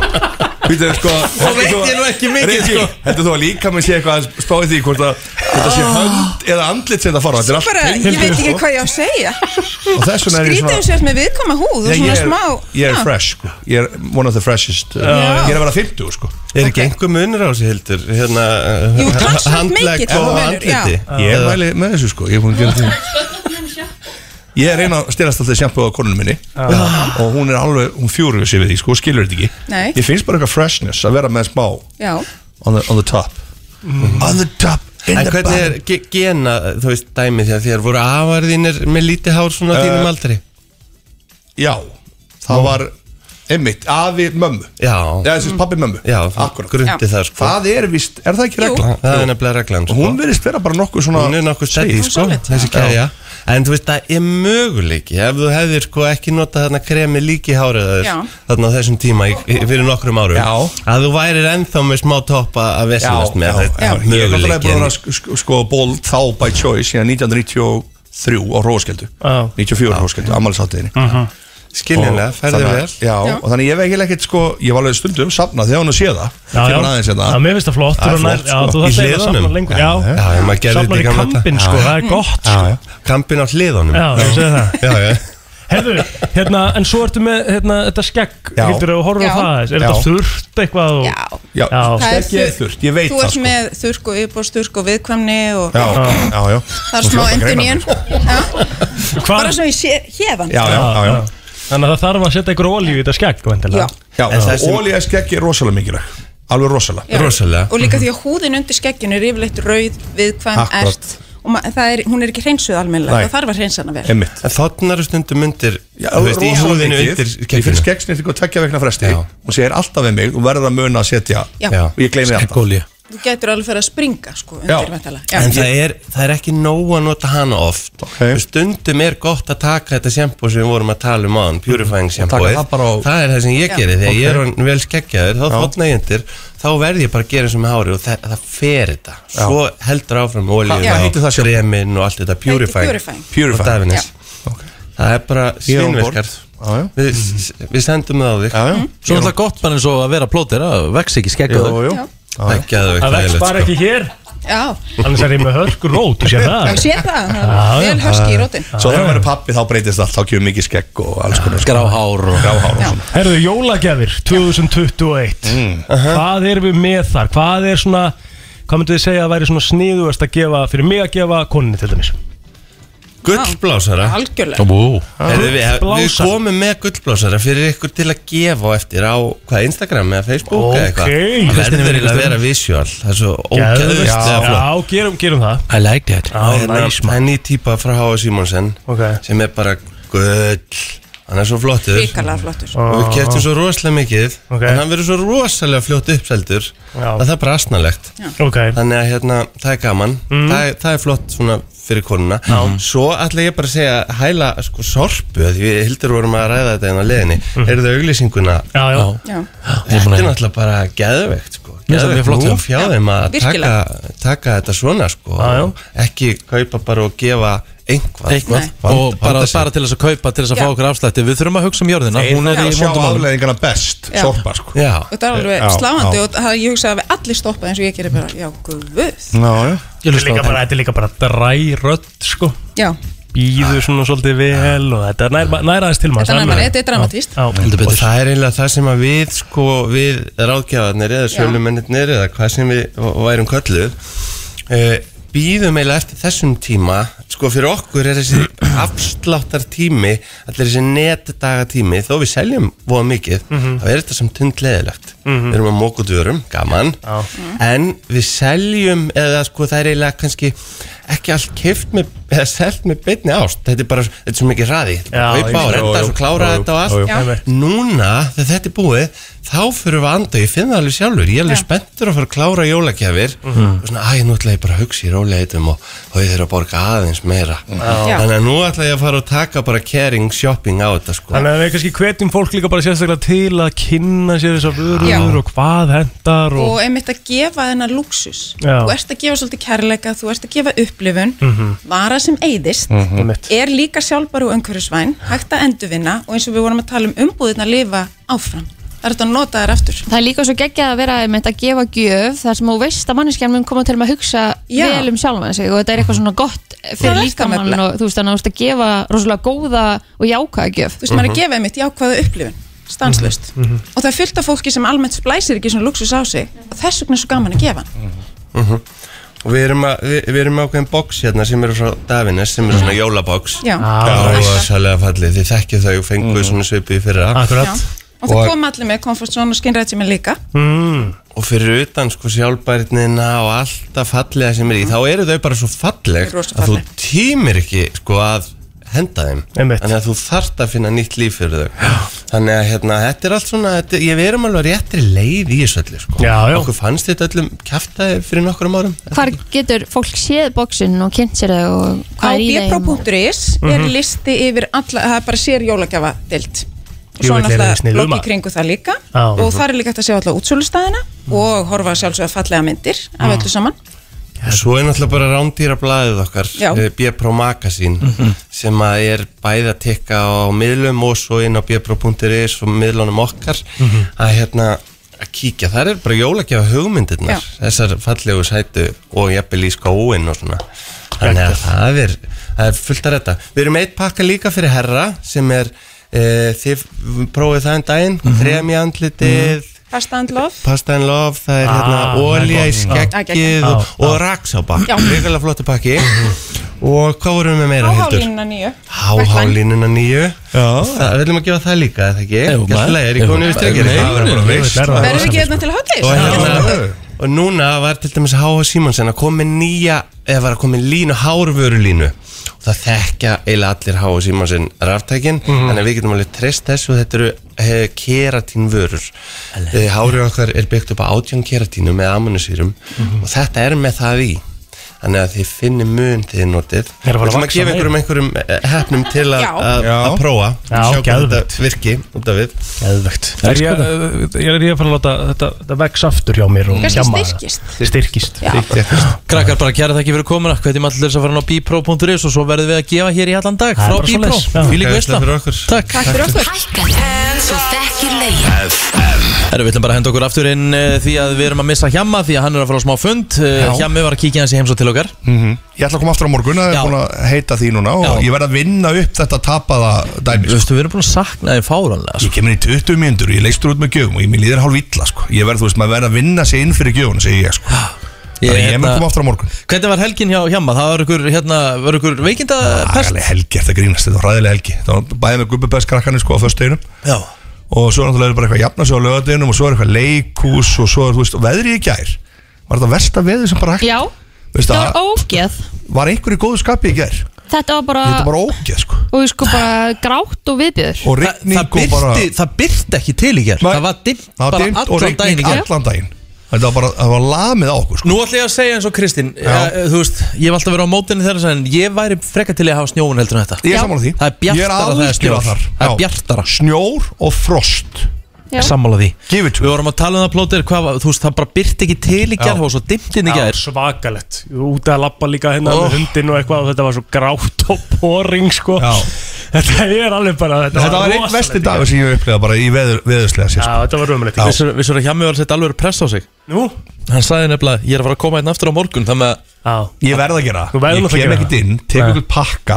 Speaker 12: Vítið, sko Þá
Speaker 1: veit ég nú ekki mikið, sko.
Speaker 12: Heldur þú að líka með sé eitthvað að spáði því hvort að þetta sé hönd eða andlit sem þetta fara á? Þetta er allt
Speaker 9: Ah. Bara,
Speaker 12: tengt,
Speaker 9: ég veit ekki
Speaker 12: sko.
Speaker 9: hvað ég á að segja
Speaker 12: Og þess vegna er ég
Speaker 9: Skrítið
Speaker 12: svona
Speaker 9: þessu eftir með viðkoma húð og
Speaker 12: Nei,
Speaker 9: svona
Speaker 12: ég er-
Speaker 9: smá
Speaker 12: Ég er
Speaker 9: Já.
Speaker 12: fresh, sko Ég er one of the freshest uh, Ég er að vera 50, sko
Speaker 10: Er ekki einhver munur á þessu hildur? Hérna,
Speaker 9: Jú, talsvert
Speaker 10: handlegg
Speaker 9: mikill
Speaker 10: og
Speaker 9: munur,
Speaker 10: andliti
Speaker 12: Ég er mæli með þessu, sko Ég er búin að gera því Ég er einn að stelast alltaf sjampu á konunum minni og hún er alveg, hún fjúrur sér við því sko, og skilur þetta ekki
Speaker 9: Nei.
Speaker 12: Ég finnst bara eitthvað freshness að vera með smá
Speaker 9: Já,
Speaker 12: on the, on the top On the top, in
Speaker 10: En
Speaker 12: the
Speaker 10: hvernig er
Speaker 12: bottom
Speaker 10: ge- gena, þú veist, dæmið því að þér voru afar þínir með lítið hár svona á
Speaker 12: Eh,
Speaker 10: þínum aldri?
Speaker 12: Já, það var einmitt, afi mömmu
Speaker 10: Já,
Speaker 12: Já, þessi
Speaker 3: Mm.
Speaker 12: pabbi mömmu
Speaker 10: já,
Speaker 12: Akkúrat.
Speaker 10: grundi það sko
Speaker 12: Það er vist, er það ekki regla?
Speaker 10: Það er nefnilega reglan
Speaker 12: Og
Speaker 10: sko
Speaker 12: hún verðist vera bara nokkuð svona
Speaker 10: Hún er nokkuð
Speaker 12: segi,
Speaker 10: stæði sko, þessi kæja En þú veist, það er möguleiki Ef þú hefðir sko ekki notað þarna kremi líki hárið þess
Speaker 9: Já.
Speaker 10: Þarna á þessum tíma í, í- fyrir nokkrum árum
Speaker 12: Já.
Speaker 10: Að þú værir ennþá með smá toppa að vesilast með þetta er
Speaker 12: Ég er náttúrulega
Speaker 10: Möguleiki
Speaker 12: búin að sk- sk- sko ból þá by choice síðan 1993 á Róðskeldu
Speaker 3: Já.
Speaker 12: 94 á Róðskeldu, ammálsáttiðinni
Speaker 10: Skiljanlega, ferðu vel
Speaker 12: Já, og þannig ég vegi ekkert sko Ég var alveg stundum safnað þegar hún að sé það Þegar hún aðeins
Speaker 3: Já,
Speaker 12: hérna
Speaker 3: mér finnst það flott
Speaker 12: Það er
Speaker 3: þú nær-
Speaker 12: flott,
Speaker 3: já,
Speaker 12: sko.
Speaker 3: Þú
Speaker 10: Í
Speaker 3: þarft eiginlega að
Speaker 10: hliðunum.
Speaker 3: safna lengur Já,
Speaker 10: já, já, maður gerði
Speaker 3: Safnar
Speaker 10: þetta í
Speaker 3: í
Speaker 10: gamla daga.
Speaker 3: kampinn,
Speaker 10: Já,
Speaker 3: sko,
Speaker 10: já.
Speaker 3: það er
Speaker 10: Já,
Speaker 3: gott sko.
Speaker 10: já. Kampinn á hliðunum
Speaker 3: Já, ég segi það
Speaker 10: já, já.
Speaker 3: Herðu, hérna, en svo ertu með hérna, þetta skegg,
Speaker 12: Já.
Speaker 3: hildur að horfa
Speaker 9: Já.
Speaker 3: á það Er
Speaker 12: Já.
Speaker 3: þetta þurrt eitthvað og...
Speaker 9: já
Speaker 12: Já,
Speaker 3: Já.
Speaker 9: Það er
Speaker 12: skeggið er
Speaker 9: þurrt.
Speaker 12: þurrt, ég veit
Speaker 9: Þú
Speaker 12: það
Speaker 9: ert
Speaker 12: sko
Speaker 9: með þurrk og yfirbóðsturk og viðkvæmni og
Speaker 12: Já, já, já
Speaker 9: það er smá endur nýjum Bara svo ég sé hérðan
Speaker 12: Já, já, já, já.
Speaker 3: Þannig að það þarf að setja ykkur olíu í þetta skegg
Speaker 9: Já,
Speaker 3: væntanlega.
Speaker 12: Já,
Speaker 10: En það sem-
Speaker 12: ólíða skeggi er rosalega mikilvæg Alveg rosalega
Speaker 9: já.
Speaker 10: Rosalega.
Speaker 9: Og líka því að húðin undir skegginu er yfirleitt rauð, viðkvæm,
Speaker 12: Akkurat.
Speaker 9: ert og ma- það er, hún er ekki hreinsuð almennilega,
Speaker 12: Nei.
Speaker 9: það þarf að hreinsa hana vel
Speaker 12: Einmitt
Speaker 10: En þarna eru stundum undir
Speaker 12: Já,
Speaker 10: þú veist, í
Speaker 12: rosalega
Speaker 10: húðinu
Speaker 12: mikið.
Speaker 10: undir
Speaker 12: Ég fyrir
Speaker 10: skegginu
Speaker 12: skeggsnýtt ykkur tvekja vegna fresti
Speaker 10: Já.
Speaker 12: Hún segir alltaf við mig, þú verður að muna að setja
Speaker 9: Já.
Speaker 12: Og ég gleymi alltaf
Speaker 1: Skegg olíu.
Speaker 9: þú getur alveg fyrir að springa sko,
Speaker 1: Já,
Speaker 9: undir væntanlega.
Speaker 1: en það er, það er ekki nóg að nota hana oft okay. Stundum er gott að taka þetta sjampo sem við vorum að tala um án Purifying sjampo
Speaker 12: taka það bara á-
Speaker 1: er það sem ég
Speaker 12: Já.
Speaker 1: geri Þegar ég er
Speaker 12: Ok.
Speaker 1: orðinn vel skeggjaður, þá
Speaker 12: Já.
Speaker 1: þóttna ég undir Þá verð ég bara að gera eins og með hári og það, það fer þetta Svo heldur áfram
Speaker 12: Hvað- hvað
Speaker 1: olíun
Speaker 12: heitir
Speaker 1: og kremin og allt þetta Purifying
Speaker 12: Purifying. Purifying.
Speaker 1: Og Davines. Það er bara
Speaker 12: Ég er on board.
Speaker 1: svinverkar Við, við sendum það á þig já, já.
Speaker 5: Svo er alltaf gott bara eins og að vera plótir að vex ekki skeggur
Speaker 1: Jú, jú. Já. Það er geðveikt
Speaker 3: Það vex
Speaker 1: þægilegt,
Speaker 3: bara
Speaker 1: sko.
Speaker 3: ekki hér
Speaker 9: Já,
Speaker 3: Annars er ég með hörku rót, þú sé það
Speaker 9: ég sé það, það
Speaker 3: Já,
Speaker 9: er vel
Speaker 3: já.
Speaker 9: höski í rótin
Speaker 12: Svo þegar hann verður pappi þá breytist allt, þá kemur mikið skegg og alls konar sko.
Speaker 5: Gráhár og
Speaker 12: Gráhár og svona
Speaker 3: Herðu, jólagjafir 2021
Speaker 12: Mm.
Speaker 3: Hvað erum við með þar? Hvað er svona, hvað myndu þið segja að væri svona sniðuast að gefa, fyrir mig að gefa koninni til dæmis?
Speaker 1: Gullblásara
Speaker 9: Algjörlega.
Speaker 5: Vó.
Speaker 3: Ah.
Speaker 1: Heyrðu, við, við
Speaker 3: Gullblásara.
Speaker 1: komum með gullblásara fyrir ykkur til að gefa á eftir á hvað, Instagram eða Facebook eða
Speaker 3: Ok.
Speaker 1: eitthvað Það
Speaker 3: Kristín er
Speaker 1: verður
Speaker 3: mikil
Speaker 1: að
Speaker 3: stund.
Speaker 1: vera visual Það er svo
Speaker 3: Geðveikt.
Speaker 1: ógeðvistlega flott
Speaker 3: Já, gerum, gerum það
Speaker 5: I like that
Speaker 3: Já,
Speaker 1: Hérna,
Speaker 3: nice,
Speaker 1: Það er ný típa frá Háa Simonsen
Speaker 3: Ok.
Speaker 1: sem er bara gull Hann er svo flottur
Speaker 9: Hrikalega flottur.
Speaker 1: Og við keftum svo rosalega mikið
Speaker 3: Ok.
Speaker 1: En hann verður svo rosalega fljótt uppseldur
Speaker 3: Já.
Speaker 1: að það er bara asnalegt
Speaker 3: Ok,
Speaker 1: Þannig að hérna, það er gaman
Speaker 5: Mhm.
Speaker 1: það, er- það er flott svona fyrir konuna Svo ætla ég bara að segja hæla sko sorpu, af því við hildur vorum að ræða þetta einn á leðinni,
Speaker 5: Mhm.
Speaker 1: mm. eru það auglýsinguna
Speaker 3: já, já
Speaker 9: Já.
Speaker 1: Þetta er náttúrulega bara geðveikt sko
Speaker 5: Mér finnst það mjög flott, já.
Speaker 1: Nú fjáðum að taka,
Speaker 9: virkilega.
Speaker 1: taka þetta svona sko
Speaker 3: Já, já.
Speaker 1: ekki kaupa bara og gefa einhvað,
Speaker 5: Eitthvað
Speaker 1: Vanda-
Speaker 5: Og bara,
Speaker 1: vanda sig.
Speaker 5: bara til þess að kaupa, til þess að
Speaker 9: Já.
Speaker 5: fá okkur afslætti Við þurfum að hugsa um jörðina, hún er í
Speaker 12: Sjá
Speaker 5: vondum málum.
Speaker 12: afleðingana best,
Speaker 9: Já.
Speaker 12: sorpa sko
Speaker 1: Já,
Speaker 9: og það
Speaker 12: Já,
Speaker 9: er alveg sláandi
Speaker 12: já.
Speaker 9: og það, ég hugsa að við allir stoppa eins og ég gerir bara, já, guð
Speaker 12: Já, já
Speaker 5: Ég
Speaker 3: Þetta er
Speaker 5: hlusta á
Speaker 3: líka bara,
Speaker 5: það.
Speaker 3: þetta er líka bara dræ rödd, sko
Speaker 9: Já,
Speaker 3: Býður svona svolítið vel og þetta er nær- nær aðeins til maður
Speaker 9: Þetta er nær- þetta er dramatískt.
Speaker 5: Heldur
Speaker 1: og
Speaker 5: betur.
Speaker 1: það er eiginlega það sem að við sko, við ráðgjafarnir eða
Speaker 9: Já.
Speaker 1: sölumennir eða hvað sem við v- værum kölluð uh, býðum eiginlega eftir þessum tíma sko fyrir okkur er þessi afsláttar tími allir þessi netdaga tími þó við seljum voða mikið þá er þetta samt tundleðilegt við erum að móka út vörum, gaman
Speaker 3: Já.
Speaker 1: en við seljum eða sko það er eiginlega kannski ekki allt keift með, eða selt með beinni ást þetta er bara, þetta er svo mikið raði þetta er bara að
Speaker 3: Já,
Speaker 1: kaupa
Speaker 3: ég
Speaker 1: og
Speaker 3: skil.
Speaker 1: renda
Speaker 12: Jú,
Speaker 1: svo
Speaker 12: jú,
Speaker 1: klára
Speaker 12: jú,
Speaker 1: þetta og allt
Speaker 12: jú, jú.
Speaker 9: Já.
Speaker 1: núna þegar þetta er búið þá fyrir við að anda, ég finn það alveg sjálfur ég er alveg
Speaker 9: Já.
Speaker 1: spenntur að fara að klára jólagjafir og svona, æ, nú ætla ég bara að hugsa í róleitum og, og ég þurfa að borga aðeins meira
Speaker 9: Já.
Speaker 1: þannig að nú ætla ég að fara að taka bara caring shopping á þetta sko
Speaker 3: Þannig að við kannski hvetjum fólk líka bara sérstaklega til að kynna sér þessar
Speaker 9: Já.
Speaker 3: vörur og hvað hendar og,
Speaker 9: og einmitt að gefa þennan luxus
Speaker 3: Já.
Speaker 9: þú ert að gefa svolítið kærleika, þú ert að gefa upplifun vara sem eyðist
Speaker 3: Einmitt.
Speaker 9: er líka sjálfbæru og umhverfisvæn hægt að endurvinna og eins og við vorum að tala um umbúðin að lifa áfram það er þetta að nota þær aftur
Speaker 2: Það er líka svo geggjað að vera einmitt að gefa gjöf þar sem þú veist að manneskjan mun koma til með að hugsa
Speaker 9: Já.
Speaker 2: vel um sjálfan sig og þetta er eitthvað svona gott
Speaker 9: Það
Speaker 2: fyrir
Speaker 9: er
Speaker 2: líkamann
Speaker 9: nefnilega.
Speaker 2: og þú veist þannig að þú veist að gefa rosalega góða og jákvæða gjöf
Speaker 9: þú veist,
Speaker 3: Mhm.
Speaker 9: maður er að gefa einmitt jákvæða upplifun stanslust og það er fullt af fólki sem almennt splæsir ekki svona luxus á sig og þess vegna er svo gaman að gefa hann
Speaker 3: Mhm.
Speaker 1: og við erum, að, við, við erum með ákveðin box hérna sem eru frá Davines sem eru svona jólabox Mhm.
Speaker 9: Já.
Speaker 3: Ah,
Speaker 1: og það er særlega Mhm. fallið, þið þekkið þau og fenguðu svona svipið í fyrra
Speaker 9: Já.
Speaker 3: akkurat
Speaker 9: og það
Speaker 1: Og-
Speaker 9: kom allir með komfort svona skinnrætsjum líka
Speaker 3: mm,
Speaker 1: og fyrir utan sko sjálfbærnina og alltaf fallega sem er í þá eru þau bara svo falleg
Speaker 9: Þau eru Mhm. rosa
Speaker 1: að þú
Speaker 9: falleg.
Speaker 1: tímir ekki sko að henda þeim
Speaker 3: Einmitt.
Speaker 1: þannig að þú þarft að finna nýtt líf fyrir þau þannig að hérna, þetta er allt svona þetta, ég við erum alveg á réttri leið í þessu öllu sko.
Speaker 3: Já, já.
Speaker 1: okkur fannst þetta öllum kæftæði fyrir nokkrum árum
Speaker 2: Hvar getur fólk séð bóksin og kynnt sér þau og
Speaker 9: á
Speaker 2: hvað er í þeim og...
Speaker 9: bpro.is er
Speaker 3: Mhm.
Speaker 9: listi yfir alla, það er bara sér jólagjafa dild og
Speaker 3: Jú,
Speaker 9: svo
Speaker 3: þetta er
Speaker 9: náttúrulega
Speaker 3: sniðum
Speaker 9: blogg í
Speaker 3: um að- mhm.
Speaker 9: kringu það líka
Speaker 3: Já.
Speaker 9: og það er líka hægt að sjá alla útsölustæðina
Speaker 3: Mhm.
Speaker 9: og horfa sjálfsögða fallega myndir af öllu saman
Speaker 1: Og Svo er náttúrulega bara rándýra blaðið okkar
Speaker 9: Já.
Speaker 1: eh, Bpro Magazine sem að er bæði að tekka á miðlum og svo inn á bpro.is og miðlunum okkar að hérna að kíkja, það er bara jólagjafa hugmyndirnar
Speaker 9: Já.
Speaker 1: þessar fallegu sætu og jafnvel í skóin og svona þannig að það er, það er fullt að retta við erum með eitt pakka líka fyrir herra sem er, e, þið prófið það en daginn, mm í andlitið
Speaker 9: Pasta and Love
Speaker 1: Pasta and Love, það er
Speaker 3: Ah, það
Speaker 1: hérna
Speaker 3: er
Speaker 1: olja í
Speaker 3: gott.
Speaker 9: Já,
Speaker 1: skeggið
Speaker 9: geggjað.
Speaker 1: og, og raksápa,
Speaker 9: Já.
Speaker 1: virkilega flottu pakki
Speaker 3: Mhm.
Speaker 1: og hvað vorum við með meira hildur?
Speaker 9: Háhálínuna nýju
Speaker 1: Háhálínuna nýju
Speaker 12: Já,
Speaker 1: Það viljum að gefa það líka, er það ekki?
Speaker 5: Jú, maður-
Speaker 1: Gæstulega, er
Speaker 5: jú,
Speaker 1: ég komin yfir
Speaker 5: maður-
Speaker 1: strengir
Speaker 5: nei,
Speaker 1: Það er bara
Speaker 3: nei,
Speaker 1: veist
Speaker 3: nei, nei.
Speaker 9: verður við ekki hérna til hátis
Speaker 1: Og
Speaker 12: Já,
Speaker 1: hérna,
Speaker 12: já.
Speaker 10: og núna var til dæmis H.H. Simonsen að koma með nýja eða var að koma með línu, hárvörulínu og það þekkja eiginlega allir H.H. Simonsen ráftækin,
Speaker 12: Mhm.
Speaker 10: þannig að við getum alveg treyst þessu og þetta eru eh, keratínvörur Eh, hárið okkar er byggt upp á átjón keratínum með amunisýrum
Speaker 3: Mhm.
Speaker 10: og þetta er með það í þannig að þið finnir mun þegar þið notið
Speaker 3: Er að fara að
Speaker 10: og sem að
Speaker 3: vaxa
Speaker 10: gefa einhverjum einhverjum eh, hefnum til að-
Speaker 3: Já.
Speaker 10: að
Speaker 3: Já.
Speaker 10: að prófa
Speaker 3: Já,
Speaker 10: sjá hvað
Speaker 3: geðveikt.
Speaker 10: þetta virki út af við
Speaker 3: Geðvegt
Speaker 1: sko
Speaker 3: Er ég, eh, ég er ég að fara að láta þetta, þetta vex aftur hjá mér og
Speaker 10: Kannski
Speaker 3: gjamma það.
Speaker 10: styrkist.
Speaker 3: Styrkist
Speaker 10: Já.
Speaker 1: Krakkar bara kæra þakki fyrir komuna Hvernig allir þess að fara inn á bipro.is og svo verðum við að gefa hér í allan dag
Speaker 3: Það er
Speaker 1: frá
Speaker 3: bara
Speaker 1: bipro
Speaker 3: svoleiðis. Já.
Speaker 1: Fylík veistla
Speaker 10: Gæðislega fyrir okkur.
Speaker 1: Takk
Speaker 13: Takk fyrir okkur Þú þekkir lögin
Speaker 1: Herru, við ætlum bara að henda okkur aftur inn eh, því að við erum að missa Hjamma því að hann er að fara á smá fund Eh,
Speaker 12: Já.
Speaker 1: Hjammi var að kíkja hans í heimsótt til okkar
Speaker 12: Mhm. Ég ætla að koma aftur á morgun Það er búin að heita því núna Og ég verð að vinna upp þetta tapaða dæmi Þú
Speaker 1: veistu, við erum búin að sakna sko. þið fáranlega
Speaker 12: Ég kemur í 20 mínútur og ég leistur út með gjöfum Og ég mér líður hálf illa sko. Ég verð, þú veist, maður verð að vinna sig inn fyrir gjöfun Segir ég sko Þannig að ég mun koma aftur á morgun
Speaker 1: hérna, Hvernig var helgin hjá Hjamma? Það var ykkur, hérna, var ykkur veikinda
Speaker 12: Ægæli helgi, þetta grínast, þetta var ræðilega helgi Það var bæðið með gubbubæðskrakkanir sko á föstudeginum
Speaker 1: Já.
Speaker 12: Og svo náttúrulega er bara eitthvað jafna sig á lögadeginum Og svo er eitthvað leikús og svo er, þú veist, og veðrið í gær Var þetta versta veðið sem bara hægt
Speaker 2: Já,
Speaker 12: Veist
Speaker 2: það
Speaker 12: að-
Speaker 2: var ógeð
Speaker 12: Var einhver í góðu skapi í gær?
Speaker 2: Þetta var bara,
Speaker 12: Þetta var ógeð sko
Speaker 2: og sko bara grátt og viðbjöður
Speaker 12: Og rigning
Speaker 1: það birti-
Speaker 12: og bara
Speaker 1: Það byrti ekki til í gerð Það var dimmt
Speaker 12: Það var
Speaker 1: bara
Speaker 12: dimmt og
Speaker 1: allan daginn
Speaker 12: rigning
Speaker 1: í gerð
Speaker 12: allan daginn Þetta var bara, það var lamið á okkur sko.
Speaker 1: Nú ætla ég að segja eins og Kristinn eh, Þú veist, ég hef alltaf verið á mótinni þeirra En ég væri frekka til í að hafa snjóun heldur en þetta
Speaker 12: Ég er sammála því
Speaker 1: Það er
Speaker 12: Ég
Speaker 1: bjartara þegar það er
Speaker 12: algjörlega
Speaker 1: snjór
Speaker 12: þar.
Speaker 1: Það er
Speaker 12: Já.
Speaker 1: bjartara
Speaker 12: Snjór og frost
Speaker 2: Já.
Speaker 1: Sammála því
Speaker 12: Give it
Speaker 1: Við vorum að tala um það plótir hvað, var- Þú veist, það bara byrti ekki til í gerð Og svo dimmt inn í gerð
Speaker 3: Svakalett Út að lappa líka hérna
Speaker 1: Oh.
Speaker 3: með hundin og eitthvað og þetta var svo grátt og boring sko
Speaker 12: Já.
Speaker 3: Þetta er alveg bara Þetta,
Speaker 12: Þetta var einn
Speaker 3: rosalegt.
Speaker 12: vesti dagur sem ég upplega bara í veður, veðurslega sér
Speaker 3: Já, þetta var römmulegt
Speaker 1: Vissur vissur að Hjami var að setja alveg press á sig
Speaker 3: Nú?
Speaker 1: Hann sagði nefnilega, ég er að fara að koma einn aftur á morgun Þannig
Speaker 3: að
Speaker 12: Ég verð að gera
Speaker 1: Þú verður
Speaker 12: Ég
Speaker 1: náttúrulega að
Speaker 12: kem
Speaker 1: gera
Speaker 12: ekkert
Speaker 1: það.
Speaker 12: inn, tek ykkur pakka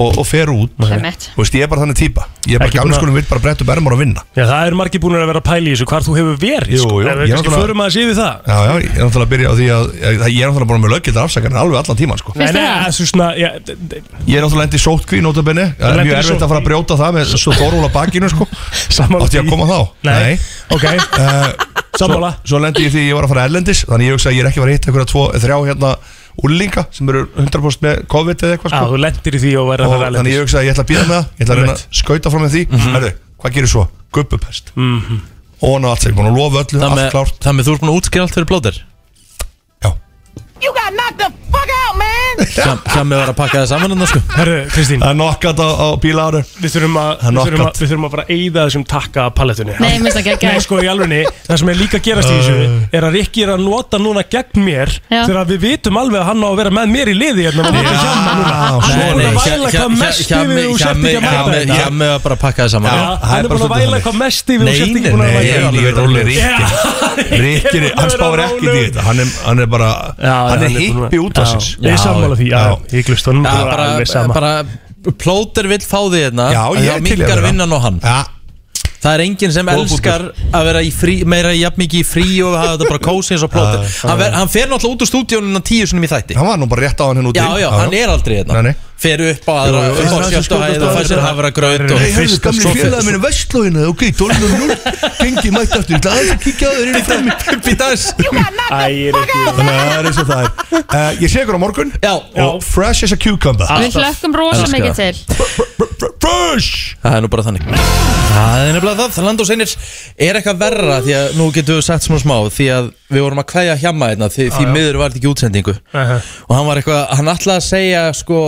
Speaker 12: og, og fer út
Speaker 2: Einmitt.
Speaker 12: Þú veist, ég er bara þannig típa Ég er bara
Speaker 3: Ekki
Speaker 12: gamlega
Speaker 3: búin að-
Speaker 12: skulum vill bara brett upp ermar og vinna
Speaker 3: Já, það er margir búin að vera að pæla í þessu hvar þú hefur verið
Speaker 12: Jú,
Speaker 3: sko.
Speaker 12: jú, ég
Speaker 3: Ef
Speaker 12: er
Speaker 3: Við kannski
Speaker 12: náttúrulega-
Speaker 3: förum aðeins yfir það
Speaker 12: Já, já, ég er náttúrulega að byrja á því að Ég, ég er náttúrulega bara með löggildar afsakarnir alveg allan tíman sko.
Speaker 3: Nei, nei, það er svona já, d- d-
Speaker 12: Ég er náttúrulega endið sótkví notabene Það er
Speaker 3: Lendir í
Speaker 12: mjög erfitt
Speaker 3: sóttkví.
Speaker 12: að fara að brjóta það með svo þorúla bakinu sko
Speaker 3: Sammála
Speaker 12: Átti ég að koma þá?
Speaker 3: Nei. Ok.
Speaker 12: uh,
Speaker 3: Sammála.
Speaker 12: Svo, svo lendi ég því að ég var að fara erlendis Þannig ég hugsa að ég er ekki að fara að hitta einhverja tvo, þrjá hérna úrlinga sem eru 100% með COVID eða eitthvað
Speaker 3: Já, þú
Speaker 12: sko
Speaker 3: lendir í því og verður að
Speaker 12: Og
Speaker 3: vera
Speaker 12: þannig ég hugsa að ég ætla að býða með það Ég ætla að reyna að skauta fram með því
Speaker 1: Mhm.
Speaker 12: Herðu, hvað gerir svo? Gubbupest Og hann á allt sem búin að lofa öllu, allt
Speaker 1: að
Speaker 12: klárt
Speaker 1: Þannig þú ert búin að útskýra allt fyrir plótir
Speaker 13: You got knocked the fuck out man
Speaker 1: Hjami var að pakka það saman en það sko
Speaker 3: Herru, Kristín
Speaker 12: Það er nokkat á, á bíla ára
Speaker 3: Við þurfum að,
Speaker 12: Það er
Speaker 3: við þurfum að,
Speaker 12: knockout.
Speaker 3: við þurfum að bara eyða þessum takka palettunni
Speaker 2: Nei, minnst það geggjað.
Speaker 3: Nei, sko, í alvegni, það sem er líka að gerast í þessu Er að Rikki er að nota núna gegn mér
Speaker 2: Já.
Speaker 3: Þegar að við vitum alveg að hann á að vera með mér í liði Hérna, við erum hjá núna
Speaker 12: Ah,
Speaker 1: Ah,
Speaker 3: Hann er búin að væla hvað mest yfir því þú sért ekki að mæta
Speaker 1: Hjami
Speaker 3: þetta
Speaker 1: var bara að pakka það
Speaker 3: Já,
Speaker 1: saman
Speaker 3: Hann er búin að væla hvað mest yfir því þú sért ekki búin að
Speaker 12: Nei,
Speaker 3: væla
Speaker 12: nei, ég er alveg
Speaker 3: Já,
Speaker 12: Rikki
Speaker 3: ég er
Speaker 12: Rikki, hann
Speaker 3: búin að vera
Speaker 12: spáir
Speaker 3: á
Speaker 12: ekki í
Speaker 3: rólegur.
Speaker 12: þetta Hann er, hann er bara, hann er hippi út af sér
Speaker 3: Ég er sammála því, já, ég glust honum
Speaker 1: Já,
Speaker 3: bara
Speaker 1: bara,
Speaker 3: alveg sama.
Speaker 1: bara plóter vill fá því hérna
Speaker 12: Já, ég er til í að
Speaker 1: minkar
Speaker 12: vera.
Speaker 1: vinnan og hann
Speaker 12: ja.
Speaker 1: Það er enginn sem
Speaker 12: Góð
Speaker 1: elskar að vera í frí, meira jafn mikið í frí og hafa þetta bara kósi eins og plóter
Speaker 12: Já, já.
Speaker 1: hann, ver, hann fer náttúrulega út úr stúdíónunum tíu sinum í þætti
Speaker 12: Hann var nú bara rétt á hann henn úti
Speaker 1: Já, já, hann er aldrei hérna
Speaker 12: Nei, nei.
Speaker 1: Fer upp á aðra,
Speaker 12: Jú, jú,
Speaker 1: upp á
Speaker 12: það er
Speaker 1: sjöttu
Speaker 12: svo
Speaker 1: hæð og fær sér hafra gröð og
Speaker 12: Hey, hefðu gamli félagin minni vestlóinu Ok, 12.0 Gengi mætt aftur Það er að kíkja á þeir inn í fram
Speaker 1: Bítas
Speaker 12: Þannig að það
Speaker 3: Æ,
Speaker 12: er eins og það er Eh, Ég sé ykkur á morgun
Speaker 1: Já
Speaker 12: Og fresh as a cucumber
Speaker 1: Ah.
Speaker 2: Við hlökkum rosa
Speaker 1: Elska.
Speaker 2: mikið til
Speaker 12: Fresh
Speaker 1: Það er nú bara þannig Það er nefnilega það, það land og seinir Er eitthvað verra, því að nú getum við sett smá smá Því að við vorum að kveðja hjamma hérna Því, því
Speaker 3: Já, já.
Speaker 1: miður var þetta ekki útsendingu Og hann var eitthvað, hann ætlaði að segja sko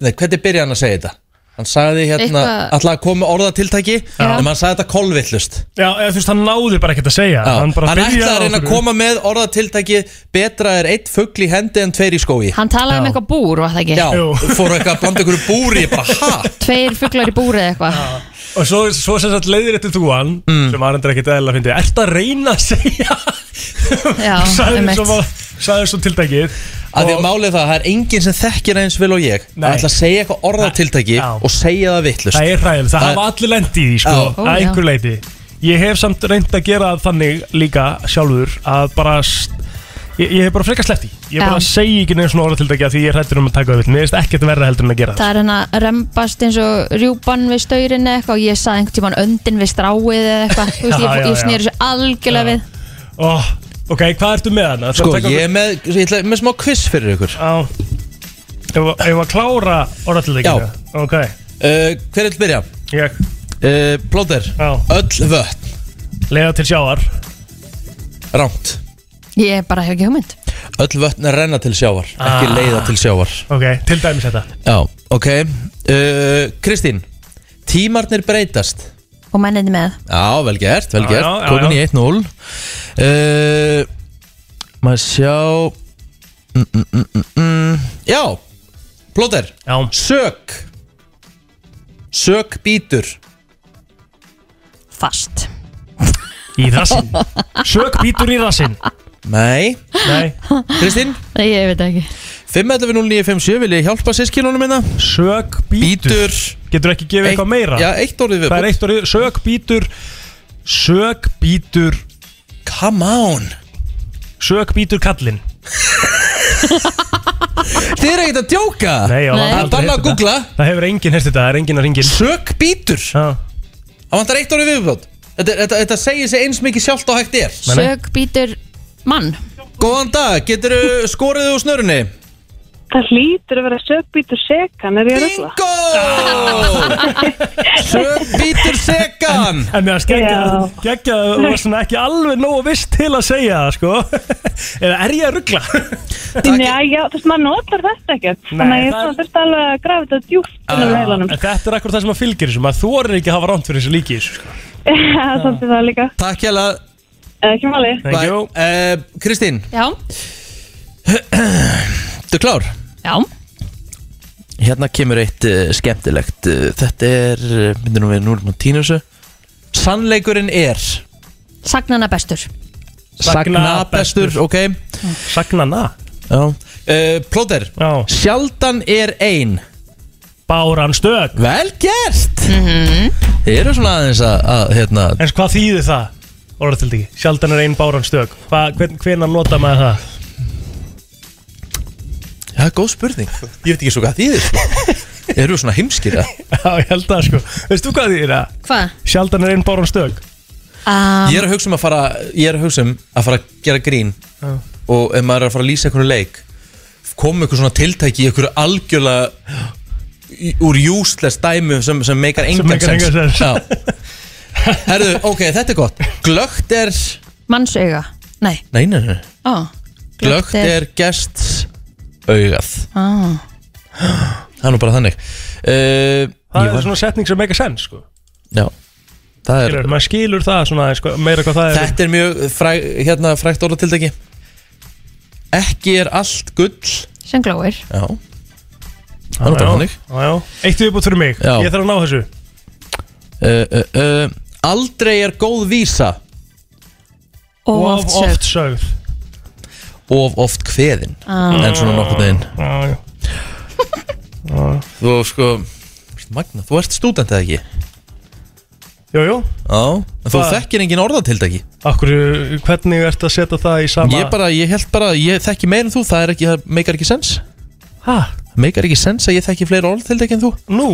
Speaker 1: Nei, hvernig byrja hann að segja þetta? Hann sagði hérna,
Speaker 3: Eitthvað-
Speaker 1: ætlaði að koma með orðatiltæki En hann sagði þetta kolvillust
Speaker 3: Já, eða þú veist, hann náði bara ekkert að segja
Speaker 1: Já,
Speaker 3: Hann
Speaker 1: Hann,
Speaker 3: bara
Speaker 1: ætlaði
Speaker 3: byrjaði
Speaker 1: að reyna að
Speaker 3: okkur.
Speaker 1: koma með orðatiltæki Betra er eitt fuggl í hendi en tveir í skói
Speaker 2: Hann talaði um eitthvað búr, var það ekki?
Speaker 1: Já, fór eitthvað að blanda ykkur búri Ég bara, ha?
Speaker 2: Tveir fuglar í búri eða eitthvað
Speaker 3: Og svo, svo sem sagt leiðir þetta þú hann
Speaker 1: Mm.
Speaker 3: sem var endur ekkert eðla að fyndi Ert að reyna að segja
Speaker 2: Já,
Speaker 3: Sæður
Speaker 2: einmitt.
Speaker 3: svo, sagði svo tildækið
Speaker 1: Að því að málið það, það er enginn sem þekkir eins vel og ég Nei. Það ætla að segja eitthvað orðatiltæki og segja það vittlust
Speaker 3: Það er ræðilegt, það hafa allir lendi í því sko,
Speaker 1: Já. Ó,
Speaker 3: að
Speaker 1: já.
Speaker 3: einhver leiti Ég hef samt reynd að gera þannig líka sjálfur að bara st- Ég, ég hef bara frekar sleppt í Ég bara
Speaker 2: Já.
Speaker 3: segi ekki neins svona orða til dækja því ég er hrættur um að taka það vill Mér finnst ekkert verra heldur en að gera
Speaker 2: Það er hérna rembast eins og rjúpan við staurin eða eitthvað og ég saði einhvern tímann öndin við stráið eða eitthvað Þú veist,
Speaker 3: Já,
Speaker 2: ég,
Speaker 3: já,
Speaker 2: ég
Speaker 3: já.
Speaker 2: snýr þessu algjörlega við
Speaker 3: Ó, Ok, hvað ertu með hana?
Speaker 1: Sko, ég er með, ég ætla, með smá quiz fyrir ykkur
Speaker 3: Já Ef ég var að klára orðatildekina Já Ok
Speaker 1: uh, Hver vil byrja?
Speaker 3: Ég
Speaker 1: uh, Plóter
Speaker 3: Já
Speaker 1: Öll vötn
Speaker 3: Lega til sjáar
Speaker 1: Rámt
Speaker 2: Ég bara hef ekki hugmynd
Speaker 1: Öll vötn renna til sjávar Ekki
Speaker 3: Ah.
Speaker 1: leiða til sjávar
Speaker 3: Ok, til dæmis þetta
Speaker 1: Já, ok Uh, Kristín Tímarnir breytast
Speaker 2: Og mennið með
Speaker 1: Já, vel gert, vel
Speaker 3: Já,
Speaker 1: gert
Speaker 3: já, já,
Speaker 1: Komin í
Speaker 3: já.
Speaker 1: 1-0 uh, Maður sjá mm, mm, mm, mm, mm. Já Plóter
Speaker 3: Já
Speaker 1: Sök Sök býtur
Speaker 2: Fast
Speaker 3: Í rassinn Sök bítur í rassinn
Speaker 1: Nei
Speaker 3: Nei
Speaker 1: Kristín
Speaker 2: Nei, ég veit ekki
Speaker 1: 511-0957 Vil ég hjálpa sískinunum minna?
Speaker 3: Sök
Speaker 1: býtur
Speaker 3: Getur ekki gefið eitthvað meira?
Speaker 1: Já, eitt orðið
Speaker 3: Það er eitt orðið Sök bítur Sök bítur
Speaker 1: Come on
Speaker 3: Sök bítur kallinn
Speaker 1: Þið er ekkert að djóka
Speaker 3: Nei, já,
Speaker 1: Nei. Það er bara að googla.
Speaker 3: Það hefur enginn hérst þetta, það er enginn að ringin
Speaker 1: Sök bítur
Speaker 3: Já
Speaker 1: Það vantar eitt orðið viðbót Þetta, þetta, þetta segir sig eins mikið sjálft og hægt er
Speaker 2: Sök býtur mann
Speaker 1: Góðan dag, getur skorið úr snörunni?
Speaker 14: Það hlýtur að vera sögbítur sekan, er ég að rögla?
Speaker 1: Sögbítur sekan
Speaker 3: En mér
Speaker 14: Já.
Speaker 3: að skegja það var svona ekki alveg nógu viss til að segja það sko Eða er ég að ruggla?
Speaker 14: Nei, já, þú veist, maður notar þetta ekkert. Þannig að ég
Speaker 3: það er-
Speaker 14: svona þurfti alveg að grafa þetta djúpt inn á
Speaker 3: En
Speaker 14: heilanum.
Speaker 3: Þetta er akkur það sem að fylgir þessu maður þorir ekki að hafa ránt fyrir þessu líki í þessu sko
Speaker 14: Já, Svolítið það líka.
Speaker 1: Takk hjá það
Speaker 14: Ekki máli.
Speaker 1: Bye. Eh, Kristín,
Speaker 2: Já
Speaker 1: þú er klár?
Speaker 2: Já
Speaker 1: Hérna kemur eitt uh, skemmtilegt uh, Þetta er, uh, myndir nú við nú erum að tína þessu Sannleikurinn er
Speaker 2: Sagnana bestur
Speaker 1: Sagna bestur, ok
Speaker 3: Sagnana
Speaker 1: Já uh, Plóter
Speaker 3: Já
Speaker 1: Sjaldan er ein
Speaker 3: Báran stök
Speaker 1: Vel gert
Speaker 14: Mhm.
Speaker 1: Þið eru svona aðeins að, að hérna
Speaker 3: En hvað þýðir það? Orðatildi ekki, sjaldan er einn báran stök Hva, hvern, Hvenar nota maður það?
Speaker 1: Já, góð spurning Ég veit ekki svo hvað þýðir sko. Eru svona heimskir að
Speaker 3: Já, ég held það sko Veist þú hvað þýðir það?
Speaker 2: Hvað?
Speaker 3: Sjaldan er einn báran stök
Speaker 2: Um,
Speaker 1: Ég er að hugsa um að fara Ég er að hugsa um að fara að gera grín
Speaker 3: Já.
Speaker 1: Og ef maður er að fara að lýsa einhvern leik Komum ykkur svona tiltæki í Ykkur algjörlega í- Úr useless dæmi sem, sem meikar engan
Speaker 3: meikar engan sens.
Speaker 1: Já. Herðu, ok, þetta er gott Glögt er
Speaker 2: Mannsauga Nei
Speaker 1: Nei, nei, nei
Speaker 2: Ó
Speaker 1: Glögt er gests augað
Speaker 2: Á.
Speaker 1: Það er nú bara þannig uh,
Speaker 3: Það er svona setning sem meika sens sko
Speaker 1: Já Það er
Speaker 3: Skilur, maður skilur það svona aðeins, sko, meira hvað það er
Speaker 1: Þetta er mjög fræ, hérna, frækt orðatildegi Ekki er allt gull
Speaker 2: Sem glóir
Speaker 1: Já Það er nú bara þannig
Speaker 3: Já, já. Eitt viðbútt fyrir mig,
Speaker 1: Já.
Speaker 3: ég þarf að ná þessu
Speaker 1: uh, uh, uh, Aldrei er góð vísa
Speaker 2: Og
Speaker 3: Of
Speaker 2: oft sögð.
Speaker 3: oft sögð
Speaker 1: Of oft kveðin
Speaker 2: Ah.
Speaker 1: En svona nokkuð veginn
Speaker 3: Já, já.
Speaker 1: Þú sko Magna, þú ert stúdent eða ekki Já,
Speaker 3: Jú, jú,
Speaker 1: en þú
Speaker 3: Hvað?
Speaker 1: þekkir engin orðatildegi
Speaker 3: akkur, hvernig ertu að setja það í sama
Speaker 1: Ég bara, ég held bara, ég þekki meir en þú Það er ekki, það meikar ekki sens
Speaker 3: Hæ,
Speaker 1: Það meikar ekki sens að ég þekki fleiri orðatildegi en þú
Speaker 3: nú,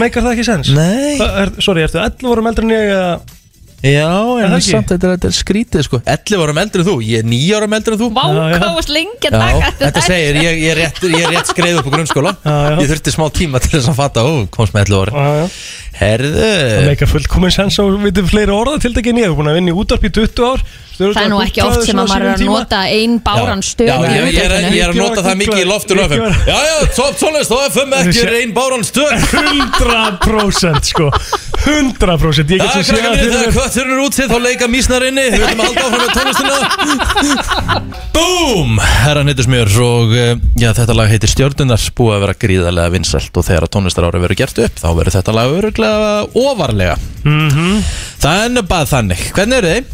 Speaker 3: meikar það ekki sens?
Speaker 1: Nei
Speaker 3: Þa, er, Sorry, ertu 11 árum eldri en ég eða
Speaker 1: Já, en
Speaker 3: það ekki?
Speaker 1: samt þetta er, þetta er skrítið sko 11 árum eldri en þú, ég er 9 árum eldri en þú
Speaker 2: Vá, hvað varst lengi að
Speaker 1: Já,
Speaker 2: taka
Speaker 1: þetta segir, ég, ég, er rétt, ég er rétt skreið upp á grunnskóla Ég þurfti smá tíma til þess að fatta Ó, komst með 11 ára
Speaker 3: Já, já. Það
Speaker 1: Herðu
Speaker 3: meikar fullkomin sens og við veitum fleiri orða til dækinn ég hef búin að vinna í útarp í 20 ár
Speaker 2: Það er nú ekki oft sem að maður er að nota ein báran stöð
Speaker 1: Já,
Speaker 2: í
Speaker 1: ég, ég, er,
Speaker 2: útvarpinu.
Speaker 1: ég er að nota það mikið í loftur
Speaker 3: Ekki
Speaker 1: öfum
Speaker 3: vera-
Speaker 1: Já, já, svo, svoleiðis, þá er fömm ekki reyn báran stöð
Speaker 3: 100% sko 100% Ég
Speaker 1: Já,
Speaker 3: get svo séð
Speaker 1: krakkarnir,
Speaker 3: fyrir
Speaker 1: þegar
Speaker 3: mér-
Speaker 1: kvötturinn er útsið þá leika mísnar inni Við viljum halda áfram með tónlistina Búm! Herra Nýttusmjör og eh, já, þetta lag heitir Stjörnunar búið að vera gríðarlega vinsælt og þegar að tónlistarári verður gert upp þá verður þetta lag öruglega ofarlega
Speaker 3: Mhm.
Speaker 1: Það er nú bara þannig Hvernig eru þið?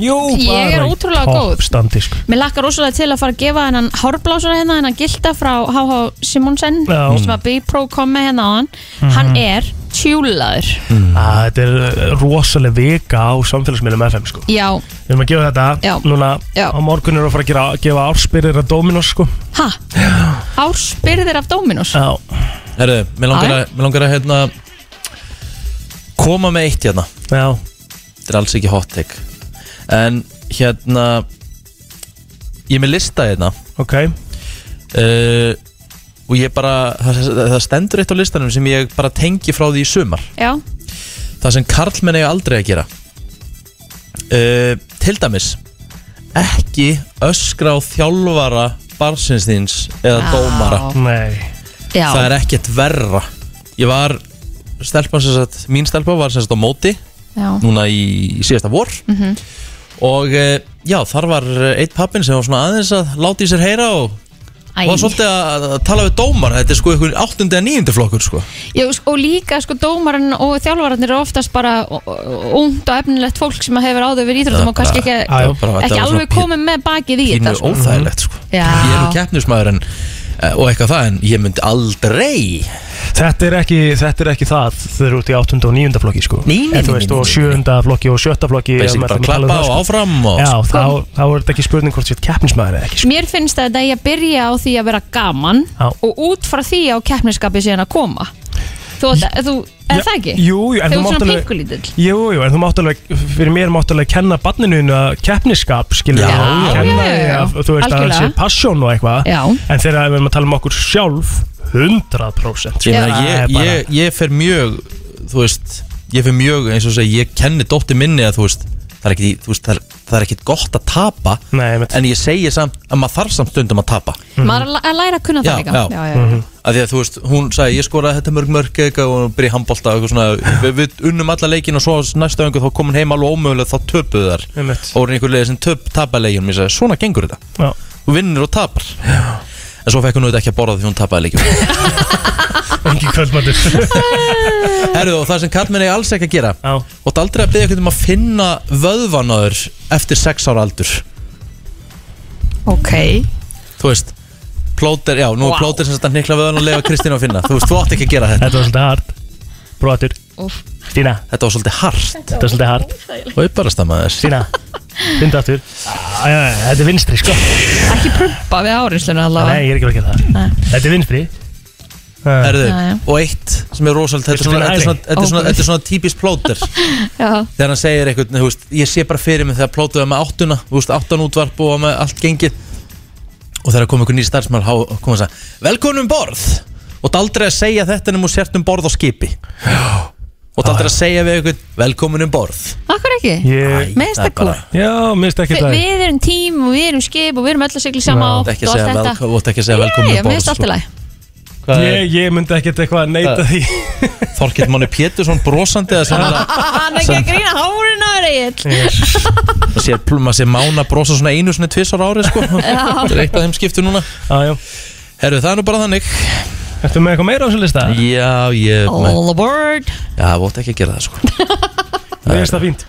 Speaker 3: Jú,
Speaker 2: Ég er
Speaker 3: bara í
Speaker 2: ótrúlega góð.
Speaker 3: toppstandi, sko.
Speaker 2: Mér lakkar rosalega til að fara að gefa hennan hárblásara hérna, hennan gilda frá HH Simonsen
Speaker 3: Já.
Speaker 2: sem að B-Pro kom með hérna á hann
Speaker 1: Mhm.
Speaker 2: hann er tjúlaður
Speaker 3: Ah, Þetta er rosalega vika á samfélagsmiðlum FM sko.
Speaker 2: Já,
Speaker 3: Við erum að gefa þetta
Speaker 2: Já.
Speaker 3: Núna
Speaker 2: Já.
Speaker 3: á morgun erum við að fara að gera, gefa ársbyrðir að Dominos sko.
Speaker 2: ha? Ársbyrðir af Dominos
Speaker 3: Já
Speaker 1: Herru, mér langar að, mér langar að hérna, koma með eitt hérna
Speaker 3: Já
Speaker 1: Þetta er alls ekki hot take En hérna Ég er með lista hérna
Speaker 3: Ok
Speaker 1: uh, Og ég bara, það, það stendur eitt á listanum sem ég bara tengi frá því í sumar
Speaker 2: Já,
Speaker 1: Það sem karlmenn eiga aldrei að gera uh, Til dæmis Ekki öskra á þjálfara barnsins þíns eða
Speaker 2: Já.
Speaker 1: dómara
Speaker 3: Nei
Speaker 2: já
Speaker 1: það er ekkert verra ég var stelpan sem sagt mín stelpa var sem sagt á móti
Speaker 2: Já.
Speaker 1: núna í, í síðasta vor
Speaker 2: Mhm.
Speaker 1: og eh, já þar var eh, einn pappin sem var svona aðeins að láta í sér heyra og
Speaker 2: Æ.
Speaker 1: var svolítið að, að tala við dómar þetta er sko einhver 8. og 9. flokkur sko
Speaker 2: Já, og líka sko dómarinn og þjálfararnir eru oftast bara ungd og efnilegt fólk sem hefur áður verið í
Speaker 1: Það
Speaker 2: íþróttum og kannski
Speaker 1: bara-
Speaker 2: ekki,
Speaker 1: Já, já, bara- þetta
Speaker 2: ekki
Speaker 1: var svona
Speaker 2: alveg
Speaker 1: pín-
Speaker 2: komið með bakið í
Speaker 1: pínu
Speaker 2: þetta sko.
Speaker 1: óþægilegt sko
Speaker 2: Já.
Speaker 1: ég er nú keppnismæður en eh, og eitthvað það en ég myndi aldrei
Speaker 3: Þetta er ekki, þetta er ekki það þegar þú ert í 8. og 9. flokki sko
Speaker 1: Nei, nei,
Speaker 3: En þú
Speaker 1: nei,
Speaker 3: veist,
Speaker 1: nei,
Speaker 3: og
Speaker 1: nei,
Speaker 3: 7. flokki og 7. flokki
Speaker 1: Basic
Speaker 3: ef maður
Speaker 1: bara
Speaker 3: ætlum að tala um
Speaker 1: klappa
Speaker 3: það, sko.
Speaker 1: og áfram og-
Speaker 3: Já, þá, þá er þetta ekki spurning hvort þú ert keppnismæður eða ekki sko.
Speaker 2: Mér finnst að þetta eigi að byrja á því að vera gaman
Speaker 3: Já.
Speaker 2: og út frá því á keppniskapi síðan að koma Þú, þú er það ekki?
Speaker 3: Jú, jú, en
Speaker 2: Þegar
Speaker 3: þú mátt
Speaker 2: svona
Speaker 3: alveg
Speaker 2: pinkulítill
Speaker 3: Jú, jú, en þú mátt alveg, fyrir mér mátt alveg kenna barninu þínu að keppnisskap, skilur
Speaker 2: Já,
Speaker 3: þú,
Speaker 2: já,
Speaker 3: kenna
Speaker 2: já,
Speaker 3: því
Speaker 2: já.
Speaker 3: að þú veist að það
Speaker 2: Algjörlega.
Speaker 3: sé passion og eitthvað
Speaker 2: Já.
Speaker 3: en þegar við erum að tala um okkur sjálf 100%
Speaker 1: ég,
Speaker 3: sko.
Speaker 1: meina,
Speaker 3: Það er
Speaker 1: ég,
Speaker 3: bara-
Speaker 1: ég, ég fer mjög þú veist, ég fer mjög eins og segja, ég kenni dótti minni að þú veist það er ekkit, í- þú veist, það er, það er ekkit gott að tapa
Speaker 3: Nei,
Speaker 1: en ég segi samt að maður þarf samt stundum að tapa
Speaker 2: Maður er að læ- að læra að kunna
Speaker 1: Mhm. já,
Speaker 2: það líka
Speaker 1: já, Mhm. að því að þú veist, hún sagði ég skoraði þetta mörg mörg eitthvað og hún byrja í handbolta og eitthvað svona, við, við unnum alla leikin og svo næsta öngu þá kom hún heim alveg ómögulega þá töpuðu þar
Speaker 3: Einmitt.
Speaker 1: og voru einhver leiði sem töp tapaleikjum ég sagði, svona gengur þetta
Speaker 3: Já.
Speaker 1: þú vinnir og tapar já. en svo fekk hún auðvitað ekki að borða því hún tapaði leikjum
Speaker 3: Engi kvöldmatur
Speaker 1: Herðu og það sem kallmenn er alls ekki að gera
Speaker 3: Já.
Speaker 1: og það aldrei að byggja eitthvað um að finna vöðvanaður eftir 6 ára aldur
Speaker 2: Ok
Speaker 1: þú veist plóter, já, nú er
Speaker 2: Vá.
Speaker 1: plóter sem þetta nikla vöðvan og lefa Kristín að finna, þú veist, þú átt ekki að gera þetta
Speaker 3: Þetta var svolítið hart Brotur
Speaker 2: Úff.
Speaker 3: Stína
Speaker 1: Þetta var svolítið hart
Speaker 3: Þetta var svolítið hart
Speaker 1: Og ég bara stammaði þess
Speaker 3: Stína Fyndu aftur Æ, æ, æ, Þetta er vinstri sko
Speaker 2: Ekki prumpa við árinslunum allavega
Speaker 3: Nei, ég er ekki að gera það
Speaker 2: Nei.
Speaker 3: Þetta er vinstri
Speaker 1: Herðu,
Speaker 2: Já, já.
Speaker 1: og eitt sem er rosalega þetta er svona- þetta er svona- þetta er svona- þetta er svona típist plóter
Speaker 2: Já,
Speaker 1: þegar hann segir eitthvað, þú veist, ég sé bara fyrir mig þegar plótuðu með áttuna, þú veist, áttan útvarp og var með allt gengið og þegar kom einhver nýr starfsmæl kom hann að segja velkomin um borð og það aldrei að segja þetta nema þú sért um borð á skipi og það aldrei að segja við eitthvað velkomin um borð
Speaker 2: akkur ekki
Speaker 3: Ég
Speaker 2: Mér finnst það cool.
Speaker 3: Já, mér finnst ekki
Speaker 2: Vi,
Speaker 3: það
Speaker 2: Við erum tím og við erum skip og við erum öll að sigla
Speaker 1: Já.
Speaker 2: saman
Speaker 1: Þú átt
Speaker 2: átt
Speaker 1: ekki að
Speaker 2: og allt
Speaker 1: segja
Speaker 2: þetta.
Speaker 1: velko- þú átt ekki að segja velkomin
Speaker 2: Já, já,
Speaker 1: um borð,
Speaker 2: Mér finnst allt
Speaker 1: sko.
Speaker 2: í lagi
Speaker 3: Ég, ég myndi ekkert eitthvað að neita því
Speaker 1: Þorkill Máni Pétursson brosandi eða sem hann
Speaker 2: Hann er ekki að grína hárun á þér Egill
Speaker 1: sé, maður sé mána brosa svona einu svona tvisar ári sko.
Speaker 2: Já.
Speaker 1: þetta er eitt af þeim skiptu núna
Speaker 3: ah,
Speaker 1: Herru, það er nú bara þannig
Speaker 3: Ertu með eitthvað meira á þessu lista?
Speaker 1: Já, ég
Speaker 2: All aboard
Speaker 1: Já, þú átt ekki að gera það sko
Speaker 3: Mér finnst það fínt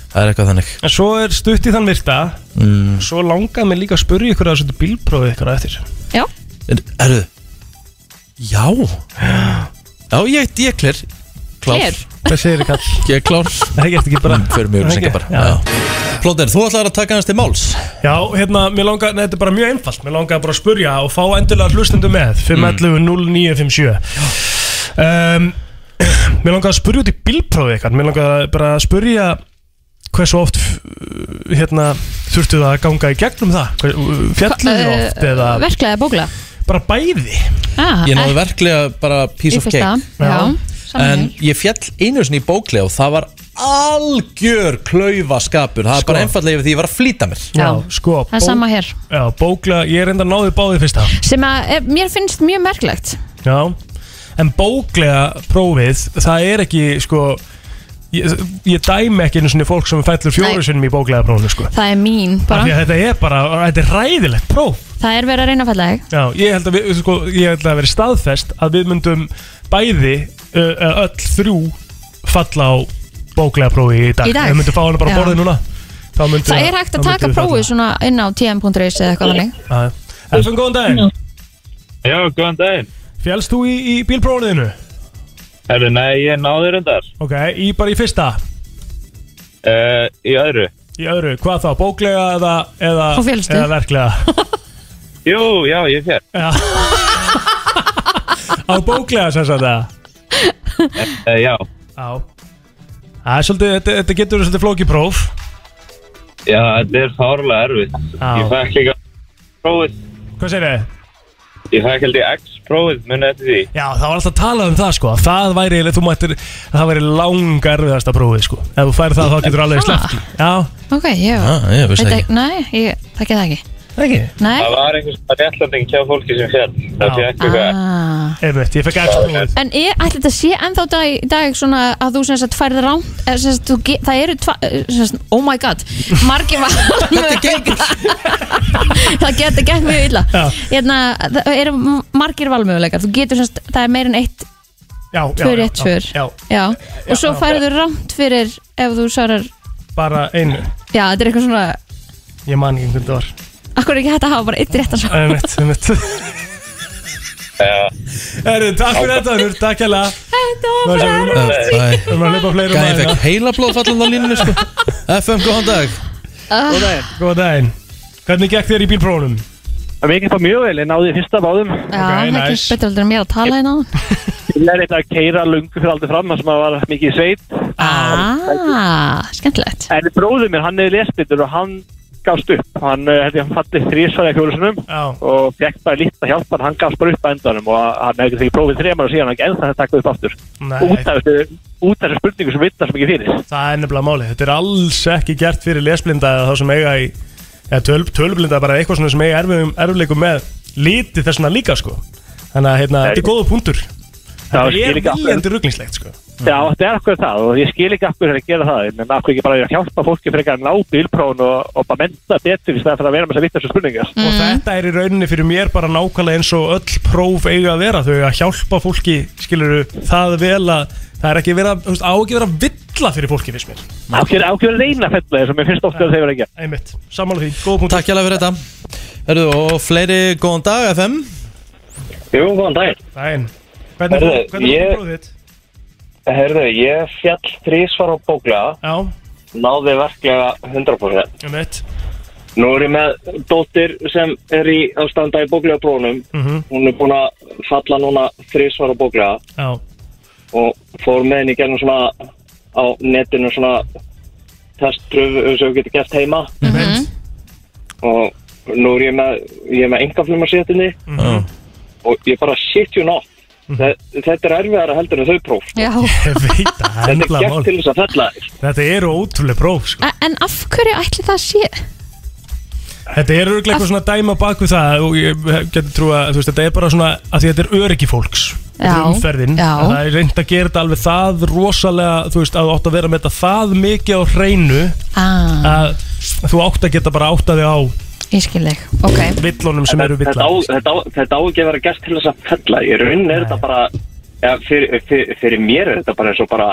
Speaker 1: Það er eitthvað þannig
Speaker 3: En svo er stutt í þann virta
Speaker 1: mm.
Speaker 3: Svo langaði mig líka að spyrja ykkur að þessu bílprófi ykkur að eftir
Speaker 2: Já,
Speaker 1: Erðu Já Já, ég, ég klir
Speaker 2: Klár.
Speaker 3: Hvað segir þið kall?
Speaker 1: Ég er klár
Speaker 3: Það gerst ekki bara
Speaker 1: Fyrir mjög
Speaker 3: Það
Speaker 1: sem
Speaker 3: ekki?
Speaker 1: bara Já. Plóter, þú ætlar að taka hans til máls
Speaker 3: Já, hérna, mér langaði, þetta er bara mjög einfalt Mér langaði bara að spurja og fá endilega hlustendu með 511-0957 um, Mér langaði að spurja út í bílprófi eitthvað Mér langaði bara að spurja hversu oft f- hérna, þurftu það að ganga í gegnum það Hver- Fjalluðu þið
Speaker 2: Eh,
Speaker 3: oft eða
Speaker 2: Verklega eða bóklega
Speaker 3: bara bæði
Speaker 2: ah,
Speaker 1: Ég náði verklega bara piece
Speaker 2: Í
Speaker 1: of
Speaker 2: fyrsta,
Speaker 1: cake
Speaker 2: já,
Speaker 1: En
Speaker 2: sammála.
Speaker 1: ég fjall einu sinni í bóklega og það var algjör klaufaskapur Það er bara einfallega yfir því ég var að flýta mér
Speaker 3: Já, sko
Speaker 2: Það er
Speaker 3: bók-
Speaker 2: sama hér.
Speaker 3: Já, bókla, ég er enda náði báði fyrsta
Speaker 2: Sem að er, mér finnst mjög merklegt
Speaker 3: Já, en bóklega prófið, það er ekki sko, ég, ég dæmi ekki einu svona fólk sem fellur
Speaker 2: Nei.
Speaker 3: fjóru sinnum í bóklega prófinu sko.
Speaker 2: Það er mín
Speaker 3: Af því
Speaker 2: bara
Speaker 3: að Þetta er bara, þetta er ræðilegt próf
Speaker 2: Það er verið að reyna að falla þig
Speaker 3: Já, ég held að við, sko, ég held að það veri staðfest að við myndum bæði ö, ö, öll þrjú falla á bóklega prófi í dag,
Speaker 2: Í dag?
Speaker 3: Við myndum fá hana bara
Speaker 2: Já.
Speaker 3: á borðið núna Þá myndum-
Speaker 2: Það er hægt
Speaker 3: þá
Speaker 2: að taka
Speaker 3: myndum við
Speaker 2: prófið svona inn á tm.is eða eitthvað þannig
Speaker 3: falla. Já. Elfum, góðan daginn
Speaker 15: Já, góðan daginn
Speaker 3: Fjálst þú í, í bílprófinuðinu?
Speaker 15: Herru, nei, ég náði reyndar
Speaker 3: Ok, í, bara í fyrsta?
Speaker 15: uh, Í öðru
Speaker 3: Í öðru, hvað þá, bóklega eða, eða,
Speaker 15: Þá félstu.
Speaker 3: eða verklega?
Speaker 15: Jú, já, ég fer
Speaker 3: Já. Á bóklega sem sagt það?
Speaker 15: uh, Já,
Speaker 3: Já. Það er svolítið, þetta, þetta getur verið svolítið flókið próf.
Speaker 15: já, þetta er fárlega erfitt
Speaker 3: Já.
Speaker 15: Ég fekk líka
Speaker 5: prófið
Speaker 3: Hvað segir þið?
Speaker 5: Ég fæk held ég X prófið munið eftir því
Speaker 3: Já, það var alltaf að tala um það sko að Það væri, eiginlega- þú mættir, það væri langarfiðasta prófið sko Ef þú færi það þá getur alveg sleppt í. Já,
Speaker 2: Ok, ég
Speaker 3: Ah, ég vissi
Speaker 2: Veit
Speaker 3: ekki.
Speaker 2: ekki Nei, ég þekki það ekki
Speaker 3: Ekki?
Speaker 2: Nei
Speaker 5: Það var einhvers svona réttlanding hjá fólki sem fjall Það fekk eitthvað
Speaker 2: ah.
Speaker 3: einmitt, ég fekk X prófið
Speaker 2: En ég ætli þetta sé ennþá dag, í dag svona að þú sem sagt færði ránt eða sem sagt, þú ge- það eru tva, sem sagt, oh my god, margir var Þetta
Speaker 16: gengur
Speaker 2: Það getur gett mjög illa
Speaker 3: Já.
Speaker 2: Hérna, það eru margir valmöguleikar þú getur sem sagt, það er meir en eitt
Speaker 3: Já, já,
Speaker 2: tvö
Speaker 3: já,
Speaker 2: rétt
Speaker 3: já,
Speaker 2: svör
Speaker 3: já.
Speaker 2: Já. og svo
Speaker 3: já.
Speaker 2: færðu rámt fyrir ef þú svarar,
Speaker 3: Bara einu,
Speaker 2: já, þetta er eitthvað svona
Speaker 3: ég man ekki um hvernig það var
Speaker 2: akkur er ekki hægt að hafa bara eitt rétt að svara
Speaker 3: Einmitt, einmitt Herru, takk fyrir þetta, Unur, takk hella
Speaker 2: Þetta
Speaker 3: var Við erum að hlaupa fleiri
Speaker 16: Gæði fekk heila blóðfallan á línunni sko FM, góðan dag
Speaker 3: Góð daginn Góð daginn Hvernig gekk þér í bílprófunum?
Speaker 1: Mér gekk það mjög vel, ég náði fyrsta báðum
Speaker 2: Já, það er ekki betur heldur en mér að tala hérna á
Speaker 1: Ég lærði þetta að keira lungu fyrir aldrei fram þar sem það var mikið sveit
Speaker 2: Ah, skemmtilegt
Speaker 1: En bróður mér, hann er lesblindur og hann gafst upp Hann, eh, held ég, hann fallið þrísvar eða fjólusunum og fekk bara lítið hjálp en hann gafst bara upp að endanum og hann hefði ekki prófið þremar og síðan hann ekki ennþá að taka upp aftur
Speaker 3: Nei.
Speaker 1: Út af þessu- út af þessu spurningu sem vittar sem ekki fyrir
Speaker 3: Það er nefnilega máli, þetta er alls ekki gert fyrir lesblinda eða þá sem eiga í eða tölv, tölvblinda bara eitthvað svona sem eiga erfum, erfleikum með lítið þessuna líka sko Þannig að hérna, þetta er góða punktur
Speaker 1: ég
Speaker 3: Þetta
Speaker 1: skil
Speaker 3: er
Speaker 1: ekki af hverju-
Speaker 3: viljandi rugglingslegt sko
Speaker 1: Já, þetta er akkur það og ég skil ekki akkur að gera það en akkur ekki bara að hjálpa fólki fyrir að ná bílprón og, og bara mennta betur í stæðan fyrir að vera með þess að vittar spurningar
Speaker 3: Og þetta er í rauninni fyrir mér bara nákvæmlega eins og öll próf eiga að vera Þau eiga að hjálpa fólki, skilur það vel að það er ekki verið að, þú veist, á ekki verið að villa fyrir fólki fyrst mér
Speaker 1: Ákveður ákveður reyna fella þess að mér finnst ofta að þeir vera ekki
Speaker 3: Einmitt, sammála því, góða punktur
Speaker 16: Takk hérlega fyrir þetta Herru, og fleiri, góðan dag FM
Speaker 5: Jú, góðan daginn
Speaker 3: Daginn Hvernig
Speaker 5: Herðu,
Speaker 3: fór- hvernig
Speaker 5: ég-
Speaker 3: fór prófið þitt?
Speaker 5: Herðu, ég fjall þrísvar á bóklega
Speaker 3: Já
Speaker 5: Náði verklega 100%
Speaker 3: Einmitt
Speaker 5: Nú er ég með dóttir sem er í að standa í bóklega brónum
Speaker 3: Mhm.
Speaker 5: Hún er búin að falla núna þrísvar á bóklega
Speaker 3: Já
Speaker 5: og fór með henni í gegnum svona á netinu svona teströf sem við getum gert heima
Speaker 3: Mhm.
Speaker 5: og nú er ég með ég er með engaflumarsétinni
Speaker 3: Mhm.
Speaker 5: og ég bara shit you not Þe- þetta er erfiðara heldur en þau próf
Speaker 2: Já
Speaker 3: Ég veit að það er
Speaker 5: þetta er
Speaker 3: nefnilega
Speaker 5: gert til
Speaker 3: máli
Speaker 5: þess að fella þér.
Speaker 3: Þetta eru ótrúlega próf sko
Speaker 2: En- En af hverju ætli það sé?
Speaker 3: Þetta er örglega eitthvað svona dæma bak við það og ég getur trú að þú veist, þetta er bara svona að því þetta er öryggi fólks Þetta er
Speaker 2: Já,
Speaker 3: umferðin,
Speaker 2: já.
Speaker 3: Að það er reynd að gera þetta alveg það rosalega, þú veist, að þú átt að vera með þetta það mikið á hreinu
Speaker 2: Ah,
Speaker 3: að þú átt að geta bara átt að þig á
Speaker 2: ég skil þig Ok,
Speaker 3: villunum sem eru
Speaker 5: þetta,
Speaker 3: villar
Speaker 5: á- þetta, á- þetta á ekki að vera gert til þess að fella í raunin er þetta bara ja, fyrir, fyrir, fyrir mér er þetta bara eins og bara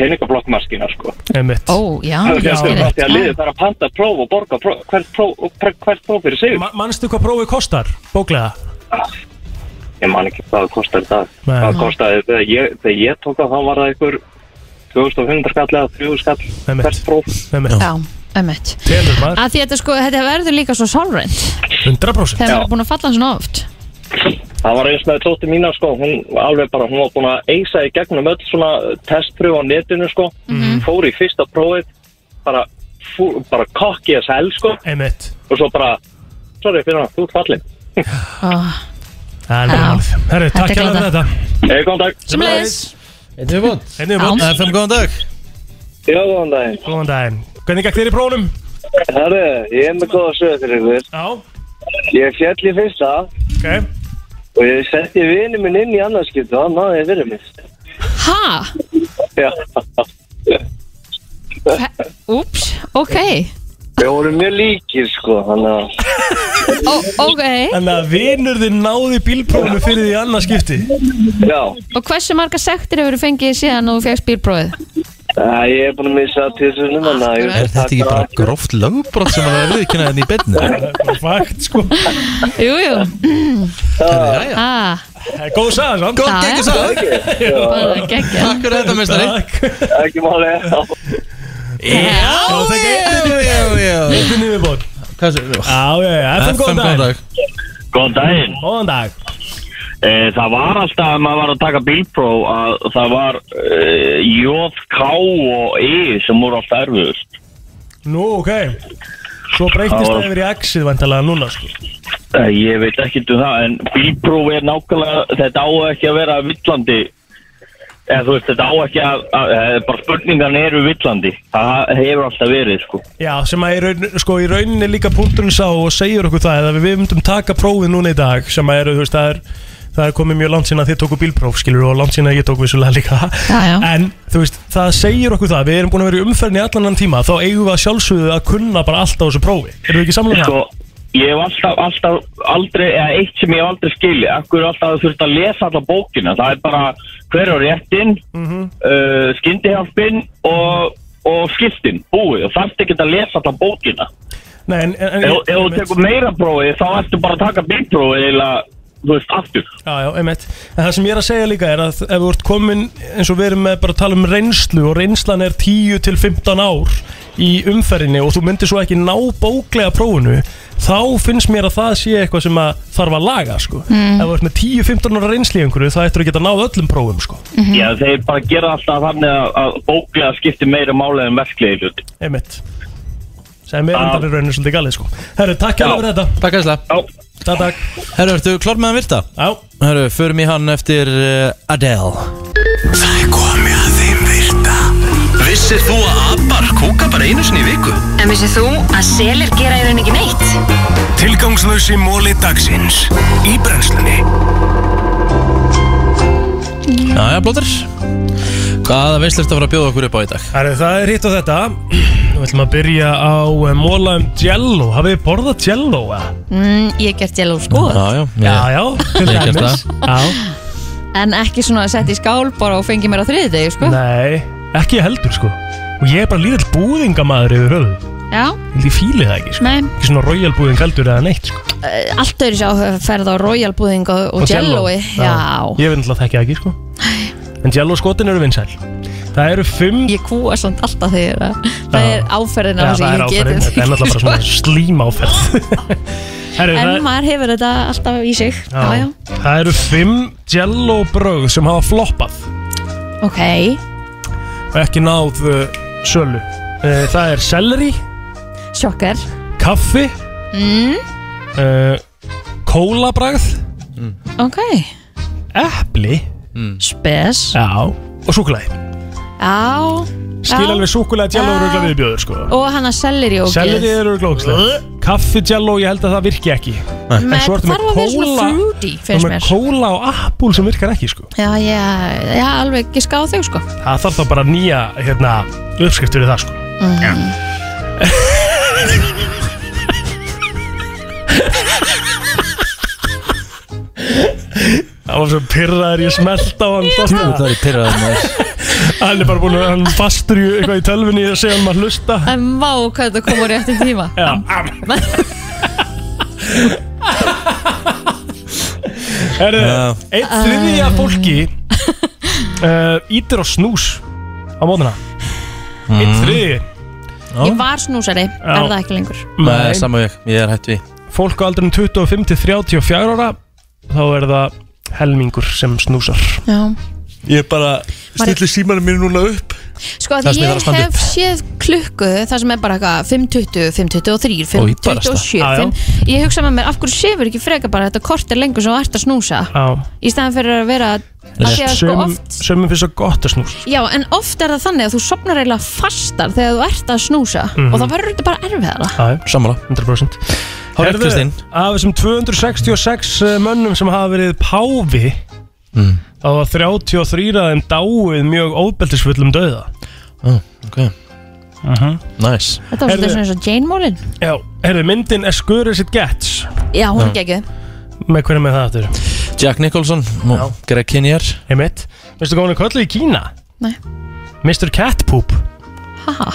Speaker 5: peningablokkmaskina sko
Speaker 3: Einmitt.
Speaker 2: Ó, já,
Speaker 5: Það er
Speaker 3: já.
Speaker 5: ekki að því að liðið þarf að panta próf og borga próf, hvert próf, og hver- hvert próf fyrir sig
Speaker 3: Ma- Manstu hvað prófið kostar, bóklega?
Speaker 5: Ég man ekki hvað það kostar í dag
Speaker 3: Nei.
Speaker 5: Hvað kostaði, þegar ég, þegar ég tók það þá var það einhver 2500 skall eða 3000 skall hvert próf
Speaker 2: já, ömmett
Speaker 3: Telur
Speaker 2: Að því þetta sko, þetta verður líka svo sálrönd
Speaker 3: 100%
Speaker 2: Þegar maður er búin að falla svona oft
Speaker 5: Það var eins með tótti mína sko, hún alveg bara, hún var búin að eisa í gegnum öll svona testpröf á netinu sko, fór í fyrsta prófið, bara, fú, bara kokki þess hel sko,
Speaker 3: Einmitt.
Speaker 5: og svo bara, sorry fyrir hana, þú ert fallin.
Speaker 2: Ah,
Speaker 3: Það er bara málið Herri,
Speaker 2: Þetta er
Speaker 3: takk hjá
Speaker 2: glata.
Speaker 3: þetta
Speaker 5: Hei, góðan dag.
Speaker 2: Sömuleiðis.
Speaker 16: Einn viðbót
Speaker 3: Einn viðbót
Speaker 16: Já. FM, góðan dag
Speaker 5: Já, góðan daginn
Speaker 3: Góðan daginn Hvernig gekk þér í prófnum?
Speaker 5: Herru, ég er með góða sögur fyrir ykkur Já Ég fjall í fyrsta
Speaker 3: Ok
Speaker 5: Og ég setti vinnu minn inn í annarskiptu og hann náði fyrir mig
Speaker 2: Ha?
Speaker 5: Já
Speaker 2: Úps, ok
Speaker 5: Við vorum mjög líkir sko Þannig að
Speaker 2: Ó, Ok,
Speaker 3: Þannig að vinur þinn náði bílprófnu fyrir því annað skipti
Speaker 5: Já
Speaker 2: og hversu marga sektir hefur fengið síðan og fegst bílprófið?
Speaker 5: Æ, ég er búin að missa tísunum Þannig að ég
Speaker 16: Er þetta ekki bara gróft lögbrot sem að við kynna þenni í bennu?
Speaker 3: Fakt sko
Speaker 2: Jú, jú
Speaker 16: Jæja.
Speaker 2: Ah,
Speaker 3: Góð saga samt
Speaker 16: Góð
Speaker 2: Já,
Speaker 16: geggjum
Speaker 2: já.
Speaker 16: sagði
Speaker 2: geggjum
Speaker 16: Takk fyrir þetta meistari
Speaker 5: Ekki máli
Speaker 16: Já, já, já, já
Speaker 3: Þetta er nýðubót
Speaker 16: Hvað sér þú?
Speaker 3: Já, já, já, FM, góðan dag
Speaker 17: Góðan daginn
Speaker 3: Góðan dag
Speaker 17: e, Það var alltaf að maður var að taka bílpróf að það var e, J, K og E sem voru alltaf erfiðust
Speaker 3: Nú, ok Svo breytist
Speaker 17: Já.
Speaker 3: það yfir í X-ið vantalega núna sko
Speaker 17: Eh, Ég veit ekkert um það, en bílpróf er nákvæmlega, þetta á ekki að vera villandi. Eða þú veist, þetta á ekki að, að, að bara spurningan eru villandi. Það hefur alltaf verið, sko.
Speaker 3: Já, sem að í, raun, sko, í rauninni líka punkturinn sá og segir okkur það að við myndum taka prófið núna í dag sem að eru, þú veist, það er það er komið mjög langt sína að þið tóku bílpróf skilur og langt sína að ég tók vissulega líka já, já. en þú veist, það segir okkur það við erum búin að vera í umferðinni allan annan tíma þá eigum við að sjálfsögðu að kunna bara allt á þessu prófi Erum við ekki um samlega?
Speaker 17: Sko, ég hef alltaf, alltaf aldrei, eða eitt sem ég hef aldrei skilið, akkur alltaf þurft að lesa alla bókina. Það er bara hver á réttin, mm -hmm. uh, skyndihjálpin og, og skiptin, búið. Og þarft ekki að lesa alla bókina.
Speaker 3: Nei, en, en, en,
Speaker 17: Ef ef þú tekur meira prófið, þá ertu bara að taka bílprófið eða, þú veist, aftur.
Speaker 3: Já, já, einmitt. En það sem ég er að segja líka er að ef þú ert komin, eins og við erum með bara að tala um reynslu og reynslan er 10 til 15 ár í umferðinni og þú myndir svo ekki ná bóklega prófunu þá finnst mér að það sé eitthvað sem að þarf að laga sko.
Speaker 17: Mm.
Speaker 3: Ef þú ert með 10-15 ára reynsli í einhverju þá ættir þú að geta náð öllum prófum sko.
Speaker 17: Já, þeir bara gera alltaf þannig að- að bóklega skiptir meira málega en verklegi hluti.
Speaker 3: Einmitt. Sem er endan í rauninu svolítið galið sko. Herru, takk hjá fyrir þetta.
Speaker 1: Takk æsla.
Speaker 3: Takk, takk.
Speaker 1: Herru, ertu klár með að virta?
Speaker 3: Já.
Speaker 1: Herru, förum í hann eftir eh, Adele.
Speaker 13: Það er komið að þeim virta Vissir þú að abar kúka bara einu sinni í viku?
Speaker 18: En vissið þú að selir gera í rauninni ekki neitt?
Speaker 13: Tilgangslösi móli dagsins Í brennslunni
Speaker 1: Já, já, blóður Hvaða veist ertu að fara að bjóða okkur upp á í dag?
Speaker 3: Herru, það er hitt og þetta. Við ætlum að byrja á eh, móla um jello. Hafið þið borðað jello? eða?
Speaker 2: mm, Ég hef gert jello sko
Speaker 1: Já, já,
Speaker 3: Já, já, til
Speaker 1: Ég gert
Speaker 3: dæmis. Já.
Speaker 2: En ekki svona að setja í skál bara og fengi mér á þriði degi sko
Speaker 3: Nei, ekki ég heldur sko Og ég er bara lítill búðingamaður yfir höfuð
Speaker 2: Já,
Speaker 3: Ég fíli það ekki sko
Speaker 2: nei
Speaker 3: Ekki svona royal búðing heldur eða neitt sko
Speaker 2: Eh, Allt öðru sér ferð á Royal búðing og, og jelloi Já,
Speaker 3: Ég vil náttúrulega þekki það ekki sko En jello skotin eru vinsæl Það eru fimm
Speaker 2: Ég kúa samt alltaf þegar að- það
Speaker 3: Já.
Speaker 2: er áferðin á
Speaker 3: Já,
Speaker 2: þessu
Speaker 3: það er
Speaker 2: ég
Speaker 3: áferðin,
Speaker 2: getur
Speaker 3: þetta er náttúrulega bara svona slím áferð Herru, það,
Speaker 2: sko. En maður hefur þetta alltaf í sig Já, já,
Speaker 3: það eru fimm jello bröð sem hafa floppað
Speaker 2: ok
Speaker 3: og ekki náð uh, sölu uh, Það er selleri,
Speaker 2: Sjokkar
Speaker 3: kaffi
Speaker 2: mm,
Speaker 3: uh, kólabragð
Speaker 2: Ok,
Speaker 3: epli
Speaker 2: Spes
Speaker 3: Já, og súkulæði
Speaker 2: já
Speaker 3: Skil
Speaker 2: já.
Speaker 3: alveg súkulæði jello
Speaker 2: Já.
Speaker 3: og rögla viðbjöður sko
Speaker 2: Og hann að selleri og
Speaker 3: Selleri eru glókslega Kaffi jello, ég held að það virki ekki En
Speaker 2: Með
Speaker 3: svo ertu
Speaker 2: þarf
Speaker 3: með
Speaker 2: að vera svona
Speaker 3: kóla
Speaker 2: fruity
Speaker 3: þú ert
Speaker 2: finnst
Speaker 3: með
Speaker 2: mér
Speaker 3: kóla og appúl sem virkar ekki sko
Speaker 2: Já, já, já, alveg ekki skáð þau sko
Speaker 3: Það þarf þá bara nýja hérna, uppskriftur í það sko
Speaker 2: mm.
Speaker 3: Það var svo pyrraður ég smelt á hann sko.
Speaker 1: Djöfull var ég pirraður,
Speaker 3: Hann er bara búin að hann er fastur í eitthvað í tölvunni að segja hann maður hlusta
Speaker 2: En vá, hvað þetta kom á réttum tíma
Speaker 3: Já. Herru,
Speaker 13: Já.
Speaker 3: eitt þriðja fólki uh, Ítir á snús Á móðuna Eitt þriðji
Speaker 2: Ég var snúsari, er það ekki lengur
Speaker 1: Nei, sama veg, ég er hætt við
Speaker 3: Fólk á aldrinum 25 til 34 ára Þá er það helmingur sem snúsar
Speaker 2: Já
Speaker 3: Ég bara
Speaker 2: Maður-
Speaker 3: símanum mínu núna upp
Speaker 2: Sko að
Speaker 3: Það sem ég þarf
Speaker 2: ég
Speaker 3: að standa
Speaker 2: hef séð klukku Það sem er bara eitthvað 5.20, 5.23,
Speaker 3: Og í barasta.
Speaker 2: 5.27
Speaker 3: Já, já.
Speaker 2: 5 Ég hugsa með mér, af hverju séfur ekki freka bara Þetta kort er lengur sem þú ert að snúsa
Speaker 3: Já
Speaker 2: Í staðan fyrir að vera að því að sko
Speaker 3: Sum-
Speaker 2: oft,
Speaker 3: Sumum finnst það gott að snús
Speaker 2: Já, en oft er það þannig að þú sopnar eiginlega fastar Þegar þú ert að snúsa
Speaker 3: Mhm.
Speaker 2: Og það verður þetta bara erfiðara
Speaker 3: Sammála 100%
Speaker 1: Hárrétt,
Speaker 3: Herðu,
Speaker 1: Kristín.
Speaker 3: Af þessum 266 eh, mönnum sem hafa verið páfi
Speaker 1: Mm.
Speaker 3: þá var 33 af þeim dáið mjög óbeltisfullum dauða
Speaker 1: oh, Ok
Speaker 3: uh -huh.
Speaker 1: Nice
Speaker 2: Þetta var svolítið svona eins og Jane Mólin
Speaker 3: Já, herðu, myndin er skurið sitt gets
Speaker 2: Já, hún er
Speaker 3: Já.
Speaker 2: geggjöð
Speaker 3: Með hverju með það aftur?
Speaker 1: Jack Nicholson og Greg Kinnear
Speaker 3: Einmitt Veistu hvað hún er kallið í Kína?
Speaker 2: Nei.
Speaker 3: Mr. Catpoop
Speaker 2: Haha,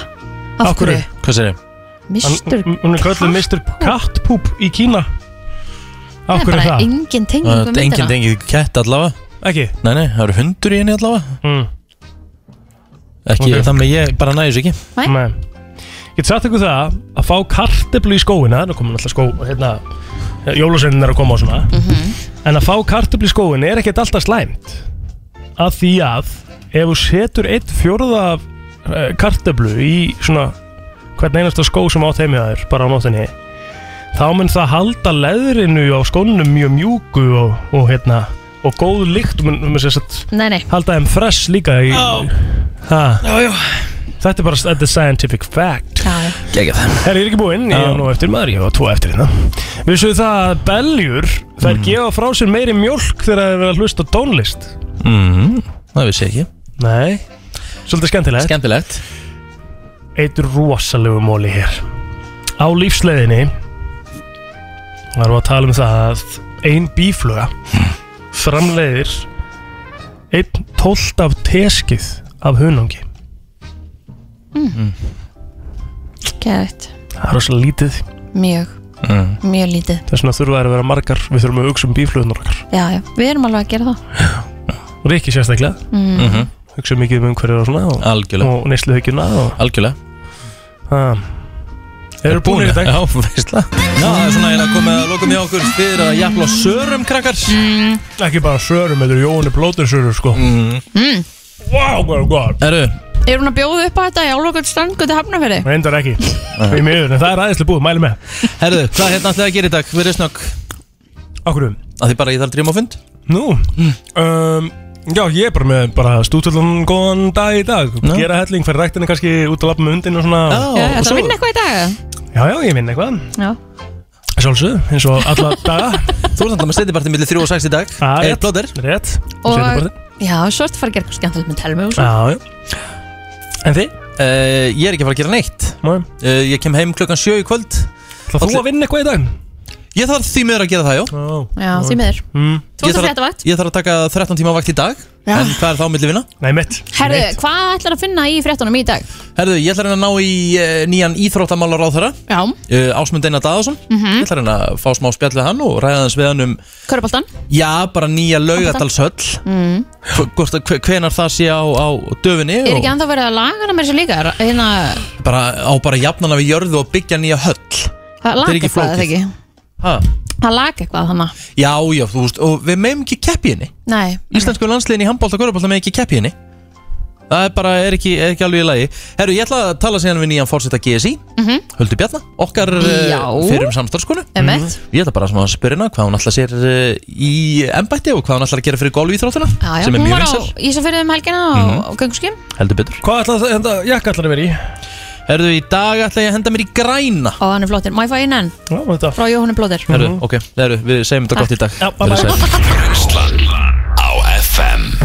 Speaker 2: af hverju?
Speaker 1: Hvað segir ég?
Speaker 2: Mr.
Speaker 3: Hann- Hún er kallið Mr. Catpoop í Kína
Speaker 2: Það
Speaker 3: Af
Speaker 2: er
Speaker 3: hverju
Speaker 2: bara
Speaker 3: það?
Speaker 2: engin tenging
Speaker 1: Það
Speaker 2: við
Speaker 1: er engin
Speaker 2: myndina
Speaker 1: tengið kett allavega
Speaker 3: Ekki?
Speaker 1: Nei, nei, það eru hundur í henni allavega
Speaker 3: mm.
Speaker 1: Ekki,
Speaker 3: Ok.
Speaker 1: þannig að ég bara næðis ekki
Speaker 2: Nei.
Speaker 3: Ég get sagt ykkur það að fá kartöflu í skóina Nú komum alltaf skó, hérna Jólusveinin er að koma á svona En að fá kartöflu í skóina er ekkert alltaf slæmt Að því að Ef þú setur eitt fjórða af, eh, kartöflu í svona Hvern einasta skó sem á þeimjaður Bara á nóttinni þá mun það halda leðrinu á skónum mjög mjúku og, og hérna og góð lykt mun, mun sér satt
Speaker 2: Nei, nei
Speaker 3: halda þeim fresh líka í, já, já. þetta er bara þetta er scientific fact
Speaker 2: já,
Speaker 1: Gekja
Speaker 3: það Herri, ég er ekki búinn, ég er nú eftir maður, ég var tvo eftir hérna Vissu þið það að beljur, þær gefa frá sér meiri mjólk þegar það er verið að hlusta á tónlist
Speaker 1: mm, Það vissi ég ekki
Speaker 3: Nei, svolítið skemmtilegt
Speaker 1: Skemmtilegt
Speaker 3: Eitt rosalegu móli hér Á lífsleiðinni varum við að tala um það að ein bífluga framleiðir einn tólt af teskið af hunangi
Speaker 2: mm. Geðvægt
Speaker 3: Það er rosalega lítið
Speaker 2: Mjög,
Speaker 3: Mm.
Speaker 2: mjög lítið
Speaker 3: Þess vegna þurfa þær að vera margar Við þurfum að hugsa um bíflugunar okkar
Speaker 2: Já, já, við erum alveg að gera það
Speaker 3: Og Rikki sérstaklega
Speaker 2: Mm. Mhm.
Speaker 3: Hugsa mikið um umhverju og svona og,
Speaker 1: Algjörlega.
Speaker 3: Og neysluhyggjuna og
Speaker 1: Algjörlega
Speaker 3: Það Eru búinir í dag?
Speaker 1: Já, veistla Já, það er svona eiginlega komið að lokum hjá okkur Þið eru að jafla á sörum, krakkar
Speaker 2: mm.
Speaker 3: Ekki bara sörum, þetta eru Jóhanni blótursörur sko mm.
Speaker 2: mm.
Speaker 3: Vá, hvað er gott
Speaker 1: Eru
Speaker 2: Er hún að bjóða upp á þetta í álokar strandgötu hafnaferi?
Speaker 3: Reyndar ekki Því miður, en það er aðeinslega búið, mæli með
Speaker 1: Herðu, hvað hérna ætlaði að gera í dag? Við erum snögg
Speaker 3: Okkur um
Speaker 1: Að því bara ég þarf að drýma á fund
Speaker 3: Nú um, Já, ég er bara með bara stúdvöldan góðan dag í dag Gera helling, fyrir ræktinni kannski út að lappa með undin og svona
Speaker 2: Já,
Speaker 3: og
Speaker 2: það
Speaker 3: svo-
Speaker 2: vinna eitthvað í dag eða?
Speaker 3: Já, já, ég vinn eitthvað
Speaker 2: Já,
Speaker 3: Sjálfsög, eins og alla daga
Speaker 1: Þú erum alltaf með steytibartið millir 3 og 6 í dag Eh,
Speaker 3: Ah,
Speaker 1: Eitt
Speaker 3: rétt,
Speaker 1: plóter
Speaker 3: Rétt
Speaker 2: og já, svo ertu að fara að gera eitthvað skemmtilegt með telmi og svo
Speaker 3: Já, já En þið?
Speaker 1: Eh, ég er ekki að fara að gera neitt Eh,
Speaker 3: uh,
Speaker 1: Ég kem heim klukkan 7 í kvöld
Speaker 3: Það þú að vinna eitthvað í dag?
Speaker 1: Ég þarf því miður að gera það, já
Speaker 3: oh.
Speaker 2: Já, því miður
Speaker 1: mm.
Speaker 2: Þú ert að frétta vakt.
Speaker 1: Ég þarf að taka 13 tíma vakt í dag
Speaker 2: Já.
Speaker 1: En hvað er þá millir vinna?
Speaker 3: Nei, mitt
Speaker 2: Herðu, hvað ætlar að finna í fréttunum í dag?
Speaker 1: Herðu, ég ætla að reyna að ná í uh, nýjan íþróttamálar á þeirra
Speaker 2: Já,
Speaker 1: uh, Ásmund Einar Daðarsson
Speaker 2: Mhm.
Speaker 1: Ég ætla að reyna að fá smá spjall við hann og ræða hans við hann um
Speaker 2: Köruboltan
Speaker 1: Já, bara nýja laugadalshöll
Speaker 2: mm.
Speaker 1: Hvenar það sé á, á döfinni
Speaker 2: Er
Speaker 1: og
Speaker 2: ekki ennþá verið að laga hana með sér líka? Er- Hérna,
Speaker 1: bara, Á bara jafnana við jörðu og byggja nýja höll
Speaker 2: það
Speaker 1: Þetta er
Speaker 2: laga
Speaker 1: ekki
Speaker 2: eitthvað, eða
Speaker 1: flókið.
Speaker 2: ekki?
Speaker 1: ha.
Speaker 2: Það laga eitthvað hana
Speaker 1: Já, já, þú veist Og við meðum ekki keppi henni
Speaker 2: Nei,
Speaker 1: Íslensku landsliðin í handbólta og korrupólta með ekki keppi henni Það er bara, er ekki, er ekki alveg í lagi Herru, ég ætla að tala síðan við nýjan fórseta GSI
Speaker 2: Mhm.
Speaker 1: Huldu Bjarna, okkar
Speaker 2: Já.
Speaker 1: fyrir um samstarfskonu
Speaker 2: Emmett.
Speaker 1: Ég ætla bara svona að spyrja hana hvað hún ætla sér eh, í embætti og hvað hún ætla að gera fyrir golfíþróttuna
Speaker 2: já, já,
Speaker 1: sem er
Speaker 2: hún
Speaker 1: mjög
Speaker 2: var á
Speaker 1: vinsal,
Speaker 2: Ísafjörðu um helgina
Speaker 1: Mhm.
Speaker 2: og- og gönguskjum
Speaker 1: heldur betur
Speaker 3: Hvað ætla það, þetta, jakka ætla það verið í?
Speaker 1: Herru, í dag ætla ég að henda mér í græna
Speaker 2: og hann er flottir, má ég fá einn enn
Speaker 3: Já, þetta
Speaker 2: frá Jóhannu Blóðir
Speaker 1: Herru, ok, herru, við segjum þetta gott í dag
Speaker 3: Já, bye
Speaker 1: Verið
Speaker 3: bye.
Speaker 1: sæl.
Speaker 4: Brennslan á FM